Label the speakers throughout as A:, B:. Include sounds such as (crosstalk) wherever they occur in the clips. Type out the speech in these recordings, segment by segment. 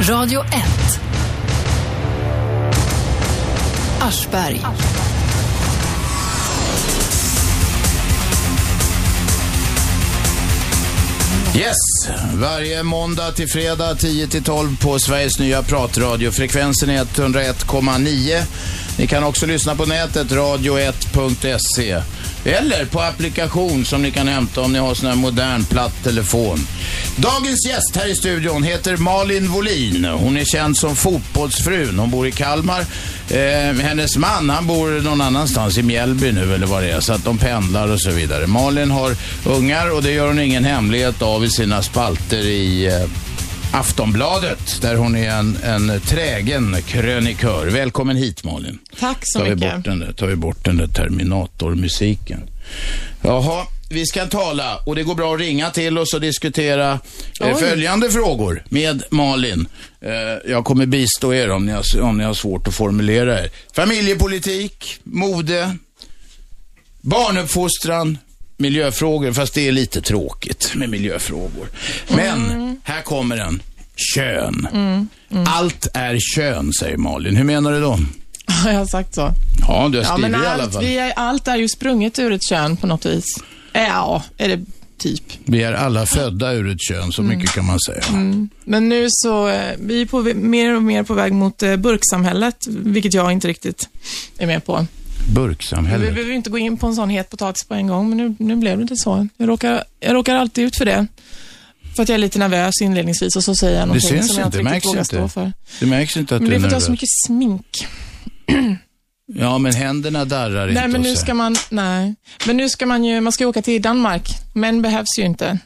A: Radio 1. Aschberg.
B: Yes! Varje måndag till fredag 10 till 12 på Sveriges nya pratradio. Frekvensen är 101,9. Ni kan också lyssna på nätet, radio1.se. Eller på applikation som ni kan hämta om ni har sån här modern platt telefon. Dagens gäst här i studion heter Malin Wolin. Hon är känd som fotbollsfrun. Hon bor i Kalmar. Eh, hennes man, han bor någon annanstans, i Mjällby nu eller vad det är. Så att de pendlar och så vidare. Malin har ungar och det gör hon ingen hemlighet av i sina spalter i eh, Aftonbladet. Där hon är en, en trägen krönikör. Välkommen hit Malin.
C: Tack så
B: tar vi
C: mycket.
B: Bort den där, tar vi bort den där Terminator-musiken. Jaha, vi ska tala och det går bra att ringa till oss och diskutera eh,
C: Oj.
B: följande frågor med Malin. Eh, jag kommer bistå er om ni, har, om ni har svårt att formulera er. Familjepolitik, mode, barnuppfostran, miljöfrågor, fast det är lite tråkigt med miljöfrågor. Men
C: Mm.
B: här kommer den. Kön. Allt är kön, säger Malin. Hur menar du då?
C: (laughs) Ja, jag har sagt så.
B: Ja, du har
C: Ja,
B: skrivit
C: men
B: i alla
C: allt,
B: fall.
C: vi
B: Vi...
C: är, allt är ju sprunget ur ett kön på något vis. Eh, Ja, är det typ.
B: är alla födda ur ett kön, så
C: Mm.
B: mycket kan man säga.
C: Men nu så, eh, vi är på, v- mer och mer på väg mot eh, burksamhället, vilket jag inte riktigt är med på. Vi
B: Burksamhället.
C: behöver ju inte gå in på en sån het potatis på en gång, men nu, nu blev det inte så. Jag råkar, jag råkar alltid ut för det. För att jag är lite nervös inledningsvis och så säger jag någonting
B: syns
C: som jag
B: inte,
C: inte
B: det
C: riktigt
B: märks
C: vågar
B: inte.
C: stå för.
B: Det märks inte att
C: Men
B: du
C: det
B: är
C: är för att jag har så
B: nervös.
C: mycket smink.
B: Ja, men händerna darrar inte.
C: Nej, men
B: och
C: nu
B: så.
C: ska man, nej. Men nu ska man ju, man ska ju åka till Danmark. Män behövs ju inte.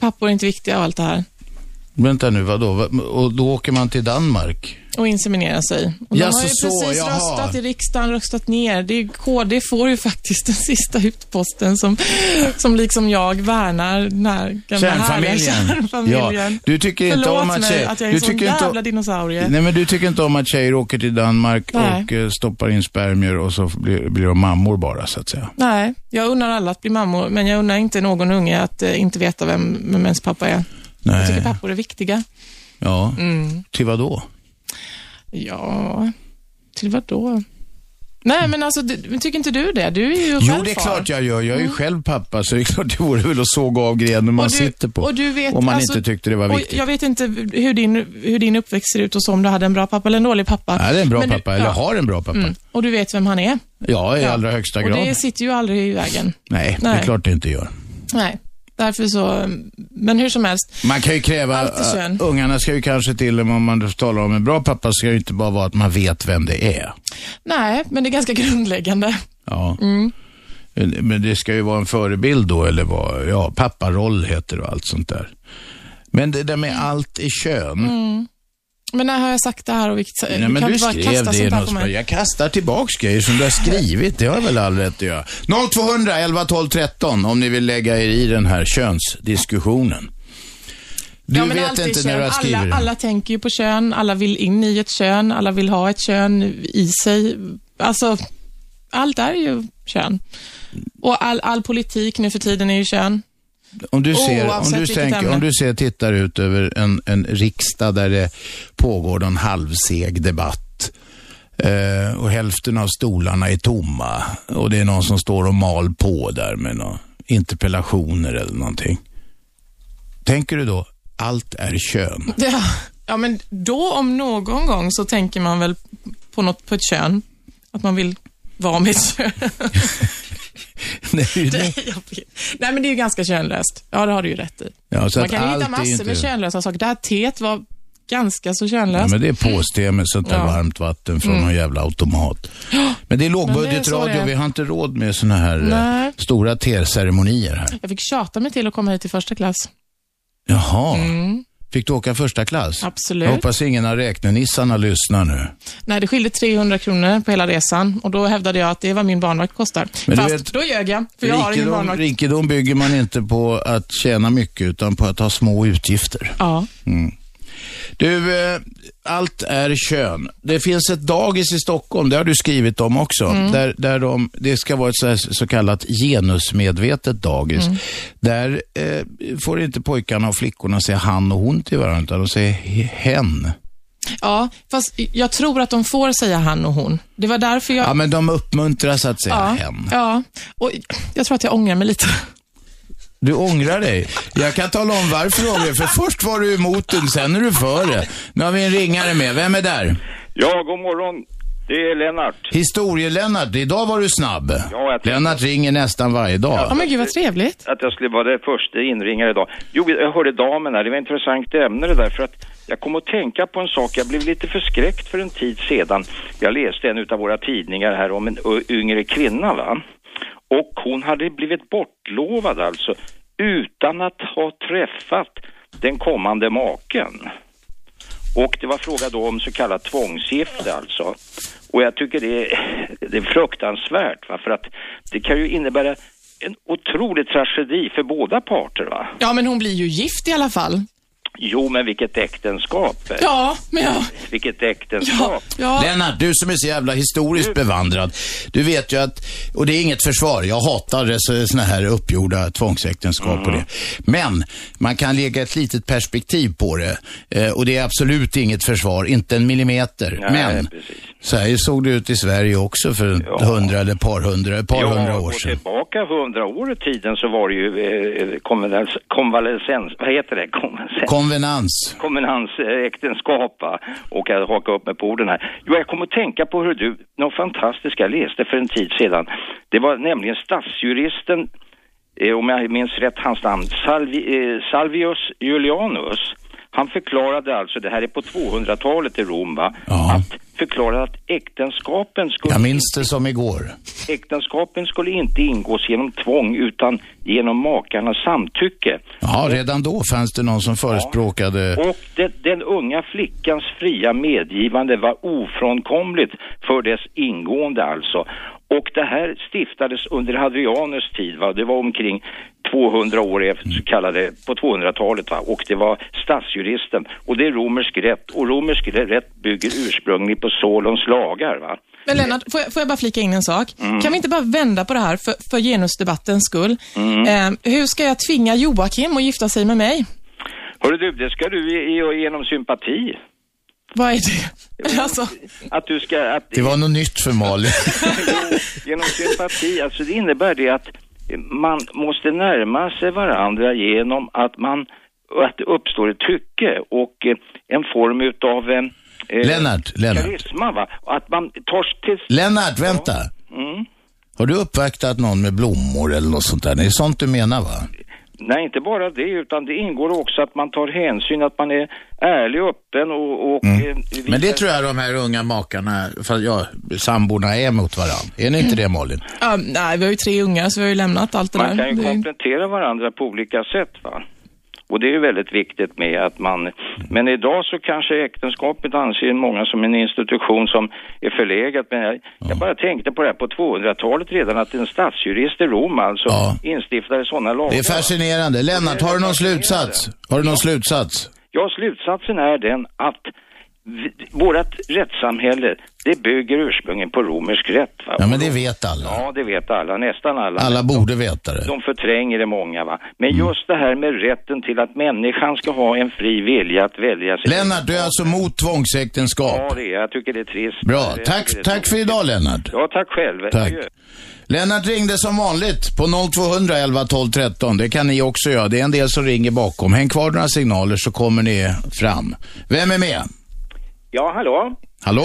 C: Pappor är inte viktiga och allt det här.
B: Vänta nu, vadå? Va- Och då åker man till Danmark?
C: Och inseminera sig. Och de
B: Jaså,
C: har ju
B: så,
C: precis
B: jaha.
C: röstat i riksdagen, röstat ner. Det är, KD får ju faktiskt den (laughs) sista utposten som, som liksom jag värnar den här gamla härliga
B: Kärnfamiljen.
C: kärnfamiljen.
B: Ja, du tycker inte
C: Förlåt
B: om att
C: mig
B: tjejer-
C: att jag är
B: du
C: en sån
B: tycker inte
C: jävla
B: om-
C: dinosaurie.
B: Nej, men du tycker inte om att tjejer åker till Danmark
C: Nej.
B: och eh, stoppar in spermier och så blir, blir de mammor bara, så att säga.
C: Nej, jag unnar alla att bli mammor, men jag unnar inte någon unge att eh, inte veta vem, vem ens pappa är. Jag tycker Mm.
B: Nej.
C: pappor är viktiga.
B: Ja. Till vad då?
C: Ja, till vad då? Nej, men alltså, du, men tycker inte du det? Du är ju
B: Jo,
C: själv
B: det är
C: far.
B: klart jag gör. Jag är ju själv pappa, så det är klart det vore väl att såga av grenen man
C: Mm. Och du-
B: sitter på.
C: och du vet,
B: om man
C: alltså-
B: inte tyckte det var
C: Och
B: viktigt.
C: jag vet inte hur din, hur din uppväxt ser ut och så, om du hade en bra pappa eller en dålig pappa.
B: Nej, det är en bra
C: Men du-
B: pappa, eller
C: ja.
B: har en bra pappa.
C: Mm. Och du vet vem han är.
B: Ja, i allra högsta
C: och
B: grad.
C: det sitter ju aldrig i vägen.
B: Nej, det är
C: Nej.
B: klart det inte gör.
C: Nej, därför så... Men hur som helst.
B: Man kan ju kräva,
C: Allt är
B: äh,
C: kön.
B: ungarna ska ju kanske till, om man talar om en bra pappa, ska ju inte bara vara att man vet vem det är.
C: Nej, men det är ganska (laughs) grundläggande. Mm.
B: Ja. Men det ska ju vara en förebild då, eller vad, ja, papparoll heter det och allt sånt där. Men det där
C: Mm.
B: med allt i kön.
C: Men när har jag sagt det här och vilket...
B: Nej,
C: Mm. kan
B: men du
C: inte bara
B: skrev
C: kasta
B: det i
C: sånt här
B: något
C: på
B: spår.
C: mig.
B: Jag kastar tillbaks grejer som du har skrivit. Det har jag väl all rätt att göra. 0200 11 12 13 om ni vill lägga er i den här könsdiskussionen. Du
C: Ja, men allt
B: vet
C: är
B: inte
C: kön.
B: när du har skrivit
C: alla,
B: det.
C: alla tänker ju på kön, alla vill in i ett kön, alla vill ha ett kön i sig. Alltså, allt är ju kön. Och all, all politik nu för tiden är ju kön.
B: Om du ser, om
C: Oavsett
B: du
C: vilket
B: tänker,
C: ämne.
B: om du ser, tittar ut över en, en riksdag där det pågår en halvseg debatt eh, och hälften av stolarna är tomma och det är någon som står och mal på där med några interpellationer eller någonting. Tänker du då, allt är kön?
C: Ja, ja, men då om någon gång så tänker man väl på något på ett kön. Att man vill vara med ett kön.
B: (laughs) Nej, nej.
C: Jag vet. Nej, men det är ju ganska könlöst. Ja, det har du ju rätt i.
B: ja, så
C: Man
B: att
C: kan ju
B: allt
C: hitta
B: är
C: massor
B: inte-
C: med könlösa saker. Det här teet var ganska så könlöst.
B: Ja, men det är påste med sånt där
C: Ja. Mm.
B: varmt vatten från någon jävla automat. Men det är
C: Men det är
B: lågbudgetradio,
C: så det är.
B: vi har inte råd med såna här eh,
C: Nej.
B: stora teceremonier här.
C: Jag fick tjata mig till att komma hit i första klass.
B: Jaha. Fick du åka första klass?
C: Absolut.
B: Mm. Jag hoppas ingen av räknenissarna lyssnar nu.
C: Nej, det skilde 300 kronor på hela resan och då hävdade jag att det är vad min barnvakt kostar.
B: Men du
C: Fast
B: vet,
C: då ljög jag, för jag har ingen
B: rikedom,
C: barnvakt.
B: rikedom bygger man inte på att tjäna mycket utan på att ha små utgifter.
C: Ja.
B: Mm. Du, eh, allt är kön. Det finns ett dagis i Stockholm, det har du skrivit om också,
C: Mm.
B: där, där de, det ska vara ett så, här, så kallat genusmedvetet dagis.
C: Mm.
B: Där eh, får inte pojkarna och flickorna säga han och hon till varandra, utan de säger he- hen.
C: Ja, fast jag tror att de får säga han och hon. Det var därför jag...
B: Ja, men de uppmuntras att säga
C: ja,
B: hen.
C: ja. Och jag tror att jag ångrar mig lite. (laughs)
B: Du ångrar dig. Jag kan tala om varför du ångrar dig. För först var du emot den, sen är du för det. Nu har vi en ringare med. Vem är där?
D: Ja, god morgon. Det är Lennart.
B: Historielennart, idag var du snabb.
D: Ja, jag tror-
B: Lennart ringer nästan varje
C: Ja,
B: dag.
C: men gud vad trevligt.
D: Att jag skulle vara den första inringaren idag. Jo, jag hörde damen här. Det var ett intressant ämne det där. För att jag kom att tänka på en sak. Jag blev lite förskräckt för en tid sedan. Jag läste en av våra tidningar här om en ö- yngre kvinna, va? Och hon hade blivit bortlovad alltså, utan att ha träffat den kommande maken. Och det var fråga då om så kallat tvångsgifte alltså. Och jag tycker det är, det är fruktansvärt va? för att det kan ju innebära en otrolig tragedi för båda parter va.
C: Ja, men hon blir ju gift i alla fall.
D: Jo men vilket äktenskap. eh.
C: Ja, men jag...
D: Vilket
C: Ja,
D: äktenskap.
C: ja.
B: Lennart, du som är så jävla historiskt bevandrad. Du vet ju att, och det är inget försvar, jag hatar sådana här uppgjorda tvångsäktenskap
D: Mm.
B: och det. Men man kan lägga ett litet perspektiv på det. Eh, och det är absolut inget försvar, inte en millimeter.
D: Nej,
B: Men
D: precis.
B: Så här såg det ut i Sverige också för ett
D: Ja.
B: hundra eller par hundra, ett par hundra år
D: och
B: sedan.
D: tillbaka hundra år i tiden så var det ju eh, konvalescens, konvalescens, vad heter det? Konvalescens.
B: Konvenans.
D: konvenansäktenskap va? och jag hakar upp mig på orden här. Jo, jag kom att tänka på hur du, något fantastiskt jag läste för en tid sedan. Det var nämligen statsjuristen, eh, om jag minns rätt hans namn, Salvi, eh, Salvius Julianus. Han förklarade alltså, det här är på 200-talet i Rom va,
B: Ja.
D: att förklarade att äktenskapen skulle
B: Jag minns det som igår.
D: Äktenskapen skulle inte ingås genom tvång utan genom makarnas samtycke.
B: Ja, redan då fanns det någon som förespråkade...
D: Och det, den unga flickans fria medgivande var ofrånkomligt för dess ingående alltså. Och det här stiftades under Hadrianus tid va, det var omkring 200 år efter så kallade, på 200-talet va, och det var statsjuristen och det är romersk rätt och romersk rätt bygger ursprungligen på Solons lagar va.
C: Men
B: Mm.
C: Lennart, får jag, får jag bara flika in en sak? Kan vi inte bara vända på det här för, för genusdebattens skull?
B: Mm.
C: Eh, hur ska jag tvinga Joakim att gifta sig med mig?
D: Hörru du, det ska du ge- ge genom sympati.
C: Vad är det? Alltså,
D: Att du ska, att,
B: Det var något nytt för Malin. (laughs)
D: genom sympati, alltså det innebär det att man måste närma sig varandra genom att man att det uppstår ett tycke och eh, en form utav eh, eh,
B: Lennart, Lennart.
D: karisma va? Att man tar sig till... Mm.
B: Lennart, vänta. Har du uppvaktat någon med blommor eller något sånt där? Det är sånt du menar va?
D: Nej, inte bara det, utan det ingår också att man tar hänsyn, att man är ärlig och öppen och... och eh, visar-
B: Mm. Men det tror jag de här unga makarna, för ja, samborna är mot varandra. Är ni inte det Malin?
C: ja, nej, vi har ju tre ungar så vi har ju lämnat allt det där.
D: Man kan ju
C: Det är-
D: komplettera varandra på olika sätt va. Och det är ju väldigt viktigt med att man, men idag så kanske äktenskapet anser många som en institution som är förlegat. Men jag, jag bara tänkte på det här på 200-talet redan att en statsjurist i Rom alltså
B: Ja.
D: instiftade sådana lagar.
B: Det är fascinerande. Lennart, har du någon slutsats? Har du någon slutsats?
D: Ja, slutsatsen är den att vi, vårat rättssamhälle, det bygger ursprungligen på romersk rätt va.
B: Ja, men det vet alla.
D: Ja, det vet alla, nästan alla.
B: Alla borde veta det.
D: De förtränger det många va. Men
B: Mm.
D: just det här med rätten till att människan ska ha en fri vilja att välja sig.
B: Lennart, du är alltså mot
D: Ja
B: tvångsäktenskap.
D: det är, jag tycker det är trist.
B: Bra.
D: Jag
B: Tack,
D: tycker det är
B: tack
D: trist.
B: för idag, Lennart.
D: Ja tack själv.
B: Tack.
D: Adjö.
B: Lennart ringde som vanligt på 0200 11 12 13. Det kan ni också göra. Det är en del som ringer bakom. Häng kvar några signaler så kommer ni fram. Vem är med?
E: Ja, hallå.
B: Hallå?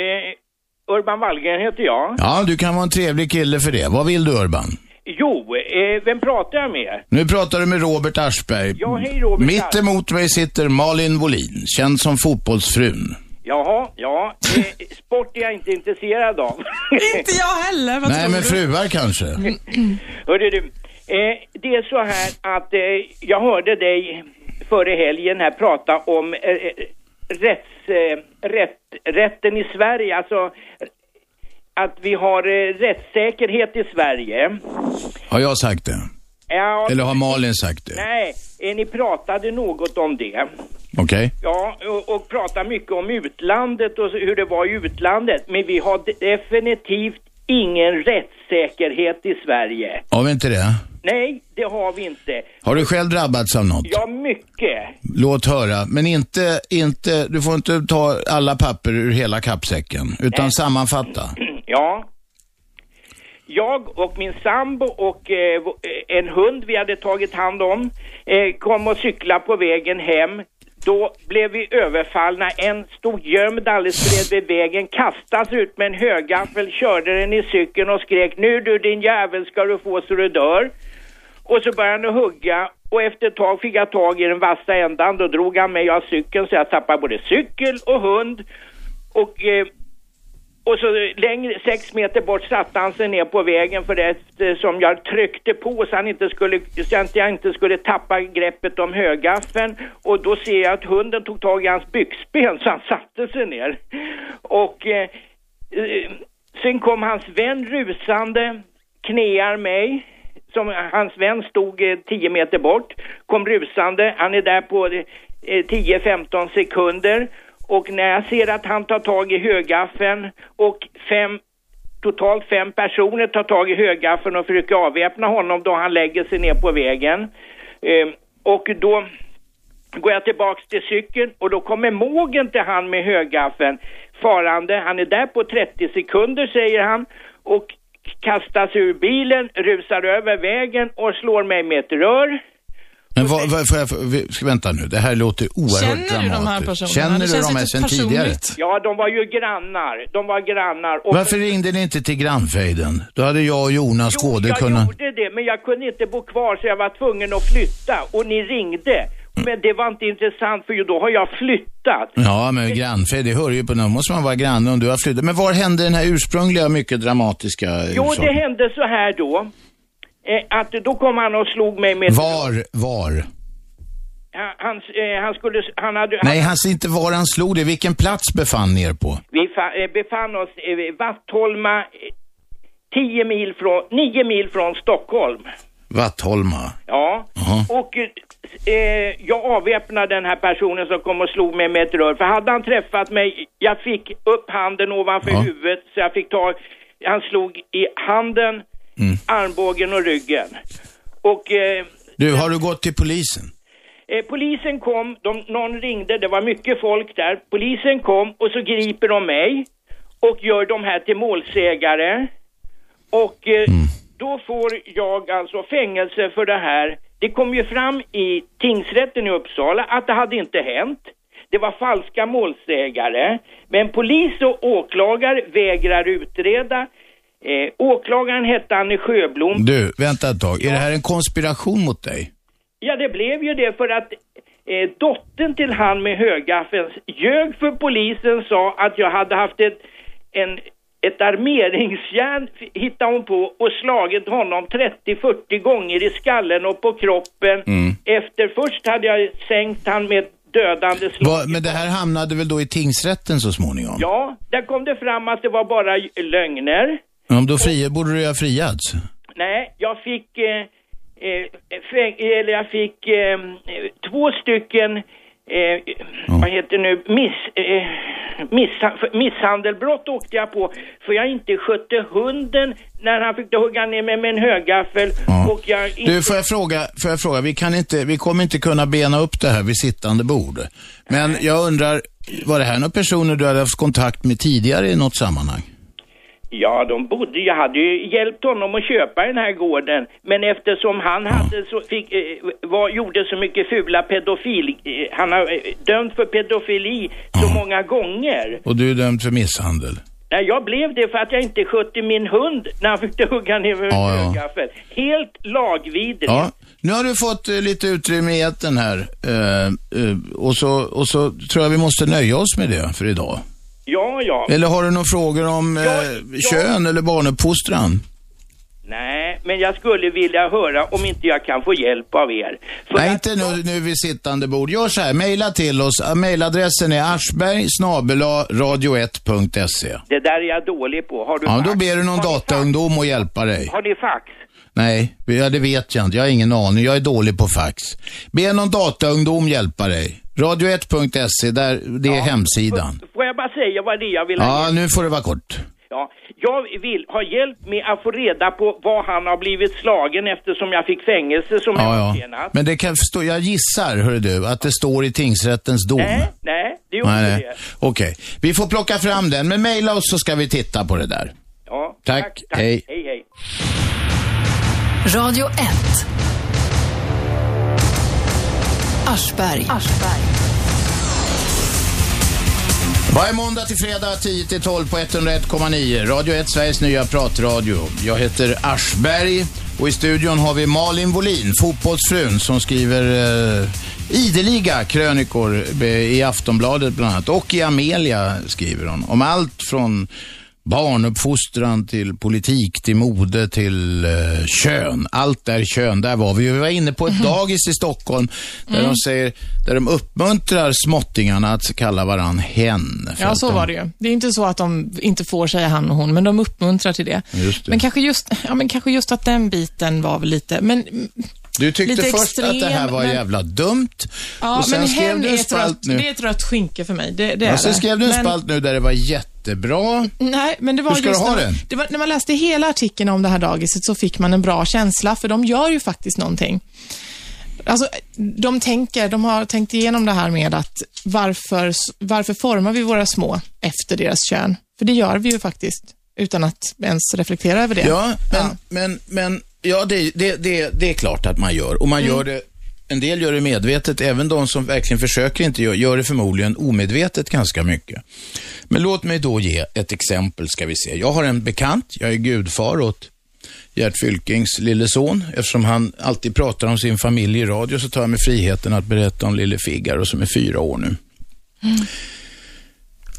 E: Eh, Urban Wallgren heter jag.
B: Ja, du kan vara en trevlig kille för det. Vad vill du, Urban?
E: Jo, eh, vem pratar jag med?
B: Nu pratar du med Robert Aschberg.
E: Ja, hej, Robert
B: Mitt
E: Aschberg.
B: emot mig sitter Malin Wohlin, känd som fotbollsfrun.
E: Jaha, ja. Eh, sport är jag inte intresserad av.
C: (laughs) Inte jag heller, vad
B: Nej,
C: tror
B: men
C: du?
B: fruar kanske.
E: Mm. Hörde du, eh, det är så här att eh, jag hörde dig före helgen här prata om eh, eh, rätts, eh, rätt, rätten i Sverige, alltså att vi har eh, rättssäkerhet i Sverige.
B: Har jag sagt det?
E: Ja,
B: Eller har Malin sagt det?
E: Nej, eh, ni pratade något om det.
B: Okej.
E: Ja, och, och pratar mycket om utlandet och så- hur det var i utlandet. Men vi har de- definitivt ingen rättssäkerhet i Sverige.
B: Har vi inte det?
E: Nej, det har vi inte.
B: Har du själv drabbats av något?
E: Ja, mycket.
B: Låt höra. Men inte, inte, du får inte ta alla papper ur hela kappsäcken, utan sammanfatta.
E: (clears throat) Ja. Jag och min sambo och eh, v- eh, en hund vi hade tagit hand om eh, kom och cykla på vägen hem. Då blev vi överfallna. En stod gömd alldeles bredvid vägen, kastas ut med en högaffel, körde den i cykeln och skrek nu du din jävel ska du få så du dör. Och så började han att hugga och efter ett tag fick jag tag i den vassa ändan. Då drog han mig av cykeln så jag tappade både cykel och hund. Och eh, och så längre, sex meter bort satte han sig ner på vägen för det eh, som jag tryckte på så, han inte skulle, så att jag inte skulle tappa greppet om högaffeln. Och då ser jag att hunden tog tag i hans byxben så han satte sig ner. Och eh, eh, sen kom hans vän rusande, knear mig. Som, hans vän stod eh, 10 meter bort, kom rusande. Han är där på eh, 10-15 sekunder. Och när jag ser att han tar tag i högaffeln och fem, totalt fem personer tar tag i högaffeln och försöker avväpna honom då han lägger sig ner på vägen. Eh, och då går jag tillbaks till cykeln och då kommer mågen till han med högaffeln farande. Han är där på 30 sekunder säger han och kastas ur bilen, rusar över vägen och slår mig med ett rör.
B: Men vad, vad, får jag, vi- ska vänta nu, det här låter oerhört
E: Känner du de här
B: dramatiskt.
E: personerna?
B: Känner
E: Det
B: du
E: känns
B: de här
E: lite
B: sen tidigare?
E: personligt. Ja, de var ju grannar. De var grannar. Och
B: Varför ringde ni inte till grannfejden? Då hade jag och Jonas Gåde
E: jag
B: kunnat...
E: gjorde det, men jag kunde inte bo kvar så jag var tvungen att flytta. Och ni ringde. Men det var inte intressant för ju då har jag flyttat.
B: Ja, men grannfejd, det hör ju på någon. måste man vara granne om du har flyttat. Men var hände den här ursprungliga, mycket dramatiska eh,
E: Jo, det
B: saken?
E: hände så här då. Eh, att då kom han och slog mig med...
B: Var, var?
E: Han, han, eh, han skulle... Han hade...
B: Nej, han ser inte var han slog det. Vilken plats befann ni er på?
E: Vi fa- eh, befann oss eh, vid Vattholma, eh, 10 mil från, 9 mil från Stockholm.
B: Vattholma.
E: Ja, och eh, jag avväpnade den här personen som kom och slog mig med ett rör. För hade han träffat mig, jag fick upp handen ovanför huvudet så jag fick ta, han slog i handen, armbågen och ryggen. Och eh,
B: Du, har du gått till polisen?
E: Eh, polisen kom, de, någon ringde, det var mycket folk där. Polisen kom och så griper de mig och gör de här till målsägare. Och eh, då får jag alltså fängelse för det här. Det kom ju fram i tingsrätten i Uppsala att det hade inte hänt. Det var falska målsägare. Men polis och åklagare vägrar utreda. Eh, åklagaren hette Anne Sjöblom.
B: Du, vänta ett tag. Är det här en konspiration mot dig?
E: Ja, det blev ju det för att eh, dottern till han med högaffeln ljög för polisen sa att jag hade haft ett, en, ett armeringsjärn, f- hittade hon på, och slagit honom 30-40 gånger i skallen och på kroppen. Efter först hade jag sänkt han med ett dödande slag.
B: Va, men det här hamnade väl då i tingsrätten så småningom?
E: Ja, där kom det fram att det var bara j- lögner.
B: Ja, men då fri, borde du ju ha friats.
E: Nej, jag fick, eh, eh, fäng- eller jag fick eh, två stycken, eh, vad heter nu, miss, eh, missa, för- misshandelbrott åkte jag på för jag inte skötte hunden när han fick hugga ner mig med en högaffel och jag inte...
B: Du, får jag fråga, får jag fråga vi, kan inte, vi kommer inte kunna bena upp det här vid sittande bord. Men jag undrar, var det här några personer du hade haft kontakt med tidigare i något sammanhang?
E: Ja, de bodde, jag hade ju hjälpt honom att köpa den här gården, men eftersom han hade så, fick, eh, var, gjorde så mycket fula pedofil, eh, han har eh, dömt för pedofili så många gånger.
B: Och du är dömd för misshandel.
E: Nej, jag blev det för att jag inte skötte min hund när han fick hugga ner med
B: Ja, ja.
E: högaffeln. Helt lagvidrigt.
B: Ja. Nu har du fått eh, lite utrymme i etern här. Eh, eh, och, så, och så tror jag vi måste nöja oss med det för idag.
E: Ja, ja.
B: Eller har du några frågor om eh, kön eller barnuppfostran?
E: Nej, men jag skulle vilja höra om inte jag kan få hjälp av er.
B: Nej, inte nu, nu vid sittande bord. Gör så här, mejla till oss. Eh, Mejladressen är aschberg radio 1se
E: Det där är jag dålig på. Har du
B: Ja,
E: fax?
B: då ber du någon dataungdom att hjälpa dig.
E: Har ni fax?
B: Nej, ja, det vet jag inte. Jag har ingen aning. Jag är dålig på fax. Be någon dataungdom hjälpa dig. Radio1.se, E, där, det är hemsidan.
E: Får jag bara säga vad det är jag vill ha
B: Ja, nu får det vara kort.
E: Ja, jag vill ha hjälp med att få reda på var han har blivit slagen eftersom jag fick fängelse som jag
B: Ja,
E: fick
B: ja.
E: senast.
B: Men det kan förstå, jag gissar, hör du, att det står i tingsrättens dom.
E: Nej, nej, det gjorde
B: Nej, nej.
E: det.
B: Okej, vi får plocka fram den, men mejla oss så ska vi titta på det där.
E: Ja,
B: Tack, hej.
E: Hej, hej.
A: Radio 1. Aschberg.
B: Varje måndag till fredag 10-12 på 101,9. Radio 1, Sveriges nya pratradio. Jag heter Aschberg och i studion har vi Malin Wohlin, fotbollsfrun, som skriver eh, ideliga krönikor eh, i Aftonbladet bland annat. Och i Amelia skriver hon. Om allt från barnuppfostran till politik, till mode, till eh, kön. Allt är kön, där var vi ju. Vi var inne på ett dagis i Stockholm där de säger, där de uppmuntrar småttingarna att kalla varann hen. för
C: Ja,
B: att
C: så
B: de-
C: var det ju. Det är inte så att de inte får säga han och hon, men de uppmuntrar till det.
B: Just det.
C: Men, kanske just, ja, men kanske just att den biten var väl lite... Men,
B: Du tyckte
C: lite
B: först
C: extrem,
B: att det här var
C: men-
B: jävla dumt
C: ja,
B: och sen
C: men
B: skrev
C: hen
B: du
C: är
B: en
C: ett, rött,
B: spalt nu.
C: det är ett rött skinka för mig. Det, det är
B: Ja, sen
C: det.
B: skrev du en
C: Men-
B: spalt nu där det var jättebra.
C: Nej, men det var
B: Hur ska
C: just
B: du ha
C: när, man-
B: den?
C: Det var, när man läste hela artikeln om det här dagiset så fick man en bra känsla, för de gör ju faktiskt någonting. Alltså, de tänker, de har tänkt igenom det här med att varför, varför formar vi våra små efter deras kön? För det gör vi ju faktiskt, utan att ens reflektera över det.
B: Ja, men,
C: Ja.
B: men, men ja, det, det, det, det är klart att man gör. Och man gör det, en del gör det medvetet, även de som verkligen försöker inte gör, gör det förmodligen omedvetet ganska mycket. Men låt mig då ge ett exempel ska vi se. Jag har en bekant, jag är gudfar åt Gert Fylkings lille son. Eftersom han alltid pratar om sin familj i radio så tar jag mig friheten att berätta om lille Figaro som är fyra år nu.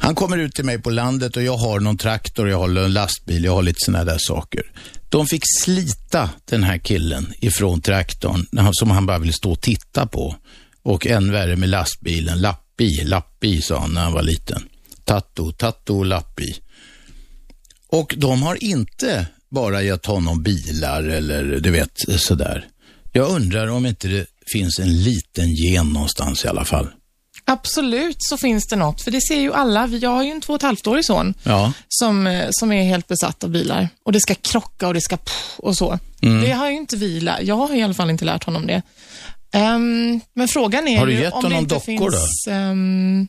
B: Han kommer ut till mig på landet och jag har någon traktor, jag har en lastbil, jag har lite sådana där saker. De fick slita den här killen ifrån traktorn när han- som han bara ville stå och titta på. Och än värre med lastbilen, lappi, lappi sa han när han var liten. Tatto, tatto, lappi. Och de har inte bara gett honom bilar eller du vet sådär. Jag undrar om inte det finns en liten gen någonstans i alla fall.
C: Absolut så finns det något, för det ser ju alla. Vi- Jag har ju en två och ett halvt-årig son
B: Ja.
C: som, eh, som är helt besatt av bilar. Och det ska krocka och det ska pff och så.
B: Mm.
C: Det har ju inte vi lä- Jag har i alla fall inte lärt honom det. Ehm, men frågan är
B: Har du
C: ju
B: gett
C: om
B: honom
C: det inte
B: dockor då?
C: finns, ehm,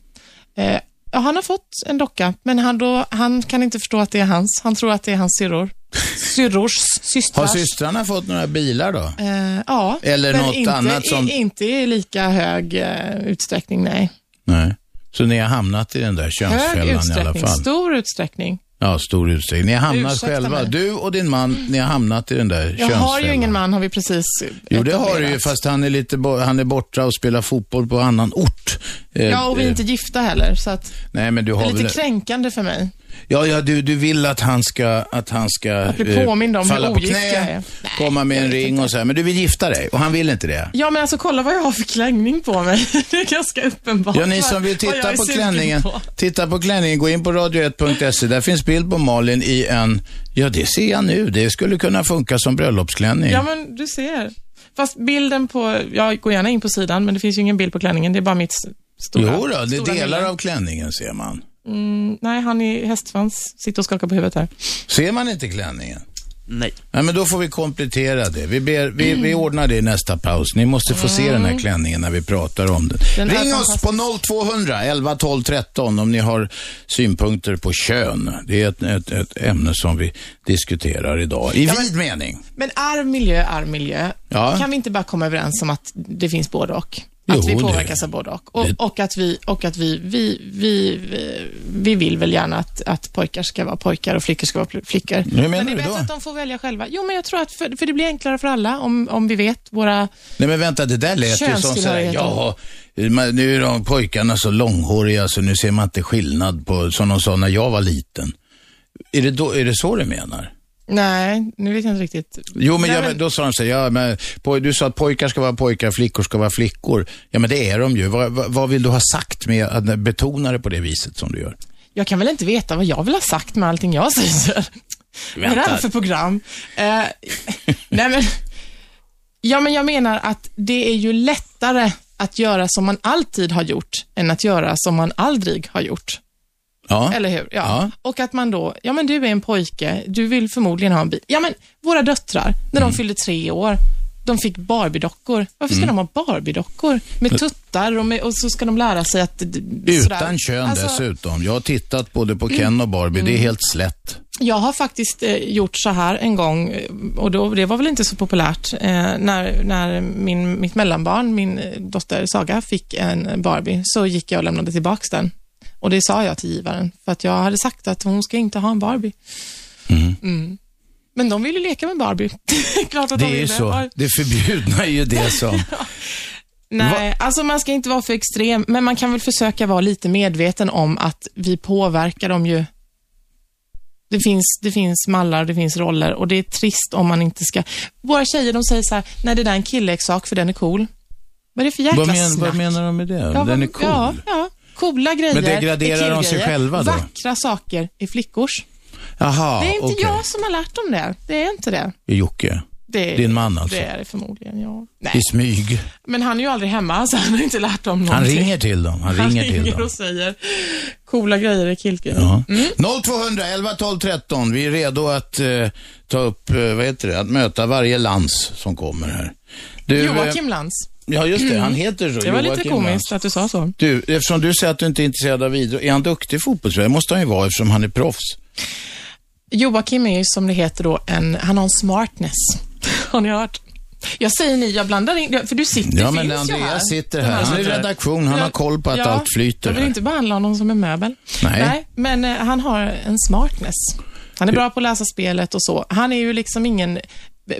C: eh, ja, han har fått en docka, men han, då, han kan inte förstå att det är hans. Han tror att det är hans syrror. Syrrors,
B: Har
C: systrars.
B: systrarna fått några bilar då?
C: Eh, ja,
B: Eller
C: men
B: något
C: inte,
B: annat som-
C: i, inte i lika hög eh, utsträckning, nej.
B: Nej. Så ni har hamnat i den där
C: Hög
B: könsfällan i alla
C: utsträckning,
B: fall?
C: stor utsträckning.
B: Ja, stor utsträckning. Ni har hamnat
C: Ursäkta
B: själva,
C: mig.
B: du och din man, ni har hamnat i den där
C: Jag
B: könsfällan.
C: har ju ingen man, har vi precis
B: Jo, det har du ju,
C: etablerat.
B: fast han är, lite bo- han är borta och spelar fotboll på annan ort. Eh,
C: Ja, och vi är
B: eh,
C: inte gifta heller, så att
B: Nej, men du
C: det
B: har
C: är lite
B: väl...
C: kränkande för mig.
B: Ja, ja du, du vill att han ska, att han ska
C: bli
B: eh,
C: påmind om hur
B: falla på
C: ogift
B: knä,
C: jag är.
B: komma med en ring och så här. Men du vill gifta dig och han vill inte det.
C: Ja, men alltså kolla vad jag har för klänning på mig. (laughs) Det är ganska uppenbart.
B: Ja, ni som
C: vad-
B: vill
C: vad jag
B: titta
C: är
B: på
C: sugen
B: klänningen,
C: på.
B: titta på klänningen, gå in på radio1.se. Där finns bild på Malin i en, ja det ser jag nu, det skulle kunna funka som bröllopsklänning.
C: Ja, men du ser. Fast bilden på, jag går gärna in på sidan, men det finns ju ingen bild på klänningen. Det är bara mitt s- stora...
B: jo då, det är
C: stora
B: delar
C: minne.
B: av klänningen ser man.
C: Mm, nej, han är hästsvans. Sitter och skakar på huvudet här.
B: Ser man inte klänningen?
F: Nej.
B: Nej, men då får vi komplettera det. Vi, ber, vi, vi ordnar det i nästa paus. Ni måste få se den här klänningen när vi pratar om den.
C: Mm. Den är
B: Ring oss
C: fantastisk.
B: på 0200 11 12 13 om ni har synpunkter på kön. Det är ett, ett, ett ämne som vi diskuterar idag, i vid mening.
C: Men arv miljö, arv miljö.
B: Ja.
C: Kan vi inte bara komma överens om att det finns både och? Att
B: Jo,
C: vi
B: det-
C: påverkas av både och. Och,
B: det-
C: och att, vi, och att vi, vi, vi, vi, vi vill väl gärna att, att pojkar ska vara pojkar och flickor ska vara pl- flickor.
B: menar
C: men
B: du
C: det är bättre
B: då?
C: att de får välja själva. Jo, men jag tror att för, för det blir enklare för alla om, om vi vet våra...
B: Nej men vänta, det där lät ju som såhär,
C: Könstillhörigheten.
B: ja, men nu är de pojkarna så långhåriga så nu ser man inte skillnad på, som de sa när jag var liten. Är det, då, är det så du menar?
C: Nej, nu vet jag inte riktigt.
B: Jo, men,
C: Nej,
B: jag,
C: men-
B: då sa de så här, ja, men, poj, du sa att pojkar ska vara pojkar, flickor ska vara flickor. Ja, men det är de ju. Vad, vad, vad vill du ha sagt med att betona det på det viset som du gör?
C: Jag kan väl inte veta vad jag vill ha sagt med allting jag säger. Vad är det här för program? Eh,
B: (laughs)
C: nej men, ja, men jag menar att det är ju lättare att göra som man alltid har gjort än att göra som man aldrig har gjort.
B: Ja.
C: Eller hur? Ja. Och att man då, ja men du är en pojke, du vill förmodligen ha en bil. Ja men våra döttrar, när
B: Mm.
C: de fyllde tre år, de fick Barbie-dockor. Varför
B: Mm.
C: ska de ha Barbie-dockor? Med tuttar och, med, och så ska de lära sig att... d-
B: Utan
C: sådär.
B: kön
C: Alltså, Mm.
B: dessutom. Jag har tittat både på Ken och Barbie. Det är helt slätt.
C: Jag har faktiskt eh, gjort så här en gång eh, och då, det var väl inte så populärt, eh, när, när min, mitt mellanbarn, min eh, dotter Saga, fick en Barbie, så gick jag och lämnade tillbaks den. Och det sa jag till givaren, för att jag hade sagt att hon ska inte ha en Barbie. Mm. Men de ville leka med Barbie. (laughs) Klart att
B: Det
C: de
B: är ju
C: ville.
B: så. Det förbjudna är ju det som...
C: Nej, alltså man ska inte vara för extrem, men man kan väl försöka vara lite medveten om att vi påverkar dem ju. Det finns, det finns mallar, det finns roller och det är trist om man inte ska... Våra tjejer de säger så här, nej det där är en killeksak för den är cool. Vad är det för jäkla
B: Vad, men,
C: snack?
B: vad menar de med det?
C: Ja,
B: Den
C: vad-
B: är cool.
C: Ja, ja. Coola grejer
B: Men
C: är
B: degraderar de sig
C: killgrejer.
B: själva då?
C: Vackra saker är flickors.
B: Jaha,
C: det är inte
B: okej.
C: jag som har lärt dem det. Det är inte det.
B: Jocke.
C: det
B: Din man alltså?
C: Det är det förmodligen, ja.
B: I
C: Nej,
B: smyg.
C: men han är ju aldrig hemma, så han har inte lärt dem någonting.
B: Han ringer till dem. Han ringer till dem.
C: och säger coola grejer i killgrejer.
B: Ja.
C: Mm.
B: 0200 11 12 13. Vi är redo att eh, ta upp, eh, vad heter det, att möta varje lands som kommer här. Du,
C: Joakim
B: eh,
C: Lantz. Mm.
B: Ja, just det. Han heter så.
C: Det var lite
B: Joakim
C: komiskt
B: Lantz.
C: att du sa så.
B: Du, eftersom du säger att du inte är intresserad av idrott, är han duktig fotbollsspelare? Det måste han ju vara eftersom han är proffs.
C: Joakim är ju som det heter då en, han har en smartness. (laughs) har ni hört? Jag säger ni, jag blandar in, för du sitter,
B: Ja,
C: finns
B: men
C: ju
B: Andreas
C: här.
B: sitter här. Han är i redaktion. Han
C: Jag-
B: har koll på att
C: ja,
B: allt flyter.
C: Jag vill
B: här.
C: inte behandla honom som en möbel.
B: Nej.
C: men eh, han har en smartness. Han är bra på att läsa spelet och så. Han är ju liksom ingen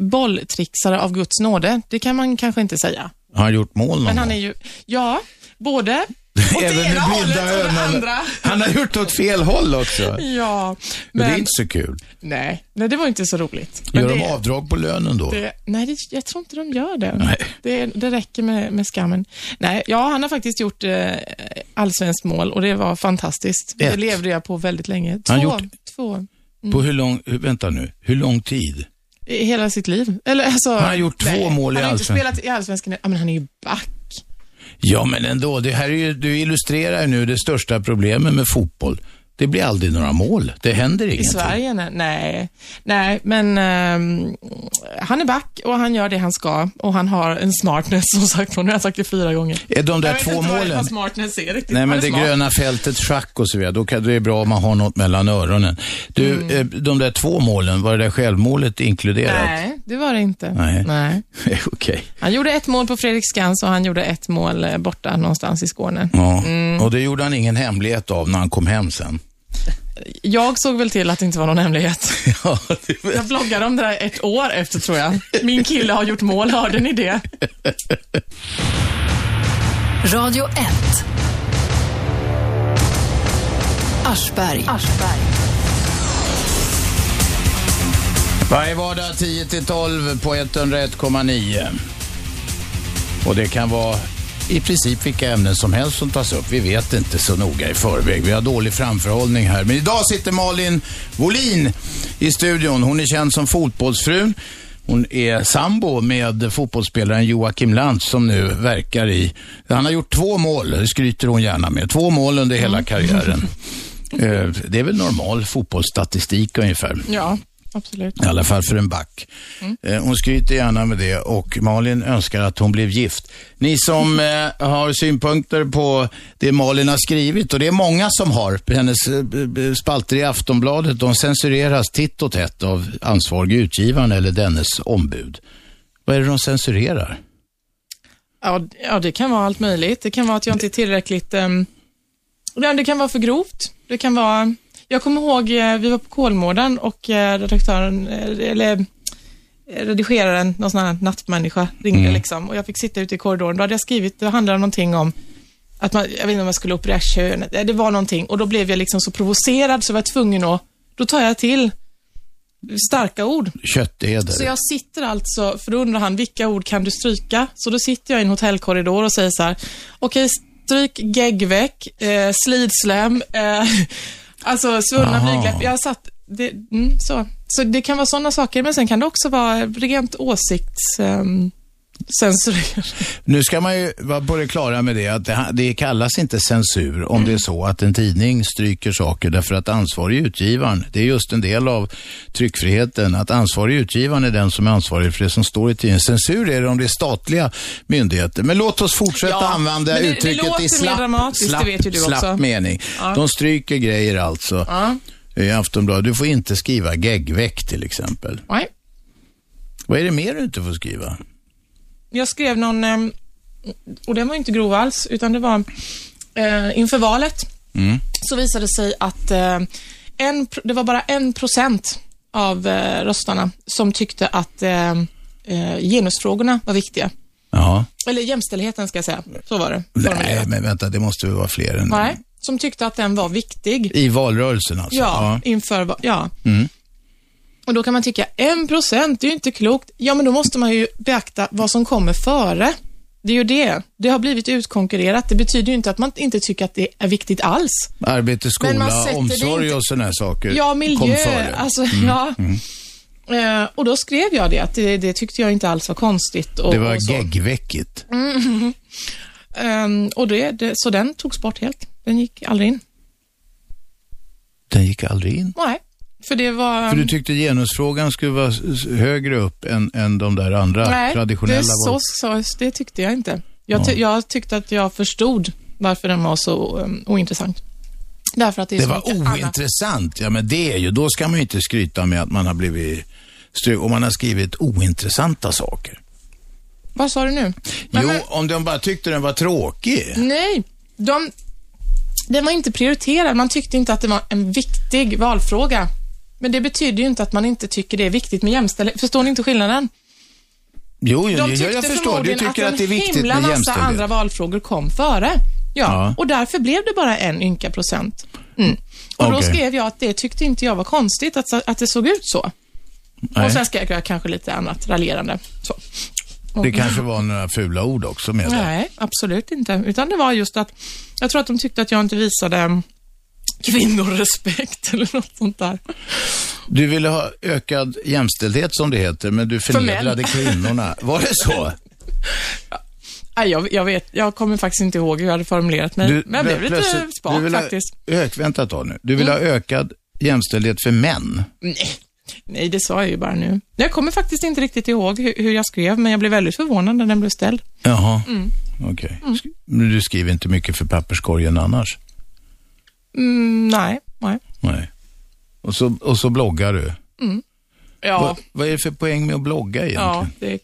C: bolltrixare av Guds nåde. Det kan man kanske inte säga.
B: Har han gjort mål någon
C: Men han
B: gång?
C: är ju, ja, både åt det
B: med
C: ena hållet
B: blinda
C: och det
B: ögonen.
C: andra.
B: Han har gjort åt fel håll också.
C: Ja,
B: Men... Det är
C: men
B: inte så kul.
C: nej, nej, det var inte så roligt. Men
B: Gör de
C: det,
B: avdrag på lönen då?
C: det, nej, det, jag tror inte de gör det.
B: Nej.
C: Det, det räcker med, med skammen. Nej, ja, han har faktiskt gjort eh, allsvenskt mål och det var fantastiskt. Det
B: Ett.
C: levde jag på väldigt länge. Två,
B: Han gjort-
C: två
B: På hur lång, hur- vänta nu, hur lång tid?
C: i hela sitt liv. Eller, alltså,
B: Han har gjort två mål i
C: Han har inte
B: Allsvenskan.
C: spelat i allsvenskan. Ja, men han är ju back.
B: Ja, men ändå, det här är ju, du illustrerar ju nu det största problemet med fotboll. Det blir aldrig några mål. Det händer
C: I
B: ingenting.
C: Sverige? Nej. Nej, nej men ehm, han är back och han gör det han ska och han har en smartness som sagt. Nu har jag sagt det fyra gånger.
B: Är de där
C: Jag vet
B: två
C: inte vad det-
B: målen?
C: vad smartness är riktigt.
B: Nej,
C: Han är
B: men det
C: smart.
B: gröna fältet, schack och så vidare. Då kan det är bra om man har något mellan öronen. Du,
C: Mm.
B: eh, de där två målen, var det där självmålet inkluderat?
C: Nej, det var det inte.
B: Nej. (laughs) Okej.
C: Han gjorde ett mål på Fredriksskans och han gjorde ett mål eh, borta någonstans i Skåne. Mm.
B: Ja. Och det gjorde han ingen hemlighet av när han kom hem sen.
C: Jag såg väl till att det inte var någon hemlighet.
B: (laughs) ja, det
C: Jag bloggade om det där ett år efter tror jag. Min kille har gjort mål, hörde ni det?
A: Radio 1. Aschberg.
B: Varje vardag 10 till 12 på 101,9. Och det kan vara i princip vilka ämnen som helst som tas upp. Vi vet inte så noga i förväg. Vi har dålig framförhållning här. Men idag sitter Malin Wolin i studion. Hon är känd som fotbollsfrun. Hon är sambo med fotbollsspelaren Joakim Lantz som nu verkar i... Han har gjort två mål, det skryter hon gärna med. Två mål under hela karriären. Eh, det är väl normal fotbollsstatistik ungefär.
C: Ja, absolut. Mm.
B: I alla fall för en back. Eh, Hon skryter gärna med det och Malin önskar att hon blev gift. Ni som eh, har synpunkter på det Malin har skrivit, och det är många som har, hennes eh, b- b- spalter i Aftonbladet, de censureras titt och tätt av ansvarig utgivaren eller dennes ombud. Vad är det de censurerar?
C: Ja, d- ja, det kan vara allt möjligt. Det kan vara att jag inte är tillräckligt... ehm, ja, det kan vara för grovt. Det kan vara... Jag kommer ihåg, eh, vi var på Kolmården och eh, redaktören, eh, eller eh, redigeraren, någon sån här nattmänniska, ringde liksom och jag fick sitta ute i korridoren. Då hade jag skrivit, det handlade om någonting om att man, jag vet inte om jag skulle operera könet, Eh, det var någonting och då blev jag liksom så provocerad så jag var tvungen att, då tar jag till starka ord.
B: Köttäder.
C: Så jag sitter alltså, för då undrar han vilka ord kan du stryka? Så då sitter jag i en hotellkorridor och säger så här, okej stryk geggveck, eh, slidsläm, eh, (laughs) alltså svunna
B: Aha.
C: blygdläppar. Jag satt, det, mm, så. så det kan vara sådana saker, men sen kan det också vara rent åsikts... ehm, censurera.
B: Nu ska man ju vara på det klara med det att det, det kallas inte censur om det är så att en tidning stryker saker därför att ansvarig utgivaren, det är just en del av tryckfriheten, att ansvarig utgivaren är den som är ansvarig för det som står i tidningen. Censur är det om det är statliga myndigheter. Men låt oss fortsätta
C: Ja,
B: använda
C: men det- det
B: uttrycket
C: låter
B: i
C: mer
B: slapp,
C: dramatiskt, det
B: slapp,
C: vet ju du också.
B: slapp mening.
C: Ja.
B: De stryker grejer alltså.
C: Ja.
B: I Aftonbladet, du får inte skriva geggväck till exempel.
C: Nej.
B: Vad är det mer du inte får skriva?
C: Jag skrev någon, ehm, och den var ju inte grov alls, utan det var eh, inför valet
B: Mm.
C: så visade det sig att eh, en, pro- det var bara en procent av eh, röstarna som tyckte att eh, eh, genusfrågorna var viktiga.
B: Jaha.
C: Eller jämställdheten ska jag säga, så var det.
B: Nej,
C: formulerat.
B: men vänta, det måste väl vara fler än...
C: Nej, som tyckte att den var viktig.
B: I valrörelsen alltså? Mm.
C: Ja, inför va- ja. Och då kan man tycka, en procent, det är ju inte klokt. Ja, men då måste man ju beakta vad som kommer före. Det är ju det. Det har blivit utkonkurrerat. Det betyder ju inte att man inte tycker att det är viktigt alls.
B: Arbete,
C: Men man
B: skola,
C: sätter det
B: omsorg och eh,
C: inte-
B: Mm. sådana här saker
C: Ja,
B: kom
C: miljö,
B: före.
C: alltså, ja. Eh, och då skrev jag det, att det, det tyckte jag inte alls var konstigt. Och,
B: Det var
C: och så.
B: geggväckigt.
C: (laughs) Ehm, och det, det, så den togs bort helt. Den gick aldrig in.
B: Den gick aldrig in.
C: Nej, för det var...
B: För du tyckte genusfrågan skulle vara s- s- högre upp än, än de där andra
C: Nej,
B: traditionella
C: det, så,
B: val-
C: så, det tyckte jag inte. Jag, ty, jag tyckte att jag förstod varför den var så um, ointressant. Därför att det är
B: Det
C: så
B: var
C: mycket annat.
B: ointressant. Ja, men det är ju, då ska man ju inte skryta med att man har blivit stry- om man har skrivit ointressanta saker.
C: Vad sa du nu? Men,
B: jo,
C: men,
B: om de bara tyckte den var tråkig.
C: nej, de, den var inte prioriterad. Man tyckte inte att det var en viktig valfråga. Men det betyder ju inte att man inte tycker det är viktigt med jämställdhet. Förstår ni inte skillnaden?
B: Jo, jo,
C: De
B: jo
C: tyckte
B: jag förstår. Du
C: förmodligen
B: tycker att,
C: att
B: det är
C: en
B: viktigt
C: himla
B: med
C: massa
B: jämställdhet.
C: andra valfrågor kom före. Ja,
B: Ja.
C: och därför blev det bara en ynka procent. Mm. Och då
B: Okej.
C: skrev jag att det tyckte inte jag var konstigt att, att det såg ut så. Och
B: Nej.
C: sen skrev jag kanske lite annat raljerande. Så.
B: Det kanske var några fula ord också med det.
C: Nej, absolut inte. Utan det var just att jag tror att de tyckte att jag inte visade mm, kvinnor respekt (laughs) eller något sånt där.
B: Du ville ha ökad jämställdhet som det heter, men du
C: män.
B: förnedrade kvinnorna. Var det så?
C: Nej, jag, jag vet, jag kommer faktiskt inte ihåg hur jag hade formulerat mig.
B: Du,
C: men jag blev lite
B: plötsligt- du
C: spak
B: ville ha
C: faktiskt. Mm.
B: Ök, vänta ett tag nu. Du ville ha ökad jämställdhet för män.
C: Nej. Nej, det sa jag ju bara nu. Jag kommer faktiskt inte riktigt ihåg hur, hur jag skrev, men jag blev väldigt förvånad när den blev ställd.
B: Jaha,
C: Mm.
B: okej. Sk- Men du skriver inte mycket för papperskorgen annars?
C: Mm, nej, nej.
B: Nej. Och så, och så bloggar du.
C: Ja,
B: Vad, vad är det för poäng med att blogga egentligen?
C: ja det är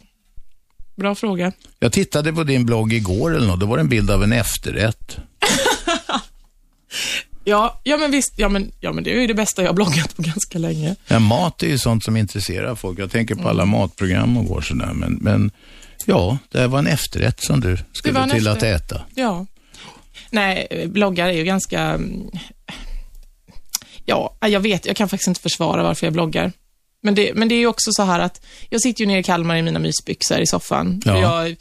C: bra fråga.
B: Jag tittade på din blogg igår eller något. Då var det en bild av en efterrätt.
C: Ja, ja men visst, ja men, ja men det är ju det bästa jag har bloggat på ganska länge.
B: Ja, mat är ju sånt som intresserar folk. Jag tänker på alla
C: Mm.
B: matprogram och går sådär. Men, men ja, det här var en efterrätt som du
C: var
B: skulle
C: en
B: till att
C: efterrätt.
B: äta.
C: Ja. Nej, bloggar är ju ganska... mm, Ja, jag vet, jag kan faktiskt inte försvara varför jag bloggar. Men det, men det är ju också så här att jag sitter ju nere i Kalmar i mina mysbyxor i soffan.
B: Ja.
C: Jag,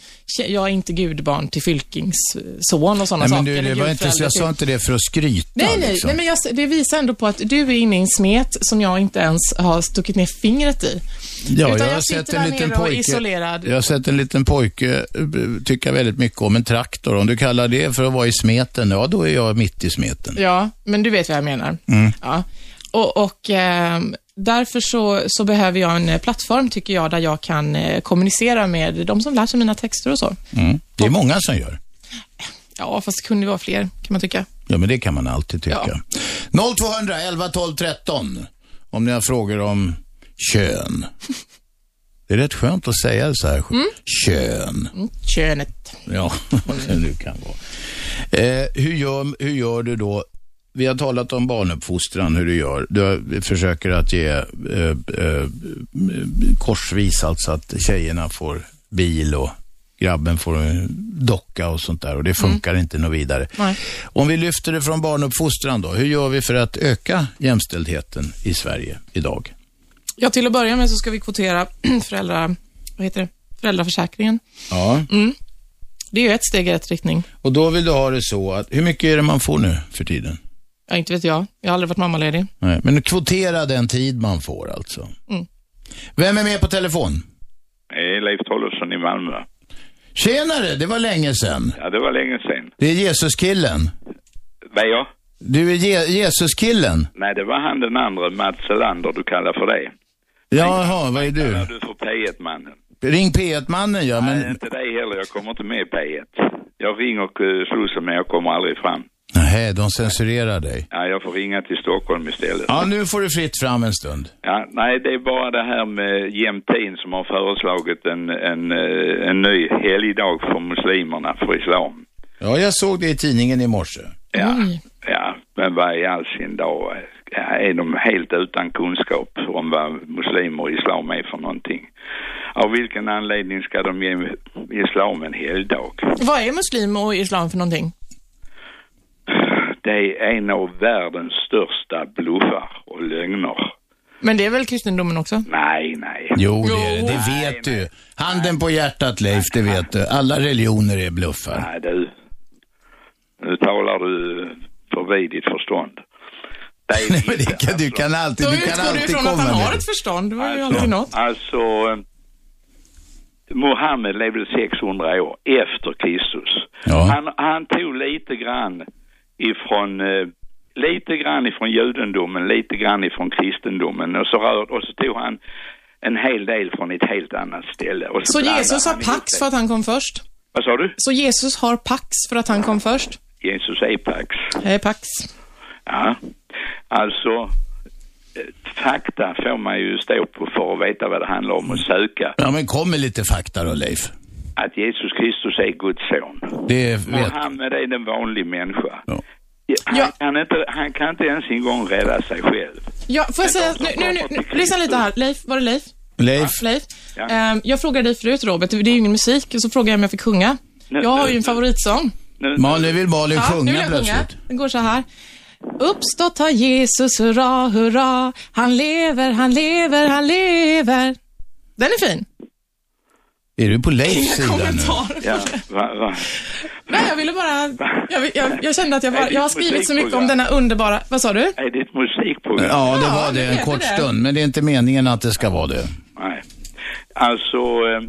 C: jag är inte gudbarn till Fylkings son och sådana
B: Nej,
C: saker.
B: men du, det
C: eller
B: var inte,
C: gudförälder
B: så jag
C: till-
B: sa inte det för att skryta.
C: Nej, nej,
B: liksom.
C: nej men jag, det visar ändå på att du är inne i en smet som jag inte ens har stuckit ner fingret i.
B: ja,
C: utan
B: jag, har
C: jag sitter
B: sett en
C: där
B: liten
C: nere och är
B: pojke,
C: isolerad.
B: Jag har sett en liten pojke eh, tycka väldigt mycket om en traktor. Om du kallar det för att vara i smeten, ja då är jag mitt i smeten.
C: Ja, men du vet vad jag menar. Ja. Och, och ehm, därför så, så behöver jag en eh, plattform, tycker jag, där jag kan eh, kommunicera med de som lär sig mina texter och så.
B: Mm. Det är många som gör.
C: Ja, fast det kunde vara fler, kan man tycka.
B: Ja, men det kan man alltid tycka.
C: Ja.
B: 0200 11 12 13 om ni har frågor om kön. Det är rätt skönt att säga det så här.
C: Mm.
B: Kön.
C: Könet.
B: Ja, (laughs) vad det nu kan vara. Eh, hur, gör, hur gör du då? Vi har talat om barnuppfostran, hur du gör. Du försöker att ge eh, eh, korsvis, alltså att tjejerna får bil och grabben får en docka och sånt där och det funkar inte något vidare.
C: Nej.
B: Om vi lyfter det från barnuppfostran då, hur gör vi för att öka jämställdheten i Sverige idag?
C: Ja, till att börja med så ska vi kvotera (clears throat) föräldra, vad heter det? föräldraförsäkringen.
B: Ja,
C: Det är ju ett steg i rätt riktning.
B: och då vill du ha det så att, hur mycket är det man får nu för tiden?
C: Ja, inte vet jag. Jag har aldrig varit mammaledig.
B: Nej, men kvotera den tid man
C: Mm.
B: får alltså. Vem är med på telefon?
F: Hej, Leif Tollesson Eh, i Malmö.
B: Tjenare, det var länge sedan.
F: Ja, det var länge sedan.
B: Det är Jesuskillen.
F: Vad jag?
B: Du är Je- Jesuskillen.
F: Nej, det var han den andra, Mats Selander, du kallar för det.
B: Jaha, vad är
F: Kallar
B: du?
F: du för P1-mannen?
B: Ring P1-mannen ja,
F: Nej,
B: men...
F: inte dig heller. Jag kommer inte med i P1. Jag ringer eh, Slussen, men jag kommer aldrig fram.
B: Nej, de censurerar dig.
F: Ja, jag får ringa till Stockholm istället.
B: Ja, nu får du fritt fram en stund.
F: Ja, nej, det är bara det här med Jämtin som har föreslagit en, en, eh, en ny helgdag för muslimerna, för islam.
B: Ja, jag såg det i tidningen i morse.
F: Ja, ja men vad i all sin dag ja, är de helt utan kunskap om vad muslimer och islam är för någonting? Av vilken anledning ska de ge islam en helgdag?
C: Vad är muslim och islam för någonting?
F: Det är en av världens största bluffar och lögner.
C: Men det är väl kristendomen också?
F: Nej, nej.
B: Jo, det, är det. det vet du. Handen på hjärtat, Leif, det vet du. Alla religioner är bluffar.
F: Nej du, nu talar du förbi ditt förstånd. Det är
B: Nej, men
F: inte,
B: det kan, du
F: alltså.
B: kan alltid,
C: Då
B: du kan
C: utgår du
B: alltid
C: ifrån att han
B: komma
C: har
B: med.
C: ett förstånd. Det var ju
F: Alltså,
C: alltid något.
F: alltså, eh, Mohammed levde 600 år efter Kristus.
B: Ja.
F: Han, han tog lite grann ifrån eh, lite grann ifrån judendomen, lite grann ifrån kristendomen och så, rör, och så tog han en hel del från ett helt annat ställe. Och
C: Så
F: blandade
C: Jesus har
F: han ihop
C: pax
F: det.
C: för att han kom först?
F: Vad sa du?
C: Så Jesus har pax för att han kom först?
F: Jesus är pax.
C: Det är pax.
F: Ja, alltså eh, fakta får man ju stå på för att veta vad det handlar om och söka.
B: Ja, men kom med lite fakta då, Leif.
F: Att Jesus Kristus är Guds son.
B: Det vet
F: Mohammed är en vanlig människa.
B: Ja.
F: Han,
C: Ja.
F: Kan inte, han kan inte ens en gång rädda sig själv.
C: Ja, får jag säga, att- nu, nu, nu, nu, lyssna lite här. Leif, var det Leif?
B: Leif.
C: Leif?
F: Ja.
C: Ehm, jag frågade dig förut, Robert, det är ju ingen musik, och så frågade jag om jag fick sjunga.
F: Nu-
C: Jag har ju
F: nu-
C: en favoritsång.
F: Nu,
B: Man, nu vill Malin
C: Ja, nu vill
B: sjunga
C: jag sjunga.
B: plötsligt.
C: Den går så här. Uppstått har Jesus, hurra, hurra. Han lever, han lever, han lever. Den är fin.
B: Är du på Leifs sida nu?
C: Kommentar.
F: ja, va, va.
C: Nej, jag ville bara... Jag, vill- jag, jag kände att jag, bara, jag har skrivit så mycket om denna underbara... Vad sa du?
F: Är det ett musikprogram?
B: Ja, det
C: Ja,
B: var
C: nu
B: det
C: är
B: en
C: det
B: kort
C: det.
B: stund, men det är inte meningen att det ska vara det.
F: Nej. Alltså, eh,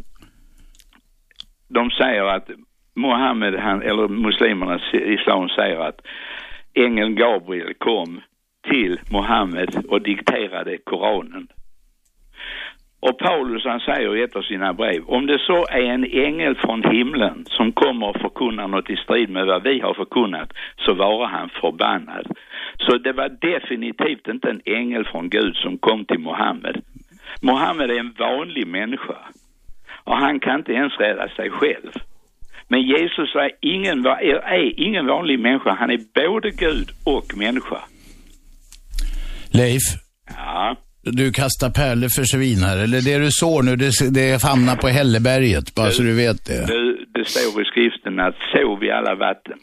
F: de säger att Mohammed, han, eller muslimerna, i islam säger att ängeln Gabriel kom till Mohammed och dikterade Koranen. Och Paulus han säger i ett av sina brev, om det så är en ängel från himlen som kommer och förkunnar något i strid med vad vi har förkunnat, så vare han förbannad. Så det var definitivt inte en ängel från Gud som kom till Mohammed. Mohammed är en vanlig människa och han kan inte ens rädda sig själv. Men Jesus är ingen, va- är- är ingen vanlig människa, han är både Gud och människa.
B: Leif,
F: Ja,
B: du kastar pärlor för svin här. Eller det du sår nu, det, det hamnar på hälleberget, bara så du vet det.
F: det, det står i skriften att sov i alla vatten.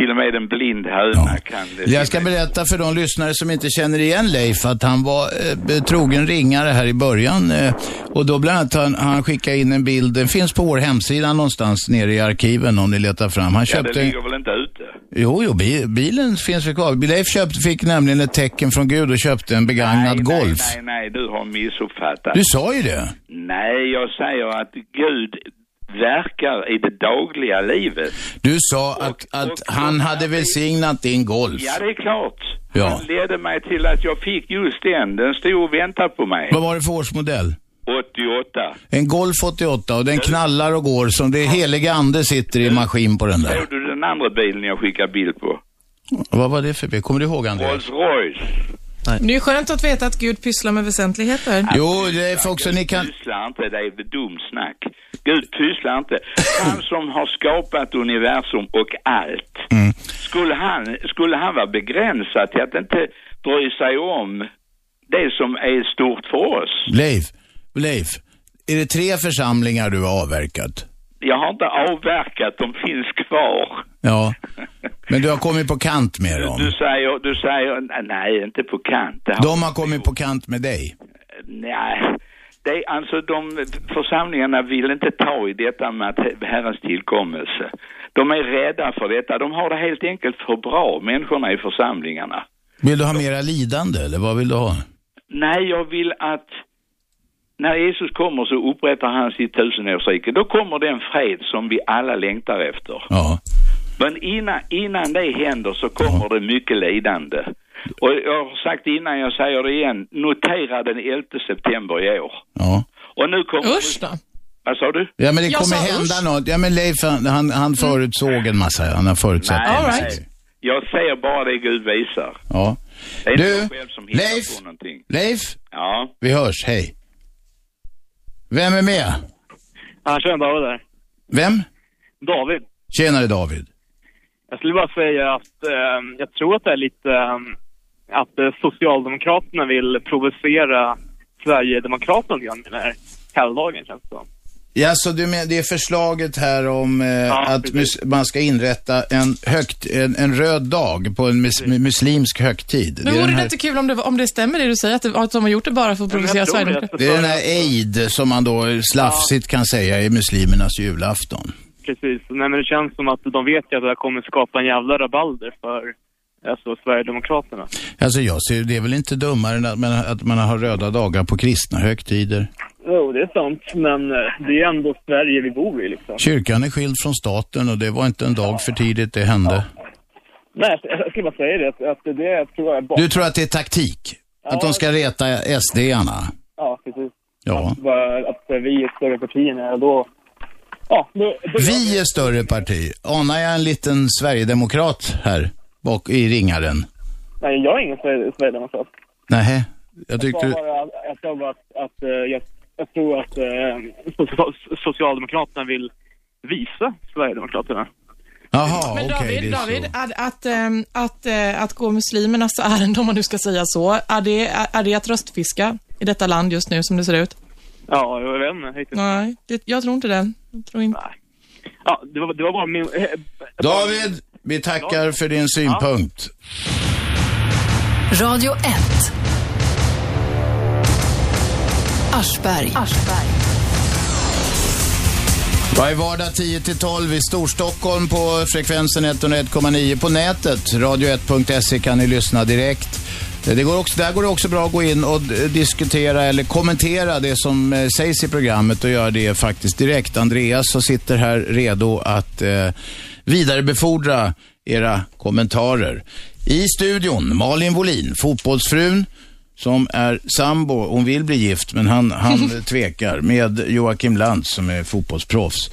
F: Till och med en blind höna kan det.
B: Jag ska berätta för de lyssnare som inte känner igen Leif att han var eh, trogen ringare här i början. Eh, och då bland annat han, han skickade in en bild, den finns på vår hemsida någonstans nere i arkiven om ni letar fram. Han
F: ja,
B: köpte...
F: det ligger väl inte ute?
B: Jo, jo, bi- bilen finns väl kvar. Leif köpt, fick nämligen ett tecken från Gud och köpte en begagnad Golf.
F: Nej, nej, nej, du har missuppfattat.
B: Du sa ju det.
F: Nej, jag säger att Gud verkar i det dagliga livet.
B: Du sa att,
F: och-
B: att
F: och-
B: han hade välsignat din Golf.
F: Ja, det är klart.
B: Ja.
F: Han ledde mig till att jag fick just den. Den stod och väntade på mig.
B: Vad var det för årsmodell?
F: 88.
B: En Golf 88 och den knallar och går som det heliga ande sitter i maskin på den där.
F: Såg du den andra bilen jag skickade bild på?
B: Vad var det för bil? Kommer du ihåg Andreas?
F: Rolls Royce.
C: Det är ju skönt att veta att Gud pysslar med väsentligheter.
B: Jo, Leif också, ni kan...
F: pysslar inte, det är väl dumsnack. Gud pysslar inte.
B: (laughs)
F: Han som har skapat universum och allt.
B: Mm.
F: Skulle, han, skulle han vara begränsad till att inte bry sig om det som är stort för oss?
B: Leif, Leif, är det tre församlingar du har avverkat?
F: Jag har inte avverkat, de finns kvar.
B: Ja, men du har kommit på kant med
F: Du
B: dem.
F: säger, du säger, nej inte på kant. Det har-
B: De har kommit på kant med dig.
F: Nej, det, är- alltså de församlingarna vill inte ta i detta med att Herrens tillkommelse. De är rädda för detta. De har det helt enkelt för bra, människorna i församlingarna.
B: Vill du ha mera lidande eller vad vill du ha?
F: Nej, jag vill att när Jesus kommer så upprättar han sitt tusenårsrike. Då kommer den fred som vi alla längtar efter.
B: Ja.
F: Men innan, innan det händer så kommer det mycket lidande. Och jag har sagt innan, jag säger det igen, notera den 11 september i år.
B: Ja.
F: Och nu kommer...
C: Usch då.
F: Vad sa du?
B: Ja, men det
C: Jag
B: kommer
C: sa
B: hända
C: usch.
B: något. Ja, men Leif, han, han, han förutsåg en massa. Han har förutsett
F: Nej,
B: en
C: All
B: massa.
C: right.
F: Jag säger bara det Gud visar.
B: Ja.
F: Det är
B: Du,
F: inte jag själv som hittar
B: Leif.
F: på någonting.
B: Leif,
F: Ja.
B: vi hörs. Hej. Vem är med?
G: Ja, tjena David där.
B: Vem?
G: David,
B: Tjenare David.
G: jag skulle bara säga att eh, jag tror att det är lite eh, att eh, Socialdemokraterna vill provocera Sverigedemokraterna lite grann med den här helgdagen känns det som.
B: Ja, så du men, det är förslaget här om eh, att mus-
G: precis.
B: man ska inrätta en, högt, en, en röd dag på en mus- muslimsk högtid.
C: Men
B: det, är
C: vore
B: den
C: det
B: här,
C: inte kul om det, om det stämmer det du säger, att, det, att de har gjort det bara för att provocera
G: Jag tror
C: Sverigedemokraterna?
G: att-
B: det är den här eid som man då slafsigt kan säga är muslimernas julafton.
G: Precis. Nej, men det känns som att de vet ju att det här kommer skapa en jävla rabalder för alltså, Sverigedemokraterna.
B: Alltså jag ser det är väl inte dummare än att man, att man har röda dagar på kristna högtider.
G: Jo, det är sant, men eh, det är ändå Sverige vi bor i liksom.
B: Kyrkan är skild från staten och det var inte en dag för tidigt det hände.
G: Nej, jag skulle bara säga det, att, att det tror jag är bak.
B: Du tror att det är taktik? Att de ska reta SD-arna?
G: Ja, precis.
B: Ja.
G: Att, bara, att eh, vi är större partierna, och då... Ja, då, då
B: Vi är större parti. Anar jag en liten sverigedemokrat här bak i ringaren?
G: Nej, jag är ingen Sver- sverigedemokrat.
B: Nej, jag
G: Jag
B: tyckte...
G: sa bara att, jag sa bara att, att eh, jag, jag tror att eh, so- Socialdemokraterna vill visa Sverigedemokraterna.
B: Jaha,
C: Men
B: okej.
C: David,
B: det är så.
C: David att, att, ehm, att, eh, att gå muslimernas (laughs) ärende, om man nu ska säga så, är det, är- är det att röstfiska i detta land just nu som det ser ut?
G: Ja, jag vet inte typ. riktigt.
C: Nej, det, jag tror inte det. Jag tror inte.
G: Ja, det var, det var bara min... eh,
B: David, vi tackar för din synpunkt.
A: Radio 1. Aschberg.
B: Varje vardag 10-12 i Storstockholm på frekvensen 101,9 på nätet. Radio1.se kan ni lyssna direkt. Det går också, där går det också bra att gå in och d- diskutera eller kommentera det som eh, sägs i programmet och göra det faktiskt direkt. Andreas så sitter här redo att eh, vidarebefordra era kommentarer. I studion, Malin Wolin, fotbollsfrun som är sambo. Hon vill bli gift, men han, han
C: (laughs)
B: tvekar med Joakim Lantz som är fotbollsproffs.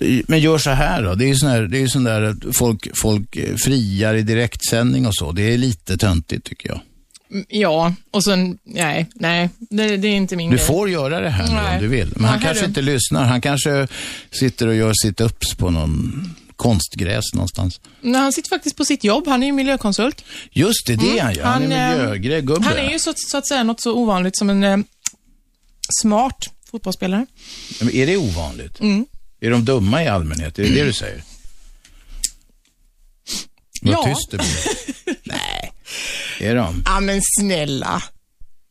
B: I- Men gör så här då. Det är ju sån där, det är ju sån där att folk, folk eh, friar i direktsändning och så. Det är lite töntigt tycker jag.
C: Mm, Ja, och sen, nej, nej, det, det är inte min
B: Du
C: grej.
B: får göra det här nu
C: Nej.
B: om du vill. Men
C: Ja,
B: han
C: här
B: kanske
C: du.
B: inte lyssnar. Han kanske sitter och gör sit-ups på någon konstgräs någonstans.
C: Nej, han sitter faktiskt på sitt jobb, han är ju miljökonsult.
B: Just det, det är
C: Mm,
B: han ju. Han,
C: han,
B: är
C: eh,
B: miljögubbe.
C: Han är ju så, så att säga något så ovanligt som en eh, smart fotbollsspelare. Mm.
B: Men Är det ovanligt? Är de dumma i allmänhet? Är det det du säger? Vad
C: Ja.
B: tyst det blir.
C: (laughs)
B: Nej. Är de?
C: Ja, men snälla.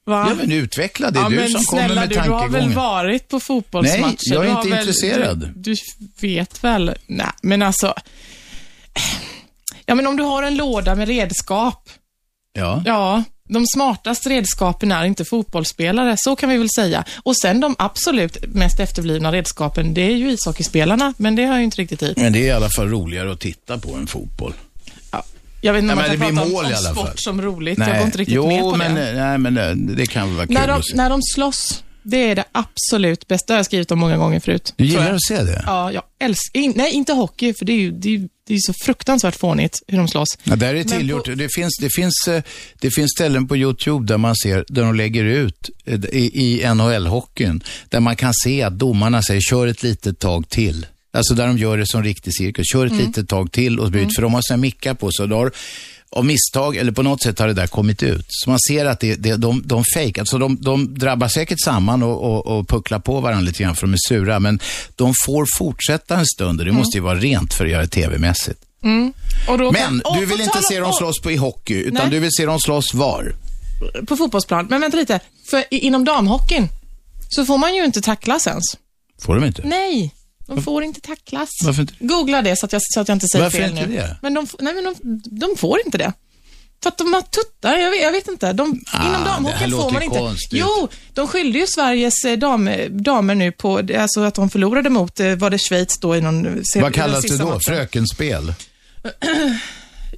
C: Va?
B: Ja, men utveckla det.
C: Ja,
B: du
C: men
B: som kommer
C: snälla
B: med
C: du, du har väl
B: tankegången.
C: varit på fotbollsmatcher?
B: Nej, jag är
C: Du har
B: inte
C: väl-
B: intresserad.
C: Du, du vet väl? Nej, men alltså... Ja, men om du har en låda med redskap.
B: Ja.
C: Ja, de smartaste redskapen är inte fotbollsspelare, så kan vi väl säga. Och sen de absolut mest efterblivna redskapen, det är ju ishockeyspelarna, men det hör ju inte riktigt hit.
B: Men det är i alla fall roligare att titta på än fotboll.
C: Ja. Jag vet inte om
B: Nej,
C: man
B: men
C: kan
B: det
C: prata
B: blir
C: om,
B: mål i
C: om
B: alla fall.
C: sport som roligt. Jag går inte riktigt
B: jo,
C: med på
B: men,
C: det.
B: Nej, men eh, det kan vara kul
C: När de,
B: att se.
C: när de slåss, det är det absolut bästa. Det har jag skrivit om många gånger förut.
B: Du
C: tror jag.
B: gillar att se det?
C: Ja, jag älskar... In, nej, inte hockey, för det är ju det är, ju- det är ju så fruktansvärt fånigt hur de slåss.
B: Ja, där är
C: Men
B: tillgjort.
C: på-
B: Det, finns, det, finns, eh, det finns ställen på YouTube där man ser, där de lägger ut eh, i, i NHL-hockeyn, där man kan se att domarna säger kör ett litet tag till. Alltså där de gör det som riktig cirkus. Kör
C: Mm.
B: ett litet tag till och byt, för de har sina mickar på så då har, av misstag eller på något sätt har det där kommit ut. Så man ser att det, det, de, de fejkar, alltså de, de drabbar säkert samman och, och, och pucklar på varandra lite grann för de är sura, men de får fortsätta en stund och
C: Mm.
B: det måste ju vara rent för att göra det tv-mässigt.
C: Och då
B: Men
C: och
B: du
C: på
B: vill inte
C: tal
B: se
C: om-
B: dem slåss på i hockey, utan
C: Nej.
B: du vill se dem slåss var?
C: och- På fotbollsplan. Men vänta lite. För i- inom damhockeyn så får man ju inte tacklas ens.
B: Får de inte?
C: Nej, de får inte tacklas.
B: Varför inte?
C: Googla det så att jag, så att jag inte säger
B: Varför
C: fel
B: inte
C: nu.
B: det?
C: Men de, f- nej, men de, de får inte det. För att de har tuttar, jag vet, jag vet inte. De, inom
B: Ah, det här
C: damhockeyn får
B: låter
C: man inte.
B: konstigt.
C: Jo, de skyllde ju Sveriges eh, dam, damer nu på, alltså att de förlorade mot, eh, var det Schweiz då i någon se- i den
B: Vad kallas det
C: sista
B: då?
C: matchen.
B: Frökenspel?
C: (clears throat)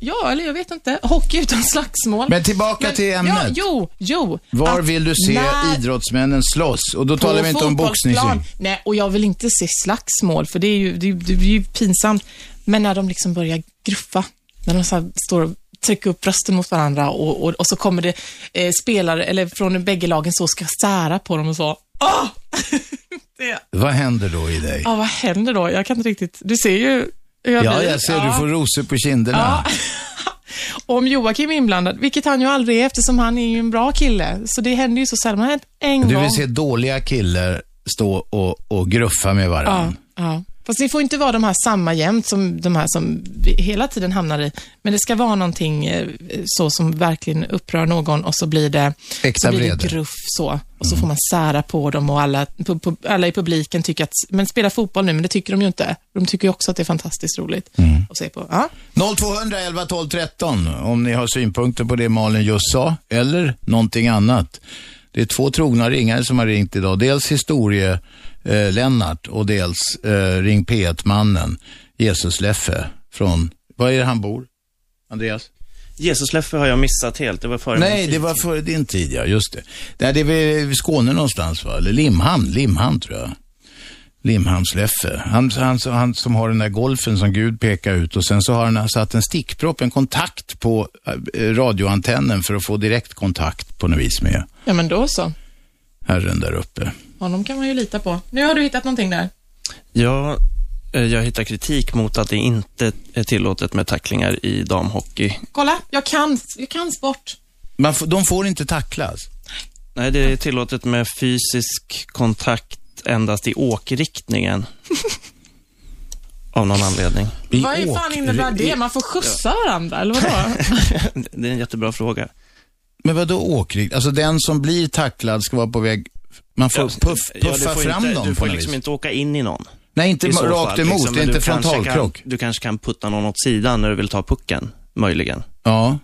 C: Ja, eller jag vet inte. Hockey utan slagsmål.
B: Men tillbaka till ämnet.
C: Ja, jo, jo.
B: Var
C: Att
B: vill du se
C: när-
B: idrottsmännen slåss? Och då
C: på
B: talar vi inte om boxning.
C: fotbollsplan. Nej, och jag vill inte se slagsmål, för det är ju, det, är- det är ju pinsamt. Men när de liksom börjar gruffa, när de så här står och trycker upp brösten mot varandra och, och, och så kommer det eh, spelare, eller från bägge lagen, så ska sära på dem och så. Åh! det,
B: Vad händer då i dig?
C: ja, vad händer då? Jag kan inte riktigt, du ser ju hur jag
B: Ja,
C: blir.
B: jag ser
C: Ja.
B: du får rosor på kinderna.
C: Om Joakim är inblandad, vilket han ju aldrig är eftersom han är ju en bra kille. Så det händer ju så sällan. Det har hänt en
B: Du
C: gång.
B: vill se dåliga killar stå och, och gruffa med
C: Ja,
B: varandra.
C: ja. Fast det får inte vara de här samma jämt som de här som vi hela tiden hamnar i. Men det ska vara någonting eh, så som verkligen upprör någon och så blir det,
B: Äkta
C: så blir det
B: vrede. Mm.
C: gruff så. Och så får man sära på dem och alla, pu- pu- alla i publiken tycker att, men spela fotboll nu, men det tycker de ju inte. De tycker ju också att det är fantastiskt roligt
B: Mm.
C: att se på. Ja.
B: 0200 11 12 13 om ni har synpunkter på det Malin just sa, eller någonting annat. Det är två trogna ringare som har ringt idag. Dels historie-Lennart och dels eh, Ring P1-mannen, Jesus Leffe från, var är det han bor? Andreas?
H: Jesusleffe har jag missat helt. Det var före min
B: Nej,
H: tid.
B: det var före din tid, ja. Just det. Nej, det är väl i Skåne någonstans, va? Eller Limhamn, Limhamn tror jag. Limhamnsleffe. Han, han, han som har den där golfen som Gud pekar ut och sen så har han satt en stickpropp, en kontakt på eh, radioantennen för att få direktkontakt på något vis med
C: ja, men då så.
B: herren där uppe.
C: Honom kan man ju lita på. Nu har du hittat någonting där.
H: Ja, eh, jag hittar kritik mot att det inte är tillåtet med tacklingar i damhockey.
C: Kolla, jag kan, jag kan sport.
B: Man får, de får inte alltså. tacklas.
H: Nej, det är tillåtet med fysisk kontakt endast i
B: (laughs)
H: åkriktningen. Av någon anledning.
B: I
C: Vad i fan
B: åk-
C: innebär det? Man får skjutsa varandra, eller vadå?
B: (laughs)
H: Det är en jättebra fråga.
B: Men vadå åkrig? Alltså den som blir tacklad ska vara på väg... Man får puff,
H: Ja,
B: puffa
H: du får
B: fram
H: inte,
B: dem
H: Du
B: på
H: får
B: något
H: liksom
B: vis.
H: inte åka in i någon.
B: Nej, inte
H: i så
B: rakt
H: fall,
B: emot.
H: liksom,
B: det är
H: men
B: inte
H: du kanske
B: frontalkrock.
H: Kan, du kanske kan putta någon åt sidan när du vill ta pucken, möjligen.
B: Ja.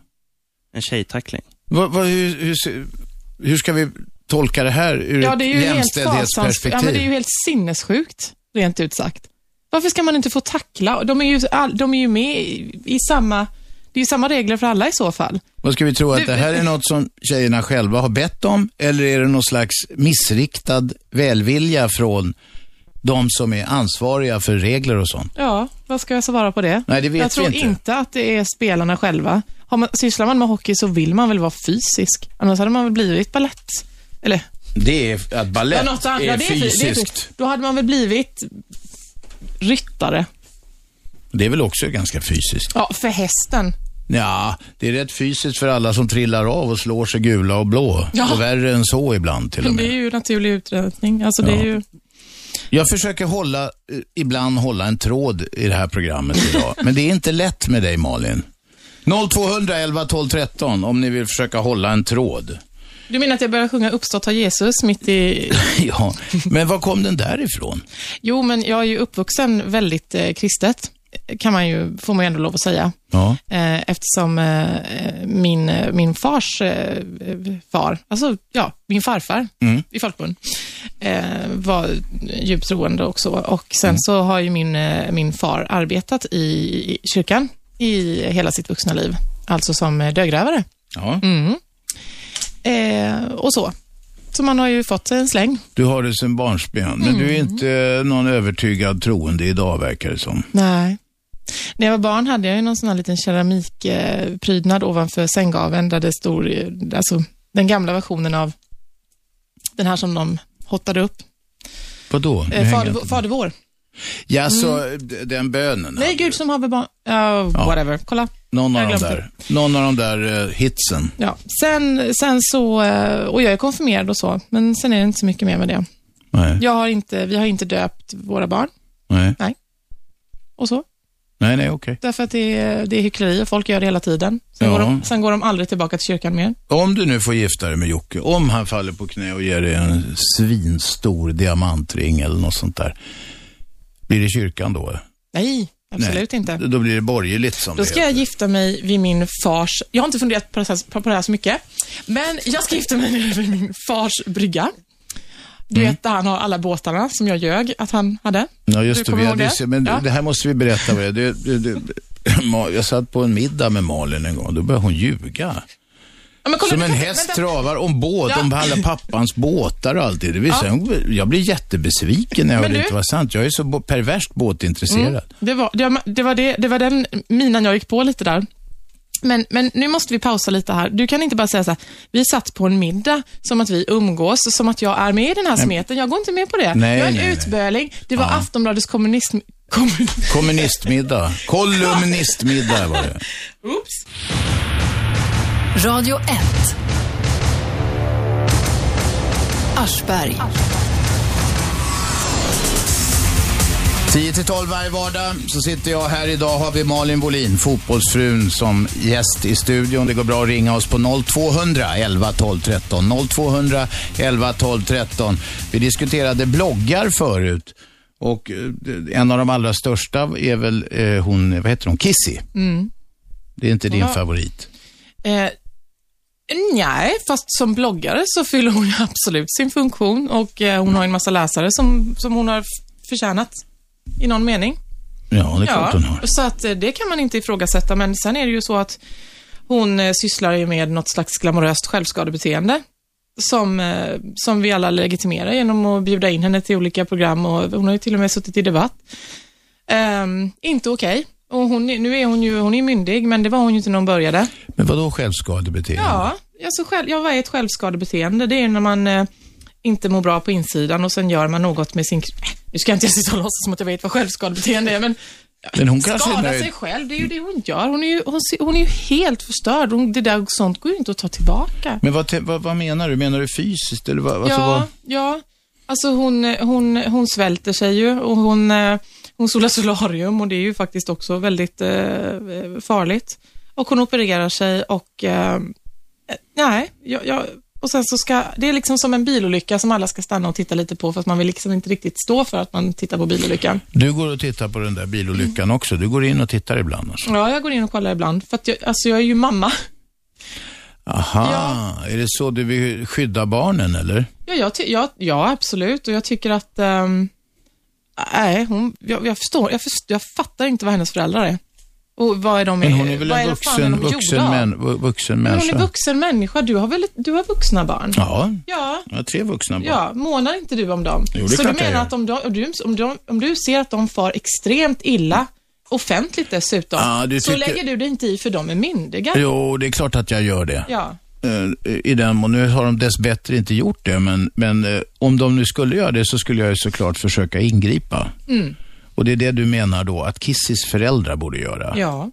H: En tjejtackling.
B: Vad- vad- hur, hur, se- hur ska vi tolka det här ur
C: Ja, det är ju
B: ett
C: helt fasansfullt.
B: jämställdhetsperspektiv?
C: Ja, men det är ju helt sinnessjukt, rent ut sagt. Varför ska man inte få tackla? De är ju, all, de är ju med i, i samma... Det är ju samma regler för alla i så fall.
B: Vad ska vi tro? Att
C: Du-
B: det här är något som tjejerna själva har bett om? Eller är det någon slags missriktad välvilja från de som är ansvariga för regler och sånt?
C: Ja, vad ska jag svara på det?
B: Nej, det vet
C: jag
B: vi
C: tror
B: inte.
C: att det är spelarna själva. Har man, sysslar man med hockey så vill man väl vara fysisk. Annars hade man väl blivit ballett. Eller
B: Det är att balett
C: Ja, något annat. Ja, det är fy- Det är, fysiskt. då hade man väl blivit ryttare.
B: Det är väl också ganska fysiskt?
C: Ja, för hästen.
B: Ja, det är rätt fysiskt för alla som trillar av och slår sig gula och blå.
C: Ja.
B: Och värre än så ibland till och med.
C: Det är ju naturlig utrötning. Alltså, det är ju...
B: Jag försöker hålla, eh, ibland hålla en tråd i det här programmet idag. Men det är inte lätt med dig Malin. 0200 11 12 13 om ni vill försöka hålla en tråd. (laughs)
C: Du menar att jag började sjunga Uppstått har Jesus mitt i...
B: ja, men var kom den där ifrån?
C: Jo, men jag är ju uppvuxen väldigt eh, kristet, kan man ju, får man ju ändå lov att säga.
B: Ja.
C: Eh, eftersom eh, min, eh, min fars eh, far, alltså ja, min farfar i folkmun, eh, var djupt troende och så. Och sen så har ju min, eh, min far arbetat i, i kyrkan i hela sitt vuxna liv, alltså som eh, dögrävare.
B: ja.
C: Eh, och så. Så man har ju fått en släng.
B: Du har det sedan barnsben, men du är
C: Mm.
B: inte eh, någon övertygad troende idag verkar det som.
C: Nej. När jag var barn hade jag ju någon sån här liten keramikprydnad ovanför sänggaveln där det stod, eh, alltså den gamla versionen av den här som de hottade upp.
B: Vadå? Nu
C: Eh,
B: hänger
C: fader,
B: jag
C: vår-
B: inte-
C: fader vår. Mm.
B: Ja, så eh, d- den bönen.
C: Nej, Gud som har barn... ja. Whatever, kolla.
B: Någon
C: jag
B: av, de
C: glömde.
B: där, någon av de där eh, hitsen.
C: Ja. Sen, sen så, eh, och jag är konfirmerad och så, men sen är det inte så mycket mer med det.
B: Nej,
C: Jag har inte, vi har inte döpt våra barn
B: nej,
C: och så,
B: nej, nej okej.
C: därför att det är, det är hyckleri och folk gör det hela tiden. Sen,
B: Ja.
C: går de, sen går de aldrig tillbaka till kyrkan mer.
B: Om du nu får gifta dig med Jocke, om han faller på knä och ger dig en svinstor diamantring eller något sånt där. Blir det kyrkan då?
C: Nej, absolut
B: Nej.
C: inte.
B: Då blir det borgerligt som
C: Då
B: det
C: ska jag gifta mig vid min fars, jag har inte funderat på det här, på- på det här så mycket, men jag ska gifta mig (laughs) vid min fars brygga. Du vet där han har alla båtarna som jag ljög att han hade.
B: Mm. Ja, just
C: Du
B: det. Vi
C: kommer ihåg
B: hade, ju
C: det?
B: se- Men
C: Ja.
B: det här måste vi berätta. Vad det är. Du, du, du, (clears throat) Ma- jag satt på en middag med Malin en gång. Då började hon ljuga.
C: Ja, men kolla,
B: Som
C: du
B: en
C: kan-
B: häst
C: vänta.
B: travar om båt,
C: Ja.
B: om alla pappans båtar och allt det. det vill säga, hon- Jag blir jättebesviken när jag
C: Men
B: hörde
C: du-
B: att det var sant. Jag är så bo- perverst båtintresserad.
C: Mm. Det var, det, det, var det, det var den minan jag gick på lite där. Men, men nu måste vi pausa lite här. Du kan inte bara säga så här, vi satt på en middag, som att vi umgås, som att jag är med i den här smeten. Jag går inte med på det.
B: Nej,
C: jag är en
B: nej, nej.
C: utböling. Det var Aftonbladets kommunism... Kommun,
B: Kommunistmiddag. Kolumnistmiddag var det.
C: oops.
A: Radio 1. Aschberg.
B: 10 till 12 varje vardag så sitter jag här. Idag har vi Malin Bolin, fotbollsfrun, som gäst i studion. Det går bra att ringa oss på 0200 11 12 13. 0200 11 12 13. Vi diskuterade bloggar förut. Och eh, en av de allra största är väl eh, hon, vad heter hon, Kissy.
C: mm.
B: Det är inte din
C: Ja.
B: favorit.
C: Eh, nej, fast som bloggare så fyller hon ju absolut sin funktion och eh, hon har en massa läsare som, som hon har f- förtjänat i någon mening.
B: Ja, det är klart hon har.
C: så att eh, det kan man inte ifrågasätta, men sen är det ju så att hon eh, sysslar ju med något slags glamoröst självskadebeteende som, eh, som vi alla legitimerar genom att bjuda in henne till olika program och hon har ju till och med suttit i debatt. Ehm, inte okej. Och hon, är- nu är hon ju hon är myndig, men det var hon ju inte när hon började.
B: Men vadå självskadebeteende?
C: Ja, alltså själv, ja, vad är ett självskadebeteende? Det är ju när man eh, inte mår bra på insidan och sen gör man något med sin... Äh, Nu ska jag inte (laughs) sitta och låtsas som att jag vet vad självskadebeteende är, men...
B: Men hon kanske är
C: skada
B: nöjd.
C: sig själv, det är ju det hon gör. Hon är ju, hon, ser- hon är ju helt förstörd. Hon, det där sånt går ju inte att ta tillbaka.
B: Men vad, te- vad, vad menar du? Menar du fysiskt? Eller vad, alltså, vad?
C: ja, ja. Alltså hon, hon, hon svälter sig ju och hon, eh, hon solar solarium och det är ju faktiskt också väldigt eh, farligt. Och hon opererar sig och eh, eh, nej, jag, jag, och sen så ska, det är liksom som en bilolycka som alla ska stanna och titta lite på för att man vill liksom inte riktigt stå för att man tittar på bilolyckan.
B: Du går och tittar på den där bilolyckan
C: Mm.
B: också. Du går in och tittar ibland alltså.
C: Ja, jag går in och kollar ibland för att jag, alltså jag är ju mamma. (laughs)
B: Aha, är det så du vill skydda barnen eller?
C: Ja, jag ty- ja, ja absolut. Och jag tycker att... ehm, nej, hon, jag, jag, förstår, jag förstår... Jag fattar inte vad hennes föräldrar är. Och vad är de...
B: Men hon är väl
C: vad
B: en
C: det- fan är
B: vuxen,
C: de gjorda
B: vuxen,
C: av?
B: män, vu- vuxen
C: Men hon är
B: människa?
C: vuxen människa. Du har väl ett, du har vuxna barn?
B: Ja,
C: Ja.
B: jag har tre vuxna barn.
C: Ja, månar inte du om dem?
B: Jo, det är
C: Så du
B: klart jag
C: menar
B: gör.
C: att om, de, om, du, om, de, om du ser att de far extremt illa, offentligt dessutom,
B: Ja, du
C: så
B: tycker-
C: lägger du dig inte i för de är myndiga.
B: Jo, det är klart att jag gör det.
C: Ja.
B: Eh, I den mån, nu har de dessbättre inte gjort det, men, men eh, om de nu skulle göra det så skulle jag ju såklart försöka ingripa.
C: Mm.
B: Och det är det du menar då, att Kissis föräldrar borde göra?
C: Ja.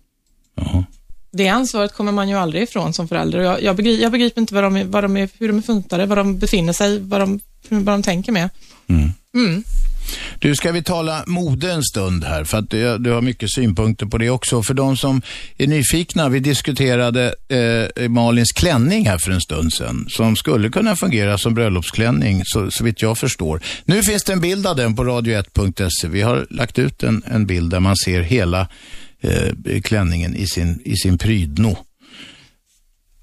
B: Jaha.
C: Det ansvaret kommer man ju aldrig ifrån som förälder. Jag, jag, begri, jag begriper inte vad de, är- vad de är, hur de är funtade, var de befinner sig, vad de, hur- vad de tänker med.
B: Mm.
C: Mm.
B: Du, ska vi tala mode en stund här? För att du, du har mycket synpunkter på det också. För de som är nyfikna, vi diskuterade eh, Malins klänning här för en stund sedan. Som skulle kunna fungera som bröllopsklänning, så, så vitt jag förstår. Nu finns det en bild av den på radio1.se. Vi har lagt ut en, en bild där man ser hela eh, klänningen i sin, i sin prydno.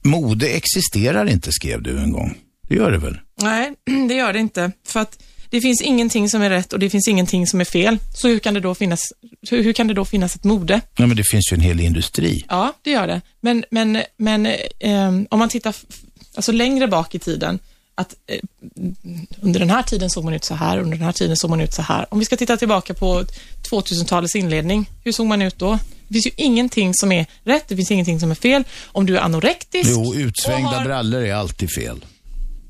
B: Mode existerar inte, skrev du en gång. Det gör det väl?
C: Nej, (clears throat) det gör det inte. För att det finns ingenting som är rätt och det finns ingenting som är fel. Så hur kan det då finnas, hur, hur kan det då finnas ett mode?
B: Nej, men det finns ju en hel industri.
C: Ja, det gör det. Men, men, men eh, ehm, om man tittar f- alltså längre bak i tiden, att eh, under den här tiden såg man ut så här, under den här tiden såg man ut så här. Om vi ska titta tillbaka på 2000-talets inledning, hur såg man ut då? Det finns ju ingenting som är rätt, det finns ingenting som är fel. Om du är anorektisk,
B: Jo, utsvängda
C: Och har-
B: brallor är alltid fel.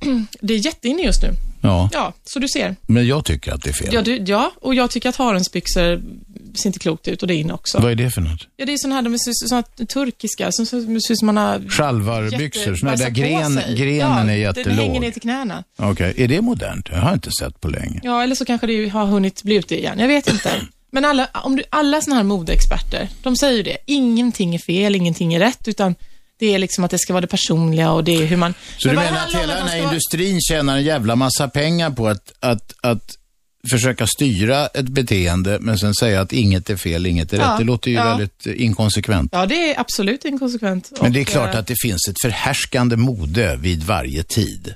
C: (clears throat) det är jätteinne just nu.
B: Ja,
C: Ja, så du ser.
B: men jag tycker att det är fel.
C: Ja, du, ja och jag tycker att harensbyxor ser inte klokt ut och det är inne också.
B: Vad är det för något?
C: Ja, det är sådana här, de är sådana här turkiska, som som- som ser ut som man har
B: Sjalvarbyxor,
C: jätte-
B: såna där
C: bajsat på
B: gren,
C: sig.
B: grenen är
C: Ja, den hänger
B: jättelåg.
C: ner till knäna.
B: Okej, är det modernt? Jag har inte sett på länge.
C: Ja, eller så kanske det har hunnit bli ute igen. Jag vet inte. Men alla, om du, alla såna här modeexperter, de säger ju det. Ingenting är fel, ingenting är rätt, utan det är liksom att det ska vara det personliga och det är hur man...
B: Så
C: Men
B: du
C: vad
B: menar
C: handlar
B: att
C: det
B: hela
C: om
B: den
C: man
B: här
C: ska-
B: industrin tjänar en jävla massa pengar på att, att, att försöka styra ett beteende men sen säga att inget är fel, inget är
C: Ja,
B: rätt. Det låter ju
C: ja.
B: väldigt eh, inkonsekvent.
C: Ja, det är absolut inkonsekvent.
B: Men det är
C: Och,
B: klart
C: eh,
B: att det finns ett förhärskande mode vid varje tid.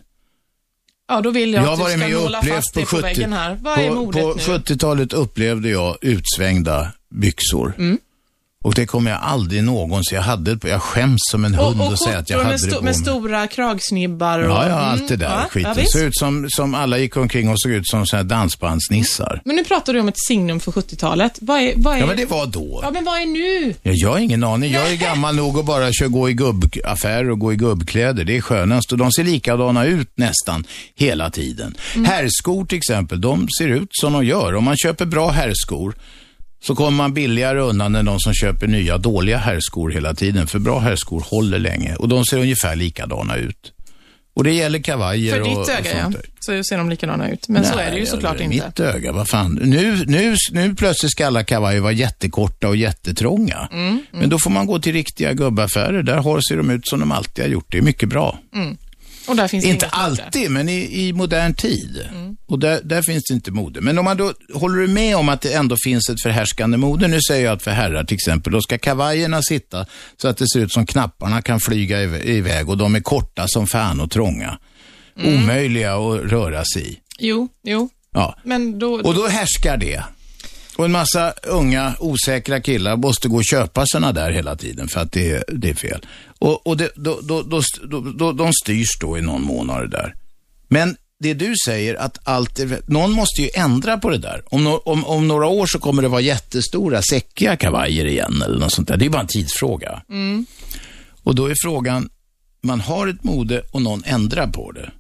C: Ja, då vill jag,
B: Jag har
C: att du
B: varit
C: ska
B: med och
C: nåla
B: upplevt
C: fast
B: på
C: det på
B: 70
C: väggen här. Vad är
B: på,
C: modet
B: på
C: nu?
B: 70-talet upplevde jag utsvängda byxor.
C: Mm.
B: Och det kommer jag aldrig någonsin, jag hade ett par- jag skäms som en hund och,
C: och
B: säga att jag
C: skjortor
B: hade
C: med,
B: det
C: sto-
B: på mig.
C: med stora kragsnibbar och...
B: Ja, ja,
C: Mm,
B: allt det där
C: ja, ja,
B: skiten.
C: visst.
B: såg ut som, som alla gick omkring och såg ut som såna här dansbandsnissar.
C: Men nu pratar du om ett signum för 70-talet. Vad är, vad är...
B: Ja, men det var då.
C: Ja, men vad är nu?
B: Ja, jag har ingen aning. Jag är gammal nog att bara köra, gå i gubbaffärer och gå i gubbkläder. Det är skönast. Och de ser likadana ut nästan hela tiden.
C: Mm.
B: Herrskor till exempel, de ser ut som de gör. Om man köper bra herrskor så kommer man billigare undan än de som köper nya dåliga herrskor hela tiden. För bra herrskor håller länge och de ser ungefär likadana ut. Och det gäller kavajer
C: För
B: och,
C: ditt
B: och
C: öga,
B: sånt
C: ja.
B: där.
C: Så ser de likadana ut. Men så
B: Nej,
C: är det ju såklart
B: det är
C: inte.
B: Mitt öga, vad fan. Nu, nu, nu plötsligt ska alla kavajer vara jättekorta och jättetrånga.
C: Mm,
B: Men då får man gå till riktiga gubbaffärer. Där har, ser de ut som de alltid har gjort. Det är mycket bra.
C: Mm. Och där finns Mm.
B: Inte
C: det inget mode.
B: alltid, men i, i modern tid. Och där, där finns det inte mode. Men om man då, håller du med om att det ändå finns ett förhärskande mode? Nu säger jag att för herrar till exempel, då ska kavajerna sitta så att det ser ut som knapparna kan flyga iv- iväg och de är korta som fan och trånga.
C: Mm.
B: Omöjliga att röra sig i.
C: Jo, jo.
B: Ja.
C: Men då...
B: Och då härskar det. Och en massa unga, osäkra killar måste gå och köpa såna där hela tiden för att det, är- det är fel. Och, och det, då, då, då, då, då, de styrs då i någon mån av det där. Men det du säger att allt är, någon måste ju ändra på det där. Om, no, om, om några år så kommer det vara jättestora säckiga kavajer igen eller något sånt där. Det är bara en tidsfråga.
C: Mm.
B: Och då är frågan, man har ett mode och någon ändrar på det.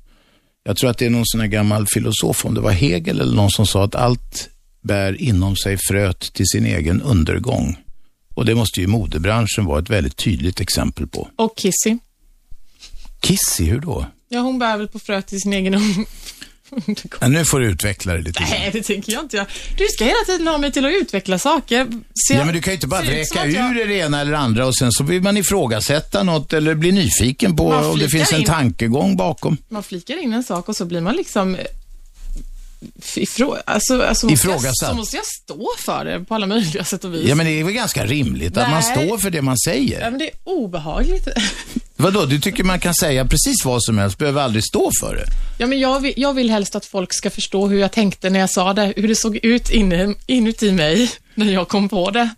B: Jag tror att det är någon sån här gammal filosof, om det var Hegel eller någon som sa att allt bär inom sig fröet till sin egen undergång. Och det måste ju modebranschen vara ett väldigt tydligt exempel på.
C: Och Kissy.
B: Kissy, hur då?
C: Ja, hon bär väl på fröet till sin egen ung.
B: Ja, nu får du utveckla det lite. grann.
C: (laughs) Nej, det tänker jag inte. Jag- Du ska hela tiden ha mig till att utveckla saker. Ser-
B: Ja, men du kan ju inte bara
C: ser ut som
B: vräka
C: att jag-
B: ur det ena eller andra och sen så vill man ifrågasätta något eller bli nyfiken på
C: Man
B: om det
C: flikar
B: finns en
C: in.
B: tankegång bakom.
C: Man flikar in en sak och så blir man liksom eh, ifrå... alltså, alltså, måste jag-
B: Ifrågasatt.
C: Så måste jag stå för det på alla möjliga sätt och vis.
B: Ja, men det är väl ganska rimligt att man
C: Nej.
B: står för det man säger.
C: Ja, men det är obehagligt.
B: Vadå, du tycker man kan säga precis vad som helst, behöver aldrig stå för det? (laughs)
C: Ja, men jag, vill, jag vill helst att folk ska förstå hur jag tänkte när jag sa det, hur det såg ut inne, inuti mig när jag kom på det.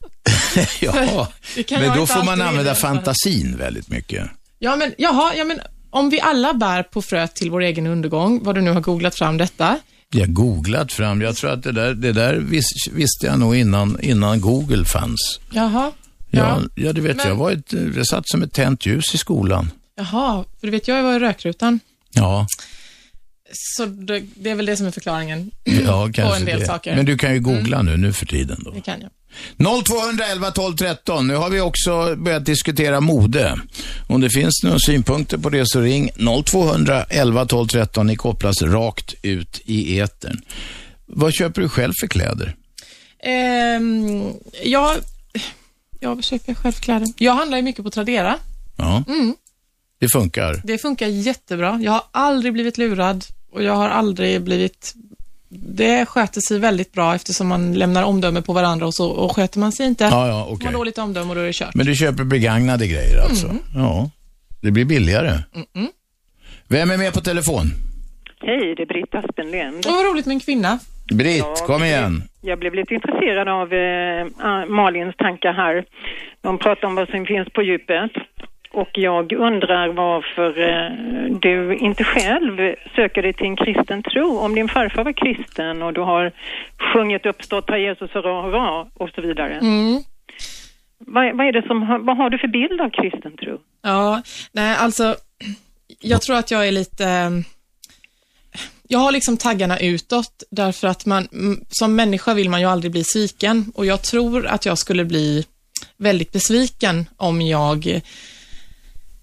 B: Ja,
C: (laughs) Det kan
B: men
C: jag
B: då
C: inte
B: får man
C: alltid
B: använda
C: redovisa.
B: fantasin väldigt mycket.
C: Ja, men jaha, ja, men om vi alla bär på fröet till vår egen undergång, vad du nu har googlat fram detta.
B: Jag googlat fram, jag tror att det där, det där vis, visste jag nog innan, innan Google fanns.
C: Jaha.
B: Ja, ja. det vet
C: Men-
B: jag. Var ett, jag satt som ett tänt ljus i skolan.
C: Jaha, för du vet, jag var i rökrutan.
B: Ja,
C: Så det, det är väl det som
B: (clears throat)
C: är förklaringen.
B: ja kanske
C: en del
B: det.
C: saker. Mm.
B: Men du kan ju googla nu, nu för tiden då.
C: Det kan jag.
B: 0211 12 13. Nu har vi också börjat diskutera mode. Om det finns några synpunkter på det så ring 0211 12 13. Ni kopplas rakt ut i etern. Vad köper du själv för kläder?
C: Ehm, jag, jag köper själv kläder. Jag handlar ju mycket på Tradera. Mm.
B: Ja, det funkar.
C: Det funkar jättebra. Jag har aldrig blivit lurad och jag har aldrig blivit... Det sköter sig väldigt bra eftersom man lämnar omdöme på varandra och så och sköter man sig inte,
B: Ja, ja,
C: man
B: okej.
C: har dåligt omdöme och då är det kört.
B: Men du köper begagnade grejer alltså? Ja, det blir billigare.
C: mm,
B: Vem är med på telefon?
I: Hej, det är Britta Spenlend.
C: Åh, vad roligt med en kvinna.
B: Britt, kom igen.
I: Jag blev lite intresserad av eh, ah, Malins tankar här. De pratar om vad som finns på djupet. Och jag undrar varför eh, du inte själv söker dig till en kristen tro. Om din farfar var kristen och du har sjungit uppstått Herre Jesus hurra hurra och så vidare.
C: Mm.
I: Vad, vad, är det som, har- vad har du för bild av kristen tro?
C: Ja, nej alltså, jag tror att jag är lite... eh, Jag har liksom taggarna utåt därför att man, mm, som människa vill man ju aldrig bli sviken och jag tror att jag skulle bli väldigt besviken om jag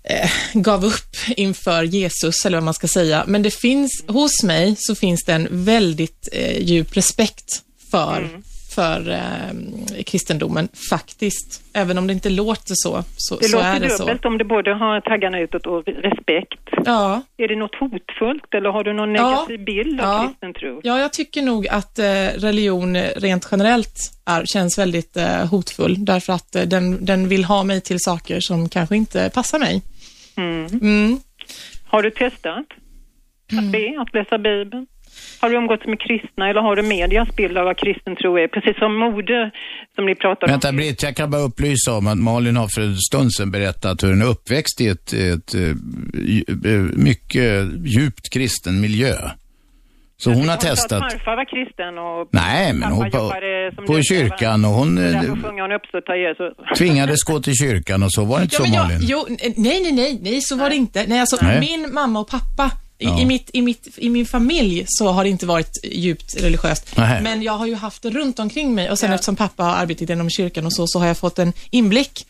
C: eh, gav upp inför Jesus eller vad man ska säga. Men det
I: Mm.
C: finns, hos mig så finns det en väldigt eh, djup respekt för, för eh, kristendomen, faktiskt. Även om det inte låter så, så,
I: Det
C: så
I: låter
C: är det så.
I: dubbelt om du både har taggarna utåt och respekt.
C: Ja.
I: Är det något hotfullt eller har du någon
C: Ja.
I: negativ bild av
C: Ja.
I: kristen tro?
C: Ja, jag tycker nog att eh, religion eh, rent generellt är, känns väldigt eh, hotfull, därför att eh, den, den vill ha mig till saker som kanske inte passar mig.
I: Mm.
C: Mm.
I: Har du testat att be, att läsa Bibeln? Har du umgåtts med kristna eller har du medias bild av vad kristen tro är? Precis som mode som ni pratade om.
B: Vänta Britt, jag kan bara upplysa om att Malin har för en stund sedan berättat hur hon är uppväxt i ett, ett, eh, dju- eh, mycket djupt kristen miljö. Så hon har
I: Hon sa att
B: testat.
I: Farfar var kristen och
B: Nej, men
I: pappa
B: hon på,
I: jobbade som
B: på
I: lärare.
B: kyrkan och hon eh,
I: Därför sjunger hon uppståtta Jesus.
B: tvingades gå till kyrkan och så. Var det inte så
C: jag,
B: Malin?
C: jo, nej, nej, nej, nej, så var det inte. Nej, alltså,
B: Nej.
C: Min mamma och pappa, i,
B: Ja.
C: i, mitt, i, mitt, i min familj så har det inte varit djupt religiöst.
B: Nähä.
C: Men jag har ju haft det runt omkring mig och sen eftersom pappa har arbetat inom kyrkan och så, så har jag fått en inblick.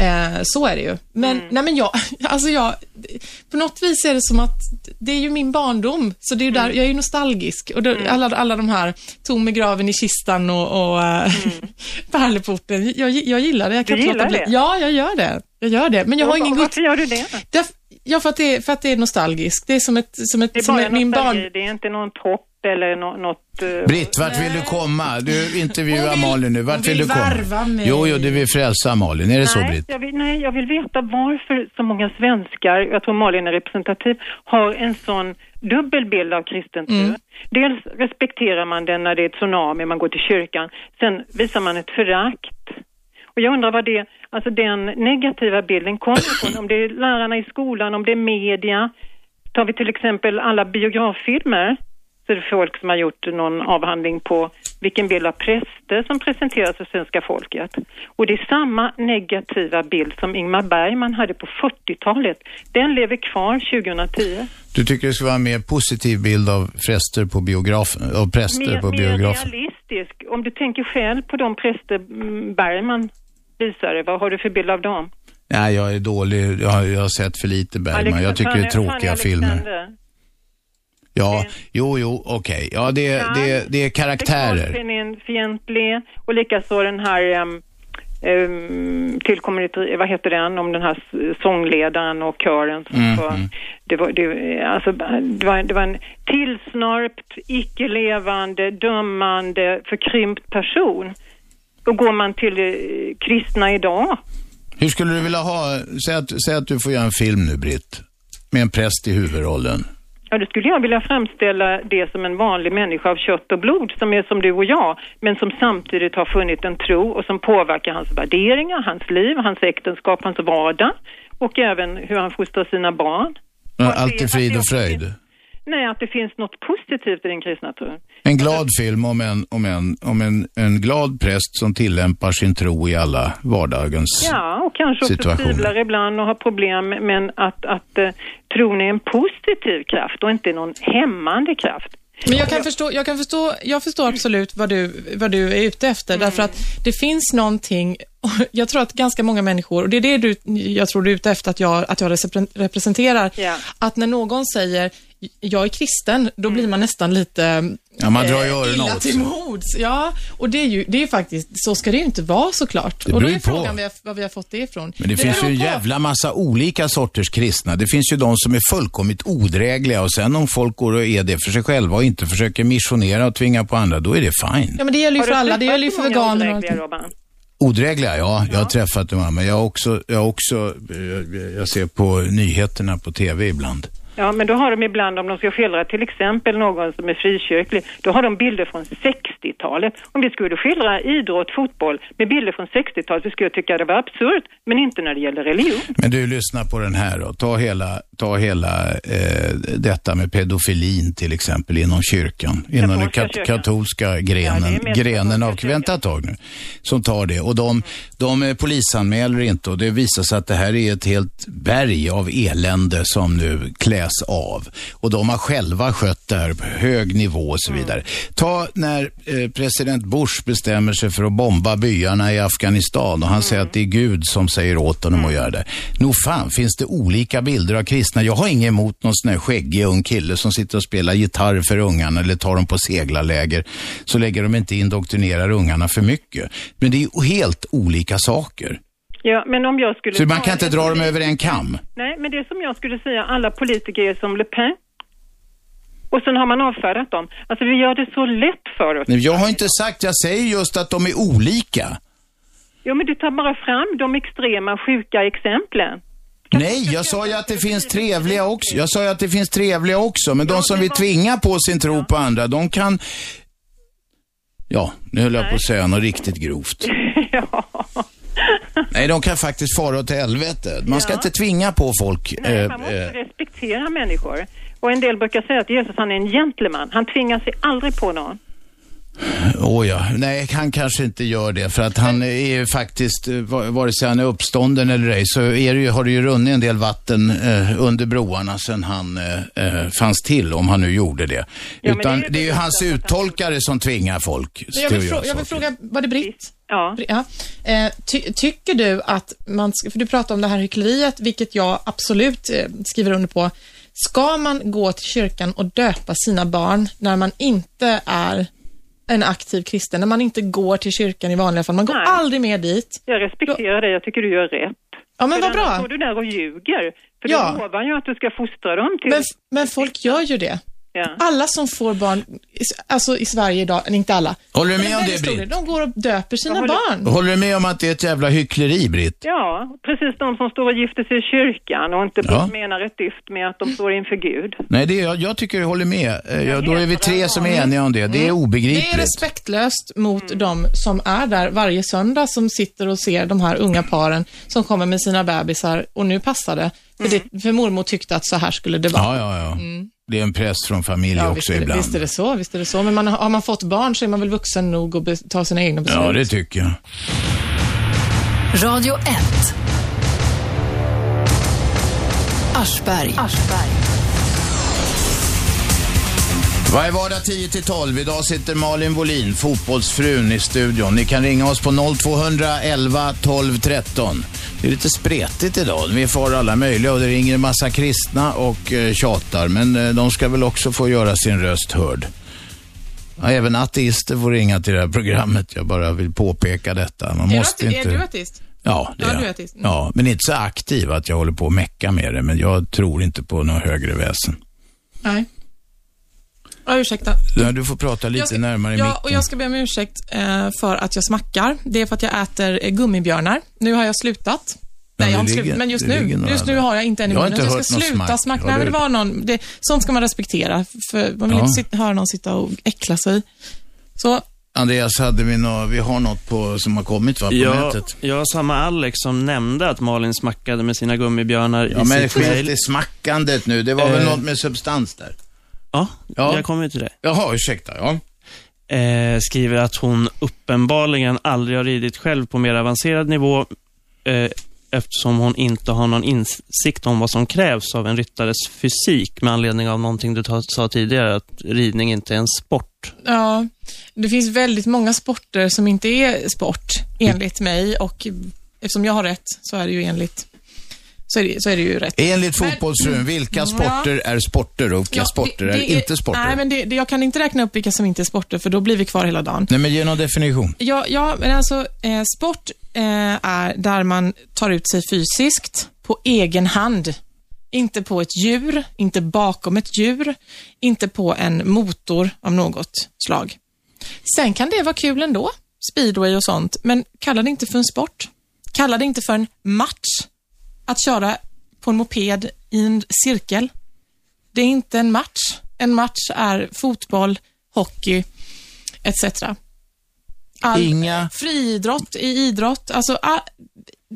C: Eh, så är det ju. Men, nej, men jag, (laughs) alltså jag, på något vis är det som att det är ju min barndom, så det är ju där, jag är ju nostalgisk. Och då, alla, alla de här, tom i graven i kistan och, och mm. pärleporten, jag, jag gillar det. Jag kan
I: Du
C: inte låta
I: gillar det?
C: bli. Ja, jag gör det. Jag gör det, men jag har ingen guds...
I: Varför gör du det?
C: Därf- Ja, för att, det, för att det är nostalgiskt. Det är som ett... Som ett
I: Det är
C: som
I: bara
C: ett, min
I: nostalgi,
C: barn...
I: det är inte någon topp eller nå- något... eh,
B: Britt, vart vill du komma? Du intervjuar Malin nu. Vart
C: hon
B: vill du
C: vill
B: komma?
C: varva mig.
B: Jo, jo, du vill frälsa Malin. Är det så
I: nej,
B: Britt?
I: jag vill, nej, jag vill veta varför så många svenskar, jag tror Malin är representativ, har en sån dubbel bild av kristen tro. Dels respekterar man den när det är tsunami, man går till kyrkan. Sen visar man ett förakt. Och jag undrar vad det, alltså den negativa bilden kommer ifrån. Om det är lärarna i skolan, om det är media. Tar vi till exempel alla biograffilmer så är det folk som har gjort någon avhandling på vilken bild av präster som presenteras för svenska folket. Och det är samma negativa bild som Ingmar Bergman hade på 40-talet. Den lever kvar 2010.
B: Du tycker det ska vara en mer positiv bild av präster på biografen? Av präster
I: Mer,
B: på
I: mer
B: biografen?
I: realistisk. Om du tänker själv på de präster mm, Bergman visade, vad har du för bild av dem?
B: Nej, jag är dålig. Jag har, jag har sett för lite Bergman. Jag tycker det är
I: Fanny-
B: tråkiga
I: Fanny
B: filmer.
I: Alexander.
B: Ja, jo, jo, okej. Ja, det, det, det är karaktärer.
I: Fientlig och likaså den här um, um, tillkommer det- vad heter den, om den här s- sångledaren och kören som
B: Mm,
I: var,
B: mm.
I: det var, det, alltså, det var, det var en tillsnörpt, icke-levande, dömande, förkrympt person. Och går man till eh, kristna idag,
B: Hur skulle du vilja ha... Säg att, säg att du får göra en film nu, Britt. Med en präst i huvudrollen.
I: Ja, då skulle jag vilja framställa det som en vanlig människa av kött och blod som är som du och jag, men som samtidigt har funnit en tro och som påverkar hans värderingar, hans liv, hans äktenskap, hans vardag och även hur han fostrar sina barn.
B: Allt i frid och fröjd.
I: Nej, att det finns något positivt i den kristna tron.
B: En glad film om en, om en, om en, en glad präst som tillämpar sin tro i alla vardagens...
I: Ja, och kanske också
B: Situationen.
I: tvivlar ibland och har problem, men att, att eh, tron är en positiv kraft och inte någon hämmande kraft.
C: Men jag kan förstå, jag kan förstå, jag förstår absolut vad du, vad du är ute efter,
I: Mm.
C: därför att det finns någonting, (laughs) och jag tror att ganska många människor, och det är det du, jag tror du är ute efter att jag, att jag represen- representerar,
I: Ja.
C: att när någon säger jag är kristen, då
I: Mm.
C: blir man nästan lite
B: Ja, man drar ju
C: eh,
B: öronen
C: illa
B: åt
C: till
B: sig.
C: mods. Ja, och det är ju det är faktiskt, så ska det ju inte vara såklart.
B: Det
C: och då
B: beror
C: är
B: ju på.
C: frågan var, var vi har fått det ifrån.
B: Men det finns ju
C: beror
B: en
C: på.
B: jävla massa olika sorters kristna. Det finns ju de som är fullkomligt odrägliga och sen om folk går och är det för sig själva och inte försöker missionera och tvinga på andra, då är det fine.
C: Ja, men det gäller ju
I: Har
C: för
I: du
C: alla, det
I: träffat
C: gäller ju
I: så
C: för
I: många
C: veganer och
I: odrägliga,
C: allting.
I: Robban?
B: Odrägliga, ja. Jag har träffat dem, men jag har också, jag har också, jag- jag ser på nyheterna på tv ibland.
I: Ja, men då har de ibland, om de ska skildra till exempel någon som är frikyrklig, då har de bilder från 60-talet. Om vi skulle skildra idrott, fotboll med bilder från 60-talet, så skulle jag tycka det var absurt, men inte när det gäller religion.
B: Men du, lyssna på den här då. Ta hela, ta hela eh, detta med pedofilin till exempel inom kyrkan. Inom den
I: Katolska
B: kat-
I: kyrkan.
B: katolska grenen,
I: Ja, det är mer
B: grenen av,
I: katolska
B: vänta ett tag nu, som tar det. Och de, de eh, polisanmäler inte och det visar sig att det här är ett helt berg av elände som nu kläs av. Och de har själva skött där på hög nivå och så
I: Mm.
B: vidare. Ta när eh, president Bush bestämmer sig för att bomba byarna i Afghanistan och han säger att det är Gud som säger åt honom att göra det. Nog fan finns det olika bilder av kristna. Jag har inget emot någon sån här skäggig ung kille som sitter och spelar gitarr för ungarna eller tar dem på seglarläger så länge de inte indoktrinerar ungarna för mycket. Men det är ju helt olika saker.
I: Ja, men om jag skulle
B: Så man
I: ta
B: kan inte
I: en
B: dra dem
I: polit-
B: över en kam.
I: Nej, men det är som jag skulle säga, alla politiker är som Le Pen. Och sen har man avfärdat dem. Alltså vi gör det så lätt för oss.
B: Nej, Jag har inte sagt, jag säger just att de är olika.
I: Jo, men du tar bara fram de extrema sjuka exemplen.
B: Nej, jag sa ju att det finns trevliga också. Jag sa ju att det finns trevliga också, men de som vill tvinga på sin tro på andra, de kan... Ja, nu höll jag på att säga något riktigt
I: (laughs)
B: grovt. Nej, de kan faktiskt fara åt helvete. Man ska inte tvinga på folk. eh,
I: Man måste
B: eh,
I: respektera människor. Och en del brukar säga att Jesus han är en gentleman. Han tvingar sig aldrig på någon.
B: Åh ja, nej han kanske inte gör det för att han är ju faktiskt, eh, va- vare sig han är uppstånden eller ej, så är det ju, har det ju runnit en del vatten eh, under broarna sedan han eh, eh, fanns till, om han nu gjorde det.
C: men
B: Utan
C: det
B: det
C: är
B: är,
C: ju
B: ju hans uttolkare som tvingar folk.
C: Men Jag
B: till
C: vill,
B: att
C: frå-
B: göra
C: jag vill
B: saker.
C: fråga, var det Britt?
I: Ja.
C: Eh, ty- tycker du att man, ska, för du pratar om det här hyckleriet, vilket jag absolut eh, skriver under på. Ska man gå till kyrkan och döpa sina barn när man inte är en aktiv kristen, när man inte går till kyrkan i vanliga fall? Man går aldrig mer dit.
I: Jag respekterar dig, jag tycker du gör rätt.
C: Ja, men vad
I: För annars
C: bra.
I: står du där och ljuger. För
C: Ja.
I: då lovar han ju att du ska fostra dem till...
C: Men, men folk gör ju det.
I: Ja.
C: Alla som får barn, i- alltså i Sverige idag, eller inte alla.
B: Håller du
C: men
B: med om
C: en
B: det,
C: väldigt stor
B: Britt?
C: del, De går och döper sina barn.
B: Håller du med om att det är ett jävla hyckleri, Britt?
I: Ja, precis de som står och gifter sig i kyrkan och inte
B: Ja.
I: menar ett dyft med att de står inför Gud.
B: Nej, det är, jag, jag tycker du håller med. Eh, ja, då är vi tre som är eniga om det. Det är
C: Mm. Det är
B: obegripligt.
C: respektlöst mot de som är där varje söndag som sitter och ser de här unga paren som kommer med sina bebisar och nu passar det. För, det, för mormor tyckte att så här skulle det vara.
B: Mm. Ja, ja, ja. Det är en press från familj
C: Mm. Ja, visst,
B: också
C: är det,
B: ibland.
C: visst är det så, visst är det så. Men man, har har man fått barn så är man väl vuxen nog att be, ta sina egna beslut.
B: ja, det tycker jag.
A: Radio 1. Aschberg.
B: Varje vardag 10-12. Idag sitter Malin Wohlin, fotbollsfrun, i studion. Ni kan ringa oss på 0211 12 13. Det är lite spretigt idag. Vi får alla möjliga och det ringer en massa kristna och eh, tjatar. Men eh, de ska väl också få göra sin röst hörd. Ja, även ateister får ringa till det här programmet. Jag bara vill påpeka detta. Man
C: Är,
B: måste
C: du,
B: inte...
C: är du artist?
B: Ja, det
C: Ja,
B: är
C: du är
B: jag.
C: ateist. Mm.
B: Ja, men inte så aktiv att jag håller på och mecka med det. Men jag tror inte på något högre väsen.
C: Nej. Ja, ursäkta.
B: Ja, Du får prata lite närmare
C: ja,
B: micken.
C: och jag ska be om ursäkt eh, för att jag smackar. Det är för att jag äter eh, gummibjörnar. Nu har jag slutat. Nej,
B: det
C: jag har inte
B: ligger-
C: slutat, men just
B: det ligger
C: nu,
B: några
C: just nu
B: där.
C: har jag inte en i
B: Jag har
C: munnen.
B: inte
C: Så jag
B: hört
C: ska
B: någon
C: sluta
B: smack.
C: smacka.
B: Ja,
C: Nej,
B: det-
C: men det var någon, det, sånt ska man respektera. För man vill
B: Ja.
C: inte sitta, höra någon sitta och äckla sig. Så,
B: Andreas, hade vi, nå, vi har något på, som har kommit va, på
H: Ja,
B: nätet?
H: jag har samma Alex som nämnde att Malin smackade med sina gummibjörnar
B: Ja,
H: i
B: men
H: sitt
B: skit
H: mejl.
B: i smackandet nu. Det var väl
H: Eh.
B: något med substans där?
H: Ja,
B: Ja.
H: jag kommer ju till det.
B: Jaha, ursäkta. Ja.
H: eh, skriver att hon uppenbarligen aldrig har ridit själv på mer avancerad nivå eh, eftersom hon inte har någon insikt om vad som krävs av en ryttares fysik med anledning av någonting du ta- sa tidigare, att ridning inte är en sport.
C: ja. Det finns väldigt många sporter som inte är sport,
B: Mm.
C: enligt mig. Och eftersom jag har rätt, så är det ju enligt... Så är det, så är det ju rätt. Mm.
B: Enligt fotbollsfrun, vilka sporter är sporter och vilka
C: Ja,
B: sporter
C: det-
B: är
C: det är-
B: inte sporter?
C: Nej, men det, det, jag kan inte räkna upp vilka som inte är sporter, för då blir vi kvar hela dagen.
B: Nej, men ge någon definition.
C: Ja, ja men alltså eh, sport eh, är där man tar ut sig fysiskt på egen hand. Inte på ett djur, inte bakom ett djur, inte på en motor av något slag. Sen kan det vara kul ändå, speedway och sånt, men kalla det inte för en sport. Kalla det inte för en match. Att köra på en moped i en cirkel. Det är inte en match. En match är fotboll, hockey, etc. All
B: Inga,
C: friidrott i idrott. Alltså, ah,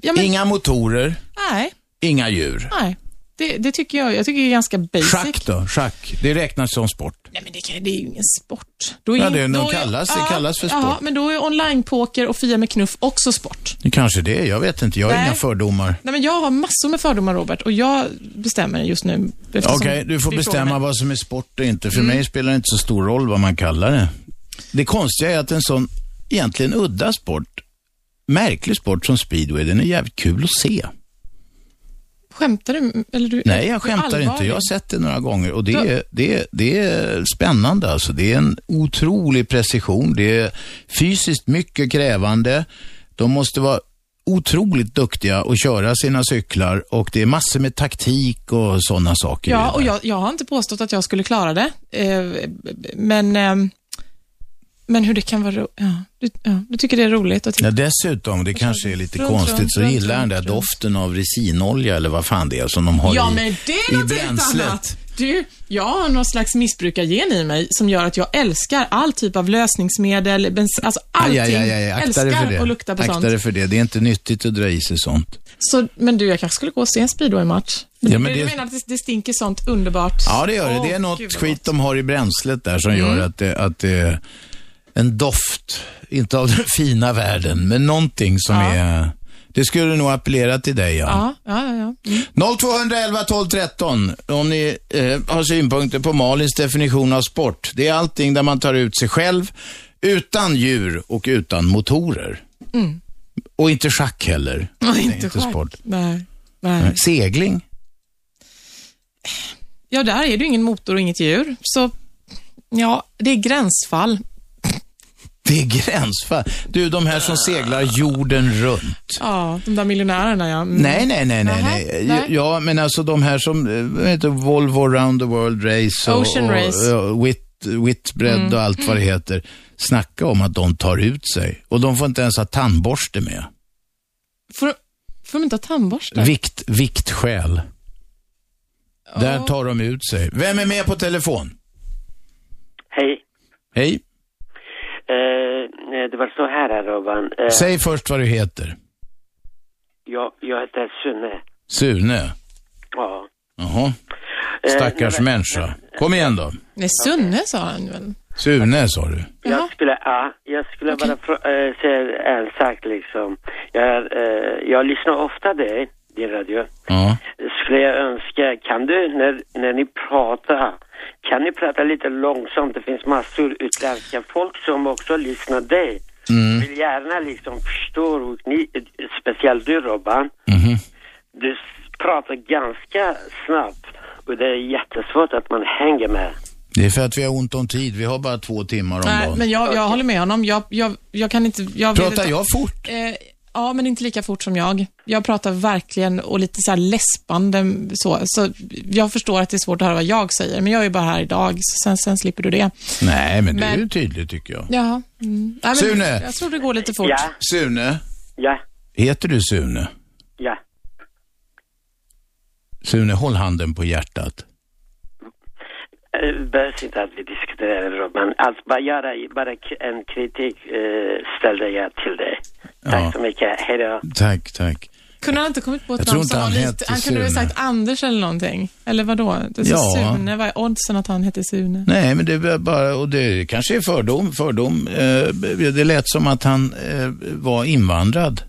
C: ja, men,
B: inga motorer,
C: nej,
B: inga djur.
C: nej. Det, det tycker jag, jag tycker det är ganska basic.
B: Schack då? Schack. Det räknas som sport.
C: Nej, men det, kan- det är ju ingen sport.
B: Ja,
C: ju-
B: det är- de
C: är-
B: kallas- det
C: ja,
B: kallas för sport.
C: Ja, men då är online-poker och Fia med knuff också sport.
B: Det kanske det är. Jag vet inte. Jag har
C: Nej.
B: inga fördomar.
C: Nej, men jag har massor med fördomar, Robert, och jag bestämmer just nu.
B: Okej,
C: eftersom
B: du får
C: vi frågar
B: bestämma
C: mig.
B: vad som är sport och inte.
C: Mm.
B: För mig spelar det inte så stor roll vad man kallar det. Det konstiga är att en sån egentligen udda sport, märklig sport som speedway, den är jävligt kul att se.
C: Skämtar du? Eller du
B: Nej, jag
C: du är
B: skämtar inte.
C: allvarlig.
B: Jag har sett det några gånger och det
C: Då-
B: är, det är, det är spännande alltså. Det är en otrolig precision. Det är fysiskt mycket krävande. De måste vara otroligt duktiga och köra sina cyklar och det är massor med taktik och sådana saker.
C: Ja, och jag, jag har inte påstått att jag skulle klara det. Eh, men, ehm, men hur det kan vara roligt. Ja, du, ja, du tycker det är roligt att titta.
B: Ja, dessutom, det kanske är lite
C: Runt,
B: konstigt,
C: runt,
B: så
C: runt,
B: gillar han den där doften av resinolja eller vad fan det är som de har
C: Ja,
B: i,
C: men det är
B: i
C: något helt
B: bränslet.
C: annat. Du, jag har någon slags missbrukargen i mig som gör att jag älskar all typ av lösningsmedel, bens, alltså allting.
B: Aj, aj, aj, aj, akta dig för
C: älskar
B: det.
C: att lukta på
B: akta
C: sånt.
B: dig för det. Det är inte nyttigt att dra i sig sånt.
C: Så, men du, jag kanske skulle gå och se en speedway-match.
B: Ja, men
C: men du
B: det-
C: menar att det, det stinker sånt underbart?
B: Ja, det gör det. Det är
C: Åh,
B: något
C: gud, vad Mm.
B: skit de har i bränslet där som gör att det, att det är en doft, inte av den fina världen, men någonting som är... Det skulle nog appellera till dig, ja.
C: Ja, ja, ja. ja.
B: 0211 12 13 om ni eh, har synpunkter på Malins definition av sport. Det är allting där man tar ut sig själv utan djur och utan motorer.
C: Mm.
B: Och inte schack heller.
C: Och
B: Det är
C: (laughs) inte schack.
B: sport.
C: Nej, nej.
B: Segling?
C: Ja, där är det ju ingen motor och inget djur. Så, ja, det är gränsfall.
B: Det är gränsfall. Du, de här som seglar jorden runt.
C: Ja, de där miljonärerna, ja. Mm.
B: Nej, nej, nej, nej. nej.
C: nej.
B: Ja, men alltså de här som, eh, vad heter Volvo Round the World Race och,
C: Ocean
B: och,
C: Race. Mm.
B: och Whit, Whitbread och allt vad det heter. Snacka om att de tar ut sig. Och de får inte ens ha tandborste med.
C: Får, får de inte ha tandborstar?
B: Vikt, viktskäl. Där tar de ut sig. Vem är med på telefon?
J: Hej.
B: Hej.
J: Eh, eh, det var så här, här, Robban. Eh,
B: Säg först vad du heter.
J: jag, jag heter Sune.
B: Sune.
J: Ja.
B: Jaha.
J: Eh,
B: Stackars
J: nej, men-
B: människa. Kom igen då.
C: Nej, Sunne sa han väl?
B: Sune sa du.
J: Jag skulle, ja, jag skulle bara frå- eh, säga en sak liksom. Jag, eh, jag lyssnar ofta dig, din radio.
B: Ja.
J: Skulle jag önska, kan du när, när ni pratar, kan ni prata lite långsamt? Det finns massor utländska folk som också lyssnar dig.
B: Mm.
J: Vill gärna liksom förstå, och ni, speciellt du Robban.
B: Mhm.
J: Du s- pratar ganska snabbt och det är jättesvårt att man hänger med.
B: Det är för att vi har ont om tid. Vi har bara två timmar om
C: Nej,
B: dagen.
C: men jag, jag håller med honom. Jag, jag, jag kan inte... Jag vet
B: Pratar
C: inte-
B: jag fort?
C: Eh, ja, men inte lika fort som jag. Jag pratar verkligen och lite så här läspande så. Så jag förstår att det är svårt att höra vad jag säger, men jag är ju bara här idag, så sen, sen slipper du det.
B: Nej, men, det är
C: Men-
B: ju tydligt tycker jag.
C: Ja. Mm. Nej, men
B: Sune.
C: Jag tror det går lite fort.
J: Ja,
B: Sune,
J: ja,
B: heter du Sune?
J: ja.
B: Sune, håll handen på hjärtat.
J: Eh, Behövs inte att vi diskuterar Robban. Alltså bara göra bara k- en kritik eh, ställde jag till dig.
B: Ja.
J: Tack så mycket, hej då.
B: Tack, tack.
C: Kunde han inte kommit på ett
B: Jag tror
C: namn
B: inte
C: som
B: han
C: var
B: hette
C: lite... Han kunde väl
B: Sune.
C: sagt Anders eller någonting? Eller vadå? Det är så
B: Ja.
C: Sune, vad är oddsen att han heter Sune?
B: Nej, men det är väl bara, och det kanske är fördom, fördom. Eh, det lät som att han eh, var invandrad.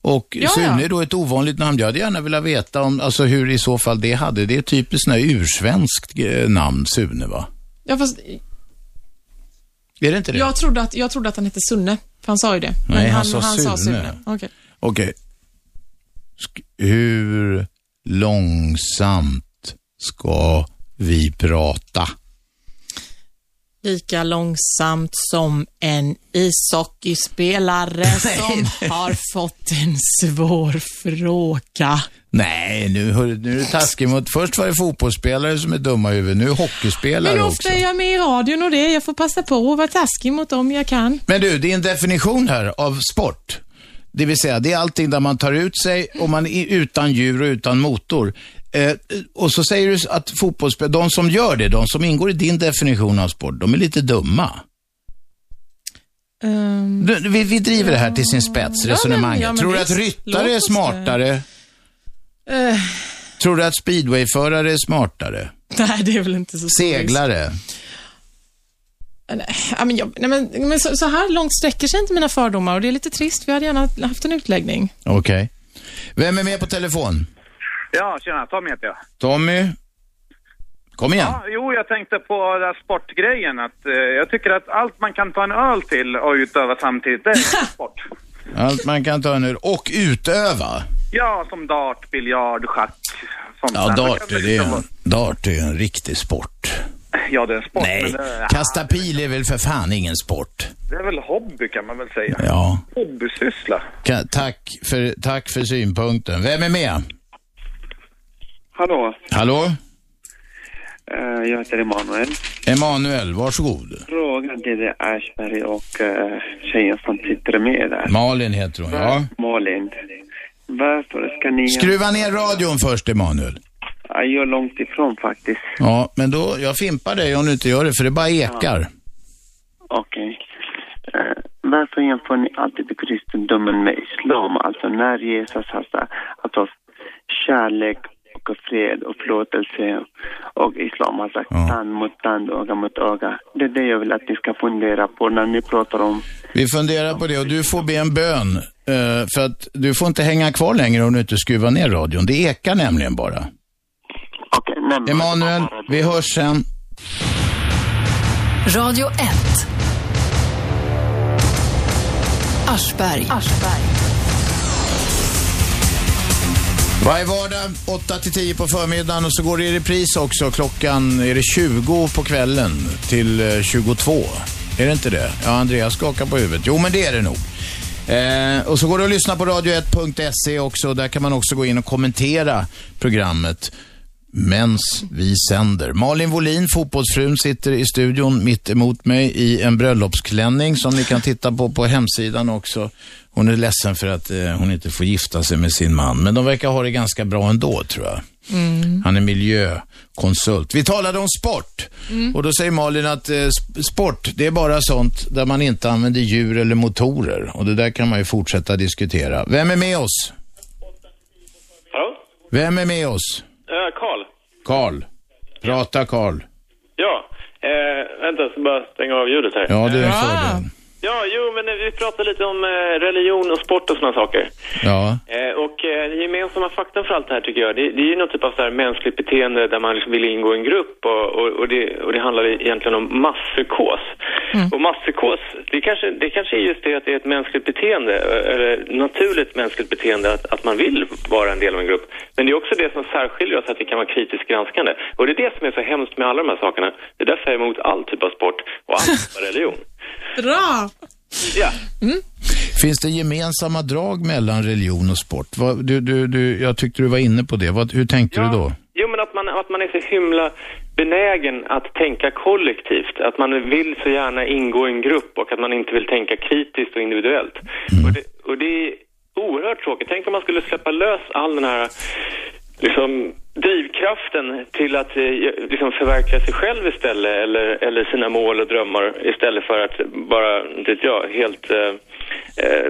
B: Och
C: Ja,
B: Sune
C: ja.
B: är då ett ovanligt namn. Jag hade gärna velat veta om, alltså hur i så fall det hade. Det är ett typiskt sån här ursvenskt eh, namn, Sune va?
C: Ja, fast,
B: Är det inte det?
C: jag, trodde att, jag trodde att han hette Sunne, för han sa ju det.
B: Nej, han sa Sune.
C: Okej.
B: Okej. Sk- hur långsamt ska vi prata?
C: Lika långsamt som en
B: (laughs)
C: ishockeyspelare som har fått en svår fråga.
B: Nej, nu, hör- nu är du taskig mot... Först var det fotbollsspelare som är dumma i huvudet, nu är hockeyspelare
C: Men
B: också.
C: ofta är jag med i radion och det, jag får passa på att vara taskig mot dem jag kan.
B: Men du, det är en definition här av sport. Det vill säga, det är allting där man tar ut sig och man är utan djur och utan motor. Eh, och så säger du att fotbollsspelare, de som gör det, de som ingår i din definition av sport, de är lite dumma.
C: Ehm,
B: Du, Vi, vi driver det här till sin spets,
C: Ja, men-
B: resonemanget.
C: ja, men
B: Tror du att
C: visst.
B: ryttare
C: Låt
B: är
C: oss det.
B: smartare?
C: eh, (laughs)
B: Tror du att speedwayförare är smartare?
C: Nej, det är väl inte så Eh,
B: Seglare?
C: Nej, ja, men, jag, nej, men, men så, så här långt sträcker sig inte mina fördomar och det är lite trist. Vi hade gärna haft en utläggning.
B: Okej. Vem är med på telefon?
K: Ja, tjena. Tommy heter jag.
B: Tommy? Kom igen.
K: Ja, jo, jag tänkte på den här sportgrejen. Att, eh, jag tycker att allt man kan ta en öl till och utöva samtidigt,
B: (laughs)
K: det är sport.
B: Allt man kan ta nu. Och utöva.
K: Ja, som dart, biljard, schack. Sånt
B: Ja,
K: där.
B: dart är, ju
K: liksom
B: en, dart är ju en riktig sport.
K: Ja, det är en sport.
B: Nej,
K: men
L: äh,
K: det,
B: kasta pil är väl för fan ingen sport.
K: det är väl hobby kan man väl säga.
B: Ja.
K: Hobbysyssla.
B: Ka- tack, för, tack för synpunkten. Vem är med?
M: Hallå,
B: Hallå?
M: eh, jag heter Emanuel.
B: Emanuel, varsågod.
M: Frågan till dig, Ashberg och eh, tjejen som sitter med där.
B: Malin heter hon, ja.
M: Malin. Varför ska ni...
B: Skruva ner radion först, Emanuel.
M: Ja, Jag är långt ifrån faktiskt.
B: Ja, men då, jag fimpar dig om du inte gör det, för det bara ekar.
M: Okej. Eh, varför jämför ni alltid kristendomen med islam? Alltså när Jesus har sagt att oss kärlek och fred och förlåtelse och islam har sagt tand mot tand, öga mot öga. Det är det jag vill att ni ska fundera på när ni pratar om
B: Vi funderar på det och du får be en bön. eh, För att du får inte hänga kvar längre om du inte skruvar ner radion. Det ekar nämligen bara. Emanuel, vi hörs sen.
A: Radio 1. Aschberg.
B: Varje vardag 8 till 10 på förmiddagen och så går det i repris också. Klockan är det 20 på kvällen till eh, 22. Är det inte det? Ja, Andreas skakar på huvudet. Jo, men det är det nog. Eh, och så går det att lyssna på radio1.se också. Där kan man också gå in och kommentera programmet mens vi sänder. Malin Wohlin, fotbollsfrun, sitter i studion mitt emot mig i en bröllopsklänning som ni kan titta på på hemsidan också. Hon är ledsen för att eh, hon inte får gifta sig med sin man, men de verkar ha det ganska bra ändå tror jag.
L: Mm.
B: Han är miljökonsult. Vi talade om sport
L: Mm.
B: och då säger Malin att eh, sp- sport, det är bara sånt där man inte använder djur eller motorer och det där kan man ju fortsätta diskutera. Vem är med oss?
N: Hallå?
B: Vem är med oss?
N: Eh, Karl?
B: Karl. Prata Karl.
N: Ja. Eh, vänta, jag ska bara stänga av ljudet här.
B: Ja, det är en fördel.
N: Ja, jo, men eh, vi pratade lite om eh, religion och sport och såna saker.
B: Ja.
N: Eh, och eh, den gemensamma faktorn för allt det här tycker jag, det, det är ju någon typ av så här mänskligt beteende där man liksom vill ingå i en grupp och, och, och, det, och det handlar egentligen om masspsykos. Och masspsykos, det kanske, det kanske är just det att det är ett mänskligt beteende, eh, eller naturligt mänskligt beteende att, att man vill vara en del av en grupp. Men det är också det som särskiljer oss, att vi kan vara kritiskt granskande. Och det är det som är så hemskt med alla de här sakerna. Det är därför jag är emot all typ av sport och all typ av religion.
C: Bra! Mm.
N: Ja.
B: Finns det gemensamma drag mellan religion och sport? Vad- Du, du, du, jag tyckte du var inne på det. Vad, hur tänkte du då?
N: Jo, men att man, att man är så himla benägen att tänka kollektivt. Att man vill så gärna ingå i en grupp och att man inte vill tänka kritiskt och individuellt. Och, det, och det är oerhört tråkigt. Tänk om man skulle släppa lös all den här liksom, drivkraften till att eh, liksom, förverkliga sig själv istället eller, eller sina mål och drömmar istället för att bara, inte vet jag, helt eh, eh,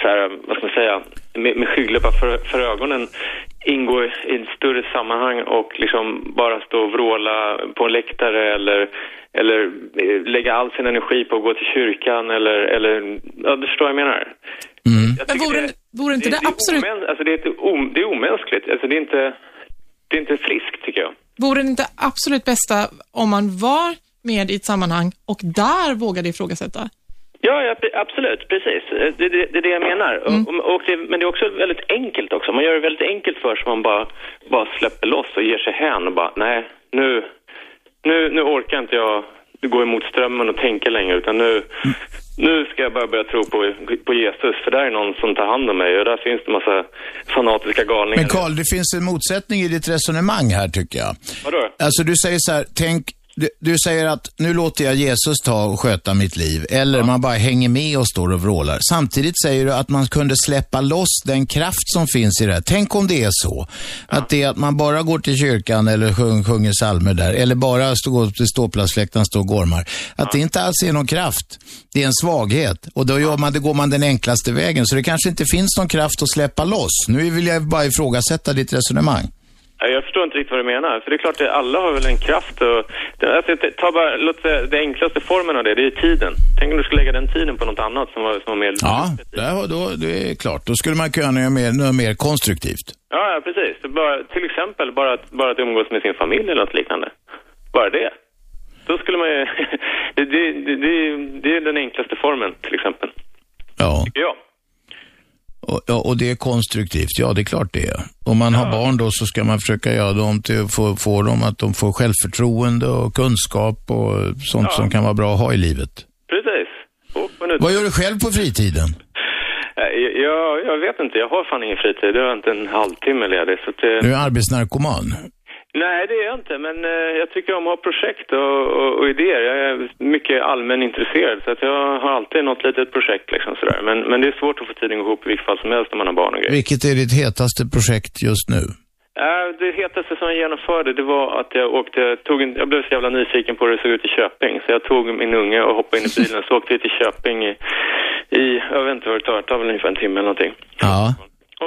N: så här, vad ska man säga, med, med skygglappar för, för ögonen ingå i i ett större sammanhang och liksom bara stå och vråla på en läktare eller, eller eh, lägga all sin energi på att gå till kyrkan eller, eller ja, du förstår vad jag menar. Jag
C: Men
N: tycker
C: vore,
N: det-
C: vore inte det,
N: det är
C: absolut...
N: omän- alltså det, är ett om, det är omänskligt. Alltså det är inte, det är inte friskt tycker jag.
C: Vore det inte absolut bästa om man var med i ett sammanhang och där vågade ifrågasätta?
N: Ja, ja pre- absolut, precis. Eh, Det, det, det är det jag menar. Och, och det, men det är också väldigt enkelt också. Man gör det väldigt enkelt för sig. Man bara, bara släpper loss och ger sig hän och bara, nej, nu, nu, nu orkar inte jag gå emot strömmen och tänka längre utan nu, nu ska jag bara börja tro på, på Jesus för där är någon som tar hand om mig och där finns det massa fanatiska galningar.
B: Men Karl, det finns en motsättning i ditt resonemang här tycker jag.
N: Vadå?
B: Alltså du säger så här, tänk, du, du säger att nu låter jag Jesus ta och sköta mitt liv, eller man bara hänger med och står och vrålar. Samtidigt säger du att man kunde släppa loss den kraft som finns i det här. Tänk om det är så, att det är att man bara går till kyrkan eller sjung, sjunger psalmer där, eller bara stå, går till ståplatsfläktarna och står och gormar. Att det inte alls är någon kraft, det är en svaghet. Och då, gör man, då går man den enklaste vägen, så det kanske inte finns någon kraft att släppa loss. Nu vill jag bara ifrågasätta ditt resonemang.
N: Nej, Jag förstår inte riktigt vad du menar. För det är klart att alla har väl en kraft. Och, det- alltså, t- ta bara, låt säga, den enklaste formen av det, det är tiden. Tänk om du skulle lägga den tiden på något annat som var, som var mer...
B: Ja, där, har- då, det är klart. Då skulle man kunna göra något mer, något mer konstruktivt.
N: Ja, ja, precis. Det är Bara, till exempel bara att, bara att umgås med sin familj eller något liknande. Bara det. Då skulle man ju... (laughs) det, det, det, det, det är den enklaste formen, till exempel.
B: Ja.
N: Ja.
B: Och, ja, och det är konstruktivt. Ja, det är klart det är. Om man har barn då så ska man försöka göra dem till, få, få dem att de får självförtroende och kunskap och sånt som kan vara bra att ha i livet.
N: Precis.
B: Vad gör du själv på fritiden?
N: Eh, Jag, jag vet inte, jag har fan ingen fritid. Jag har inte en halvtimme ledig. Så att det...
B: Du är arbetsnarkoman.
N: Nej, det är jag inte, men eh, jag tycker om att ha projekt och, och, och idéer. Jag är mycket allmänintresserad, så att jag har alltid något litet projekt liksom sådär. Men, men det är svårt att få tiden att gå ihop i vilket fall som helst när man har barn och grejer.
B: Vilket är ditt hetaste projekt just nu?
N: Eh, Det hetaste som jag genomförde, det var att jag åkte, tog en, jag blev så jävla nyfiken på hur det såg ut i Köping. Så jag tog min unge och hoppade in i bilen, så åkte vi till Köping i, i jag vet inte vad det tar, det tar väl ungefär en timme eller någonting.
B: Ja.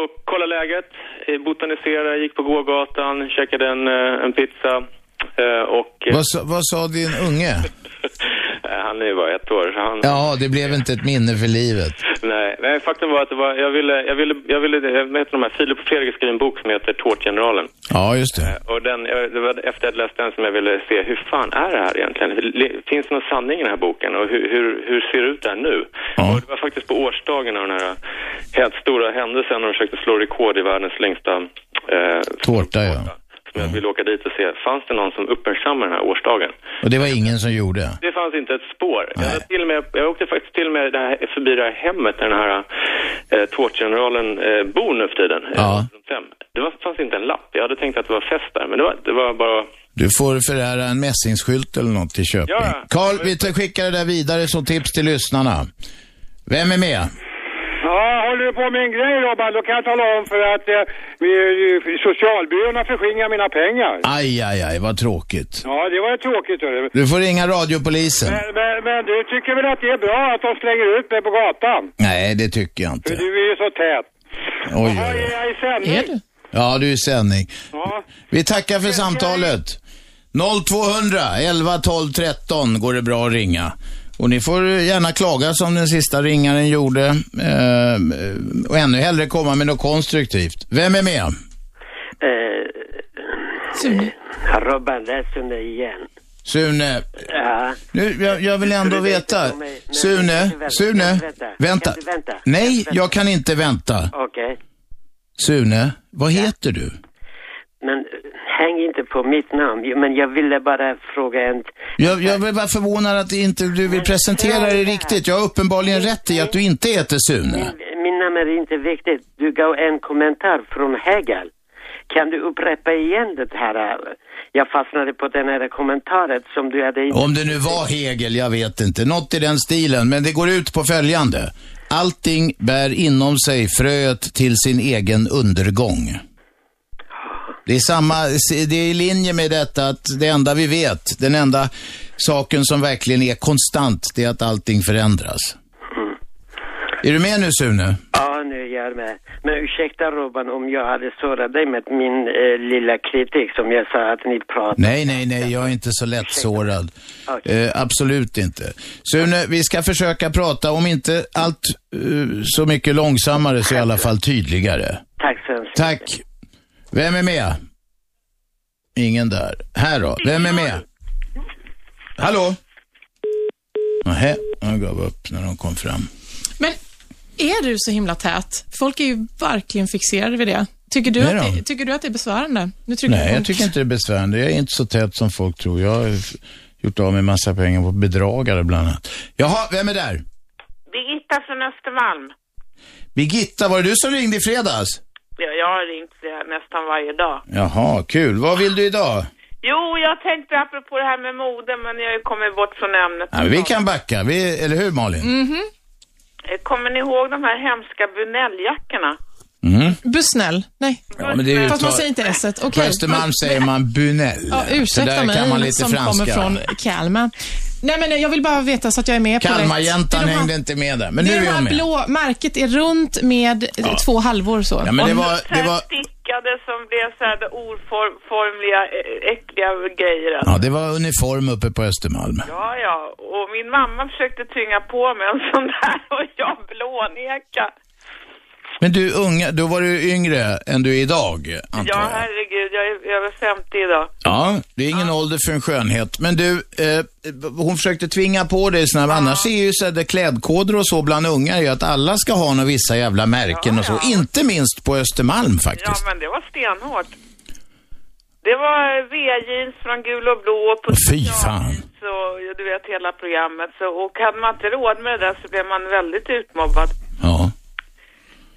N: Och kolla läget, eh, botanisera, gick på gågatan, käkade en, eh, en pizza eh, och eh,
B: Vad, sa, vad sa din unge?
N: eh, han är ju bara ett år. så Han,
B: Ja, det blev inte ett minne för livet.
N: nej, nej, faktum var att det var, jag ville, jag ville, jag ville, jag heter de här, Filip och Fredrik skrev en bok som heter Tårtgeneralen.
B: Ja, just det.
N: Och den, jag- det var efter att jag läst den som jag ville se, hur fan är det här egentligen? Le- Finns det någon sanning i den här boken och hur, hur, hur ser det ut där nu? Och det var faktiskt på årsdagen av den här helt stora händelsen när de försökte slå rekord i världens längsta eh,
B: Tårta, ja.
N: som jag ville åka dit och se, fanns det någon som uppmärksammade den här årsdagen?
B: Och det var ingen som gjorde.
N: Det fanns inte ett spår. Jag, var till och med, jag åkte faktiskt till och med det här, förbi det här hemmet där den här eh, tårtgeneralen eh, bor nu för tiden.
B: Ja.
N: Sen, Det var, fanns inte en lapp. Jag hade tänkt att det var fest där, men det var, det var bara...
B: Du får förära en mässingsskylt eller något till Köping.
N: Ja.
B: Karl, vi tar- skickar det där vidare som tips till lyssnarna. Vem är med?
L: Ja, håller du på med en grej Robban, då kan jag tala om för att eh, vi- eh, socialbyråerna förskingrar mina pengar.
B: Aj, aj, aj, vad tråkigt.
L: Ja, det var ju tråkigt. hörru.
B: Du får ringa radiopolisen.
L: Men, men, men du tycker väl att det är bra att de slänger ut mig på gatan?
B: Nej, det tycker jag inte.
L: För du är ju så tät.
B: Oj, oj.
L: Är jag i sändning? Är du?
B: Ja, du är i sändning.
L: Ja.
B: Vi tackar för samtalet. 0200 11 12 13 går det bra att ringa. Och ni får gärna klaga som den sista ringaren gjorde. Eh, och ännu hellre komma med något konstruktivt. Vem är med?
J: Eh, Robban, det är Sune igen.
B: Sune.
J: Ja.
B: Nu, jag, jag vill ändå veta.
J: om mig- nej,
B: Sune,
J: kan du
B: Sune,
J: vänta? Kan du
B: vänta.
J: vänta?
B: Nej, jag kan inte vänta.
J: Okej,
B: Sune, vad heter du?
J: men eh, häng inte på mitt namn. Jo, Men jag ville bara fråga en...
B: Jag, jag var förvånad att inte du vill presentera dig riktigt. Jag har uppenbarligen rätt i att du inte heter Sune.
J: Min namn är inte viktigt. Du gav en kommentar från Hegel. Kan du upprepa igen det här? eh, Jag fastnade på den här kommentaren som du hade... in-
B: Om det nu var Hegel, jag vet inte. Något i den stilen, men det går ut på följande. Allting bär inom sig fröet till sin egen undergång. Det är, samma, det är i linje med detta att det enda vi vet, den enda saken som verkligen är konstant, det är att allting förändras. Är du med nu Sune?
J: Ja, nu är jag med. Men ursäkta Robban om jag hade sårat dig med min eh, lilla kritik som jag sa att ni pratade.
B: Nej, nej, nej, jag är inte så lättsårad. Eh, absolut inte. Sune, vi ska försöka prata, om inte allt eh, så mycket långsammare så i alla fall tydligare.
J: Tack så hemskt
B: Tack. Vem är med? Ingen där. Här då, vem är med? Hallå? Nähä, jag gav upp när de kom fram.
C: Men är du så himla tät? Folk är ju verkligen fixerade vid det. Tycker du,
B: Nej
C: att
B: då.
C: det, tycker du att det är besvärande? Nu trycker
B: Nej,
C: på-
B: jag tycker inte det är besvärande. Jag är inte så tät som folk tror. Jag har gjort av med massa pengar på bedragare bland annat. Jaha, vem är där?
O: Birgitta från Östermalm.
B: Birgitta, var det du som ringde i fredags?
O: Ja, Jag har ringt eh, nästan varje dag.
B: Jaha, kul. Vad vill du idag?
O: Jo, jag tänkte apropå det här med mode, men jag har ju kommit bort från ämnet.
B: Ja, men vi kan backa, vi, eller hur Malin?
C: Mm-hmm.
O: Mhm. Eh, Kommer ni ihåg de här hemska bunelljackorna?
B: Mm.
C: Busnell? Nej.
B: Ja, men det är ju
C: Fast man
B: ta-
C: säger inte S. Okej.
B: På Östermalm säger man bunell.
C: Ja,
B: Så där
C: ursäkta mig
B: kan man lite
C: som
B: franska.
C: kommer från Kalmar. Nej, men jag vill bara veta så att jag är med på rätt.
B: Kalmarjäntan
C: Det är de här-
B: hängde inte med där, men
C: det
B: nu
C: är
B: är
C: de här
B: hon med.
C: blå, märket är runt med eh, två halvor så.
B: Ja, men det var, det var,
O: Stickade det som blev så här oformliga, eh, äckliga grejer. alltså.
B: Ja, det var uniform uppe på Östermalm.
O: Ja, ja. Och min mamma försökte tvinga på mig en sån där och jag blåneka.
B: Men du unga, då var du yngre än du är idag, antar
O: Ja,
B: jag.
O: herregud. Jag är över 50 idag.
B: Ja, det är ingen ålder för en skönhet. Men du, eh, hon försökte tvinga på dig såna, annars är ju så här, det klädkoder och så bland ungar är ju att alla ska ha några vissa jävla märken och så. Inte minst på Östermalm faktiskt.
O: Ja, men det var stenhårt. Det var V-jeans från gul och blå och på
B: Fy fan.
O: så, ja, du vet hela programmet. Så, och hade man inte råd med det där så blev man väldigt utmobbad.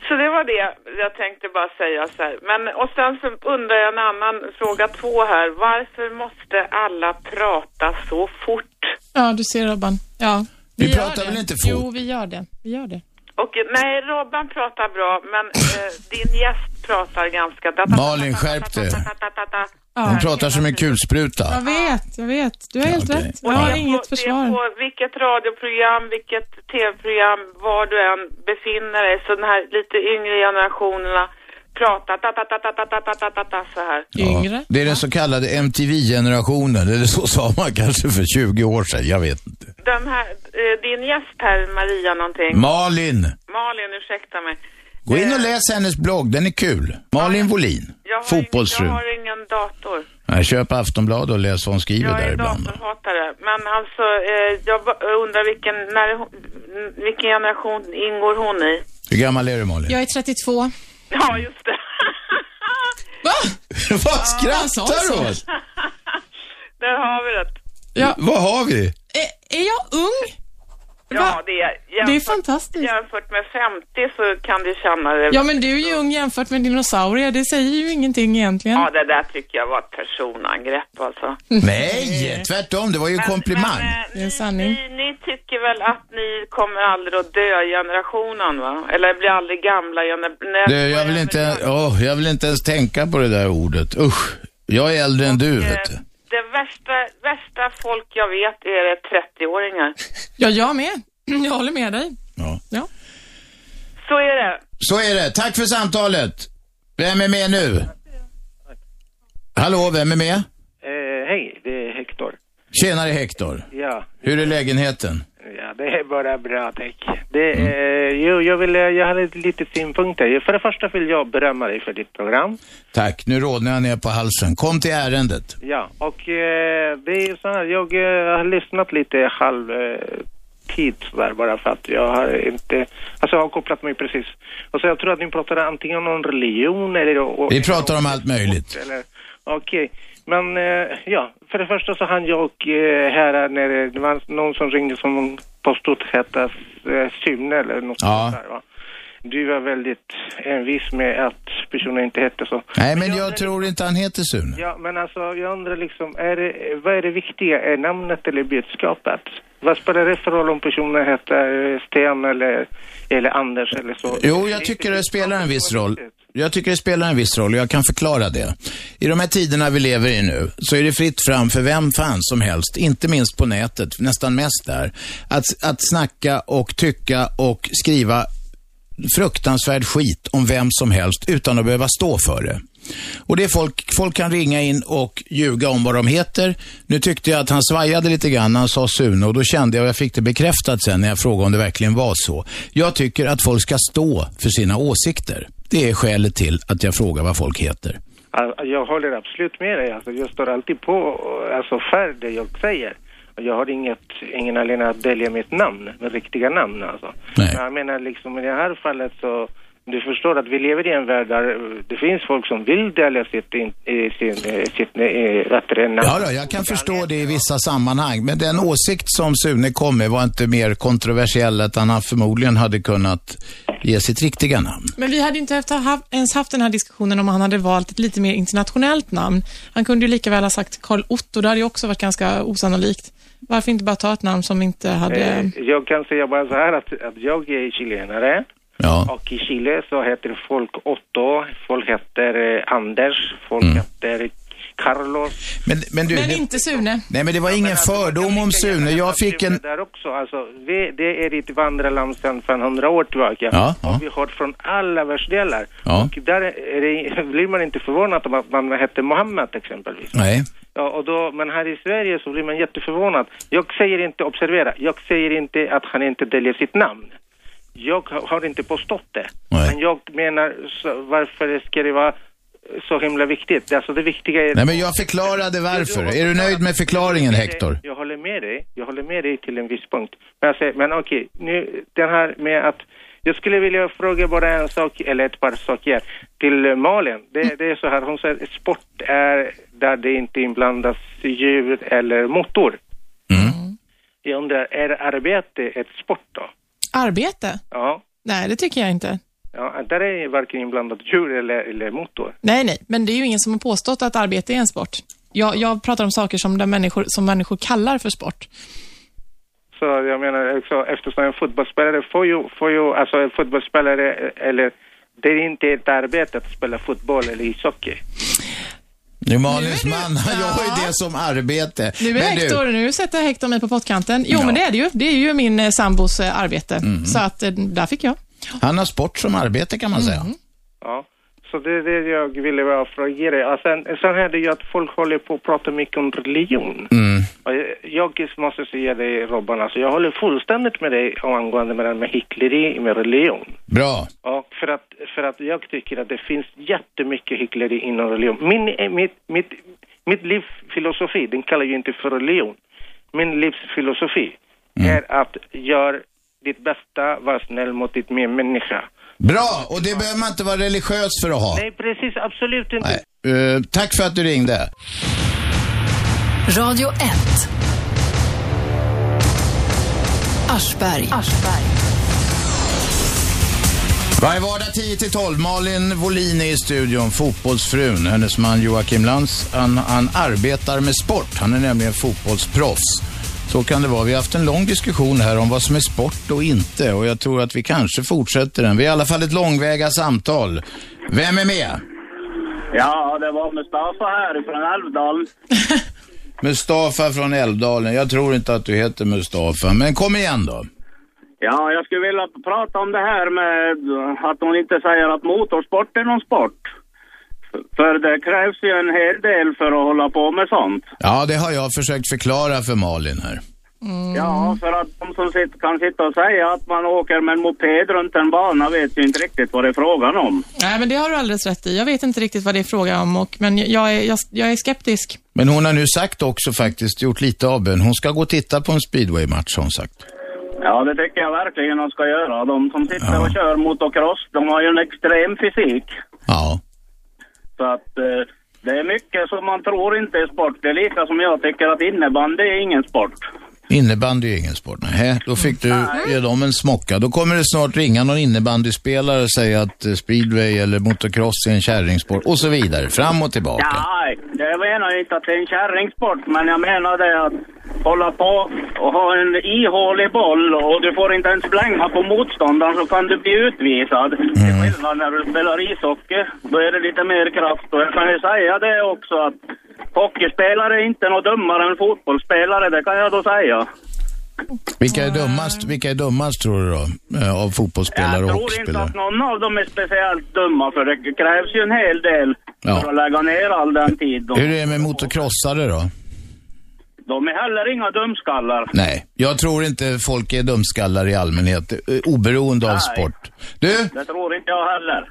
O: Så det var det jag tänkte bara säga så här. Men, och sen så undrar jag en annan, fråga två här. Varför måste alla prata så fort?
C: Ja, du ser Robban. Ja.
O: Vi
C: gör
O: pratar
C: det.
O: väl inte fort?
C: Jo, vi gör det. Vi gör det.
O: Och nej, Robban pratar bra, men eh, din gäst pratar ganska...
B: Malin, skärp dig. Hon pratar som en kulspruta.
C: Jag vet, jag vet. Du har helt rätt. Jag
O: Och det
C: har
O: är
C: inget
O: på, Det är
C: försvar.
O: på vilket radioprogram, vilket tv-program, var du än befinner dig, så den här lite yngre generationerna pratar ta ta ta ta ta ta ta ta ta ta så här.
C: Yngre?
B: Det är den så kallade MTV-generationen, eller så sa man kanske för 20 år sedan, jag vet inte.
O: Den här, eh, din gäst här, Maria någonting.
B: Malin!
O: Malin, ursäkta mig.
B: Gå in och läs hennes blogg, den är kul. Malin Wohlin,
O: Jag har,
B: fotbollsfru.
O: Ingen, jag har ingen dator.
B: Nej, Köp Aftonbladet och läs vad hon skriver
O: Jag
B: där
O: är
B: ibland.
O: datorhatare. Men alltså, eh, jag ba- undrar vilken, när, hon- vilken generation ingår hon i?
B: Hur gammal är du Malin?
C: Jag är 32.
O: Ja,
B: (laughs)
O: just det.
B: Vad
C: skrattar du åt?
O: (laughs) Där har vi det.
B: Vad har vi?
C: Är, är jag ung?
O: Ja, det är, jämfört,
C: Det är fantastiskt.
O: Jämfört med 50 så kan du känna det.
C: Ja, men du är ju ung jämfört med dinosaurier. Det säger ju ingenting egentligen.
O: Ja, det där tycker jag var ett personangrepp alltså.
B: Nej, tvärtom. Det var ju en komplimang.
C: Det är en sanning.
O: Ni, Eh, ni tycker väl att ni kommer aldrig att dö generationen va? Eller blir aldrig gamla generationen?
B: Du, jag vill inte, åh, jag vill inte ens tänka på det där ordet. Usch. Jag är äldre än
O: eh,
B: du, vet du.
O: Det värsta, värsta folk jag vet är 30-åringar.
C: Ja, jag med. (clears throat) Jag håller med dig.
O: Så är det.
B: Så är det. Tack för samtalet. Vem är med nu? Hallå, vem är med?
P: Eh, hej, det är Hector.
B: Tjenare Hector.
P: Ja,
B: Hur är lägenheten?
P: ja det är bara bra tack. Det, eh, jo, jag, vill, eh, jag hade lite synpunkter. För det första vill jag berömma dig för ditt program.
B: Tack, nu rodnar jag ner på halsen. Kom till ärendet.
P: Ja, och eh, det är så här, jag eh, har lyssnat lite halv eh, tid sådär bara för att jag har inte, alltså jag har kopplat mig precis. Och så jag tror att ni pratar antingen om religion eller... Och,
B: Vi pratar om allt möjligt.
P: Eller, Okej, men eh, ja, för det första så hann jag och, eh, här när det- det var någon som ringde som påstod heta eh, Sune eller något
B: Ja.
P: sånt där va. Du var väldigt envis med att personen inte hette så.
B: Nej, men jag tror inte han heter Sune.
P: Ja, men alltså jag undrar liksom, är det, vad är det viktiga? Är namnet eller budskapet? Vad spelar det för roll om personen heter eh, Sten eller, eller Anders eller så?
B: Jo, jag tycker det spelar en viss roll. Jag tycker det spelar en viss roll och jag kan förklara det. I de här tiderna vi lever i nu så är det fritt fram för vem fan som helst, inte minst på nätet, nästan mest där, att, att snacka och tycka och skriva fruktansvärd skit om vem som helst utan att behöva stå för det. Och det är folk, folk kan ringa in och ljuga om vad de heter. Nu tyckte jag att han svajade lite grann när han sa Sune och då kände jag, och jag fick det bekräftat sen när jag frågade om det verkligen var så. Jag tycker att folk ska stå för sina åsikter. Det är skälet till att jag frågar vad folk heter.
P: Al- Jag håller absolut med dig, alltså, jag står alltid på alltså, för det jag säger. Och Jag har inget, ingen anledning att dölja mitt namn, mitt riktiga namn alltså.
B: Nej.
P: Men jag menar liksom i det här fallet så, du förstår att vi lever i en värld där eh, det finns folk som vill dölja sitt, in, eh, sin, eh, sitt, eh, vad heter det, namn.
B: Ja, då, jag kan förstå det i vissa sammanhang, men den åsikt som Sune kom med var inte mer kontroversiell än att han förmodligen hade kunnat ge sitt riktiga namn.
C: Men vi hade inte haft, ha- ens haft den här diskussionen om han hade valt ett lite mer internationellt namn. Han kunde ju lika väl ha sagt Karl Otto, det hade ju också varit ganska osannolikt. Varför inte bara ta ett namn som inte hade...
P: Eh, jag kan säga bara så här att, att jag är chilenare. Och i
B: Mm.
P: Chile så heter folk Otto, folk heter eh, Anders, folk heter Carlos.
B: Men, men du,
C: Men
B: det,
C: inte Sune.
B: nej men det var ingen fördom om Sune. Jag fick en...
P: Där också, alltså, vi, det är ett vandrarland sedan 500 år tillbaka.
B: Ja, ja.
P: Och vi har från alla världsdelar.
B: Ja.
P: Och där är det, (laughs) blir man inte förvånad om att man hette Mohammed exempelvis.
B: Nej.
P: Ja, och då, men här i Sverige så blir man jätteförvånad. Jag säger inte, observera, jag säger inte att han inte döljer sitt namn. Jag har- har inte påstått det. Men jag menar, så, varför ska det vara så himla viktigt? Alltså det viktiga är...
B: Nej men jag förklarade varför. Är du nöjd med förklaringen Hector?
P: Jag håller med dig. Jag håller med dig till en viss punkt. Men, jag säger, men okej, nu den här med att... Jag skulle vilja fråga bara en sak, eller ett par saker, till eh, Malin. Det, det är så här, hon säger att sport är där det inte inblandas djur eller motor. Jag undrar, är arbete ett sport då?
C: Arbete?
P: Ja,
C: Nej, det tycker jag inte.
P: ja där är varken inblandat djur eller, eller motor.
C: Nej, nej, men det är ju ingen som har påstått att arbete är en sport. Jag, jag pratar om saker som, där människor, som människor kallar för sport.
P: Så jag menar, också, eftersom en fotbollsspelare får ju, får ju, alltså en fotbollsspelare, eh, eller det är inte ett arbete att spela fotboll eller ishockey.
B: Nu Malins man, han gör ju det som arbete.
C: Nu, är
B: Men
C: Hector, nu sätter Hector mig på pottkanten. Jo, men det är det ju. Det är ju min eh, sambos eh, arbete. Så att eh, där fick jag. Mm.
B: han har sport som arbete Mhm. kan man säga.
P: Ja, så det är det jag ville bara fråga dig. Och sen, sen är det ju att folk håller på att prata mycket om religion. Och jag, jag måste säga dig Robban, alltså jag håller fullständigt med dig om angående med det här med hyckleri med religion.
B: Bra.
P: Och för att, för att jag tycker att det finns jättemycket hyckleri inom religion. Min, eh, mitt, mitt, mitt livsfilosofi, den kallar jag ju inte för religion. Min livsfilosofi är att gör ditt bästa, var snäll mot ditt medmänniska.
B: Bra, och det behöver man inte vara religiös för att ha.
P: Nej, precis, absolut inte.
B: Nej. Eh, tack för att du ringde.
A: Radio 1. Aschberg.
B: Varje vardag 10-12, Malin Wohlin är i studion, fotbollsfrun. Hennes man Joakim Lantz, han, han arbetar med sport. Han är nämligen fotbollsproffs. Så kan det vara. Vi har haft en lång diskussion här om vad som är sport och inte och jag tror att vi kanske fortsätter den. Vi har i alla fall ett långväga samtal. Vem är med?
Q: Ja, det var Mustafa här från Älvdalen.
B: Mustafa från Älvdalen. Jag tror inte att du heter Mustafa, men kom igen då.
Q: Ja, jag skulle vilja prata om det här med att hon inte säger att motorsport är någon sport. För det krävs ju en hel del för att hålla på med sånt.
B: Ja, det har jag försökt förklara för Malin här. Mm.
Q: Ja, för att de som sit, kan sitta och säga att man åker med en moped runt en bana vet ju inte riktigt vad det är frågan om.
C: Nej, men det har du alldeles rätt i. Jag vet inte riktigt vad det är fråga om, och, men jag är, jag, jag är skeptisk.
B: Men hon har nu sagt också faktiskt, gjort lite avbön, hon ska gå och titta på en speedwaymatch har hon sagt.
Q: Ja, det tycker jag verkligen de ska göra. De som sitter och kör motocross, de har ju en extrem fysik.
B: Ja.
Q: Så att eh, det är mycket som man tror inte är sport. Det är lika som jag tycker att innebandy är ingen sport.
B: Innebandy är ingen sport. Nej, då fick du ge dem en smocka. Då kommer det snart ringa någon innebandyspelare och säga att eh, speedway eller motocross är en kärringsport och så vidare. Fram och tillbaka.
Q: Nej, jag menar ju inte att det är en kärringsport, men jag menar det att hålla på och ha en ihålig boll och du får inte ens blänga på motståndaren så kan du bli utvisad.
B: Mm.
Q: Till skillnad när du spelar ishockey, då är det lite mer kraft. Och jag kan ju säga det också att hockeyspelare är inte något dummare än fotbollsspelare, det kan jag då säga.
B: Vilka är dummast, vilka är dummast tror du då? eh, Av fotbollsspelare och
Q: Jag tror inte
B: hockeyspelare?
Q: att någon av dem är speciellt dumma för det krävs ju en hel del
B: Ja.
Q: för att lägga ner all den tid. De,
B: Hur är det med motocrossare då?
Q: de är heller inga dumskallar.
B: Nej, jag tror inte folk är dumskallar i allmänhet, eh, oberoende av
Q: Nej.
B: sport. Du,
Q: Det tror inte jag heller.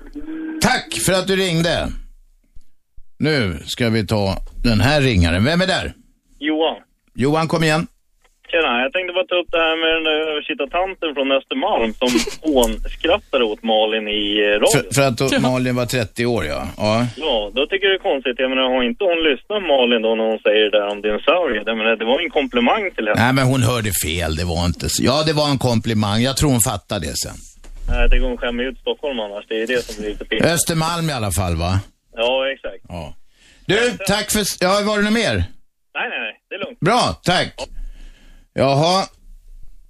B: tack för att du ringde. Nu ska vi ta den här ringaren. Vem är där?
R: Johan,
B: Johan, kom igen.
R: tjena. Jag tänkte bara ta upp det här med den där översitta tanten från Östermalm
K: (laughs)
R: som hånskrattade åt Malin i eh, radio.
B: För, för att då Malin var 30 år, ja. ja.
R: Ja, då tycker jag det är konstigt. Jag menar, har inte hon lyssnat på Malin då när hon säger det där om dinosaurier? Jag menar, det var ju en komplimang till henne.
B: Nej, men hon hörde fel. Det var inte så. Ja, det var en komplimang. Jag tror hon fattade det sen.
R: Nej, jag tycker hon skämmer ut Stockholm annars. Det är det som blir lite pinsamt.
B: Östermalm i alla fall, va?
R: Ja, exakt.
B: Ja. Du, tack för... Ja, var det något mer?
R: Nej, nej, nej. Det är lugnt.
B: Bra, tack. Jaha.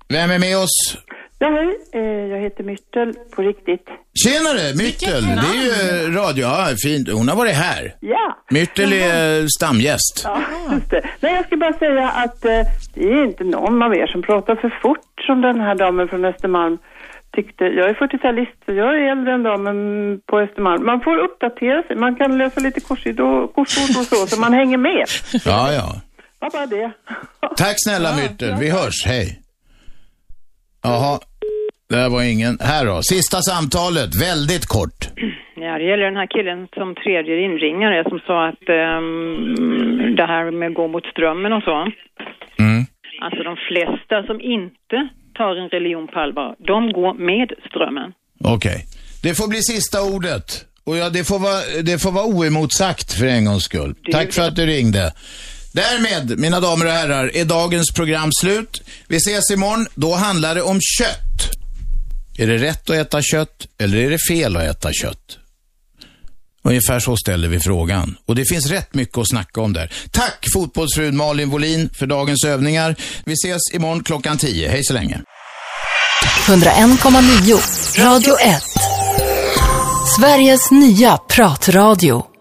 B: Vem är med oss?
S: Ja, hej. Eh, Jag heter Myrtel på riktigt.
B: Tjenare, Myrtel! Det är ju eh, radio. Ja, fint. Hon har varit här.
S: Ja.
B: Myrtel är stamgäst.
S: Ja, just det. Nej, jag ska bara säga att eh, det är inte någon av er som pratar för fort som den här damen från Östermalm tyckte. Jag är 40-talist så jag är äldre än damen på Östermalm. Man får uppdatera sig. Man kan lösa lite korsord och, korsord och så, så man hänger med.
B: Ja, ja.
S: Ja, bara det.
B: Tack snälla Myrtel. Vi hörs. Hej. Jaha, det här var ingen. Här då. Sista samtalet. Väldigt kort.
I: Ja, det gäller den här killen som tredje inringare som sa att ehm, det här med att gå mot strömmen och så. Alltså de flesta som inte tar en religion på allvar, de går med strömmen.
B: Okej. Det får bli sista ordet. Och ja, det får vara, det får vara oemotsagt för en gångs skull. Tack för att du ringde. Därmed, mina damer och herrar, är dagens program slut. Vi ses imorgon. Då handlar det om kött. Är det rätt att äta kött eller är det fel att äta kött? Ungefär så ställer vi frågan. Och det finns rätt mycket att snacka om där. Tack fotbollsfrun Malin Wohlin för dagens övningar. Vi ses imorgon klockan 10. Hej så länge.
A: 101,9. Radio 1. Sveriges nya pratradio.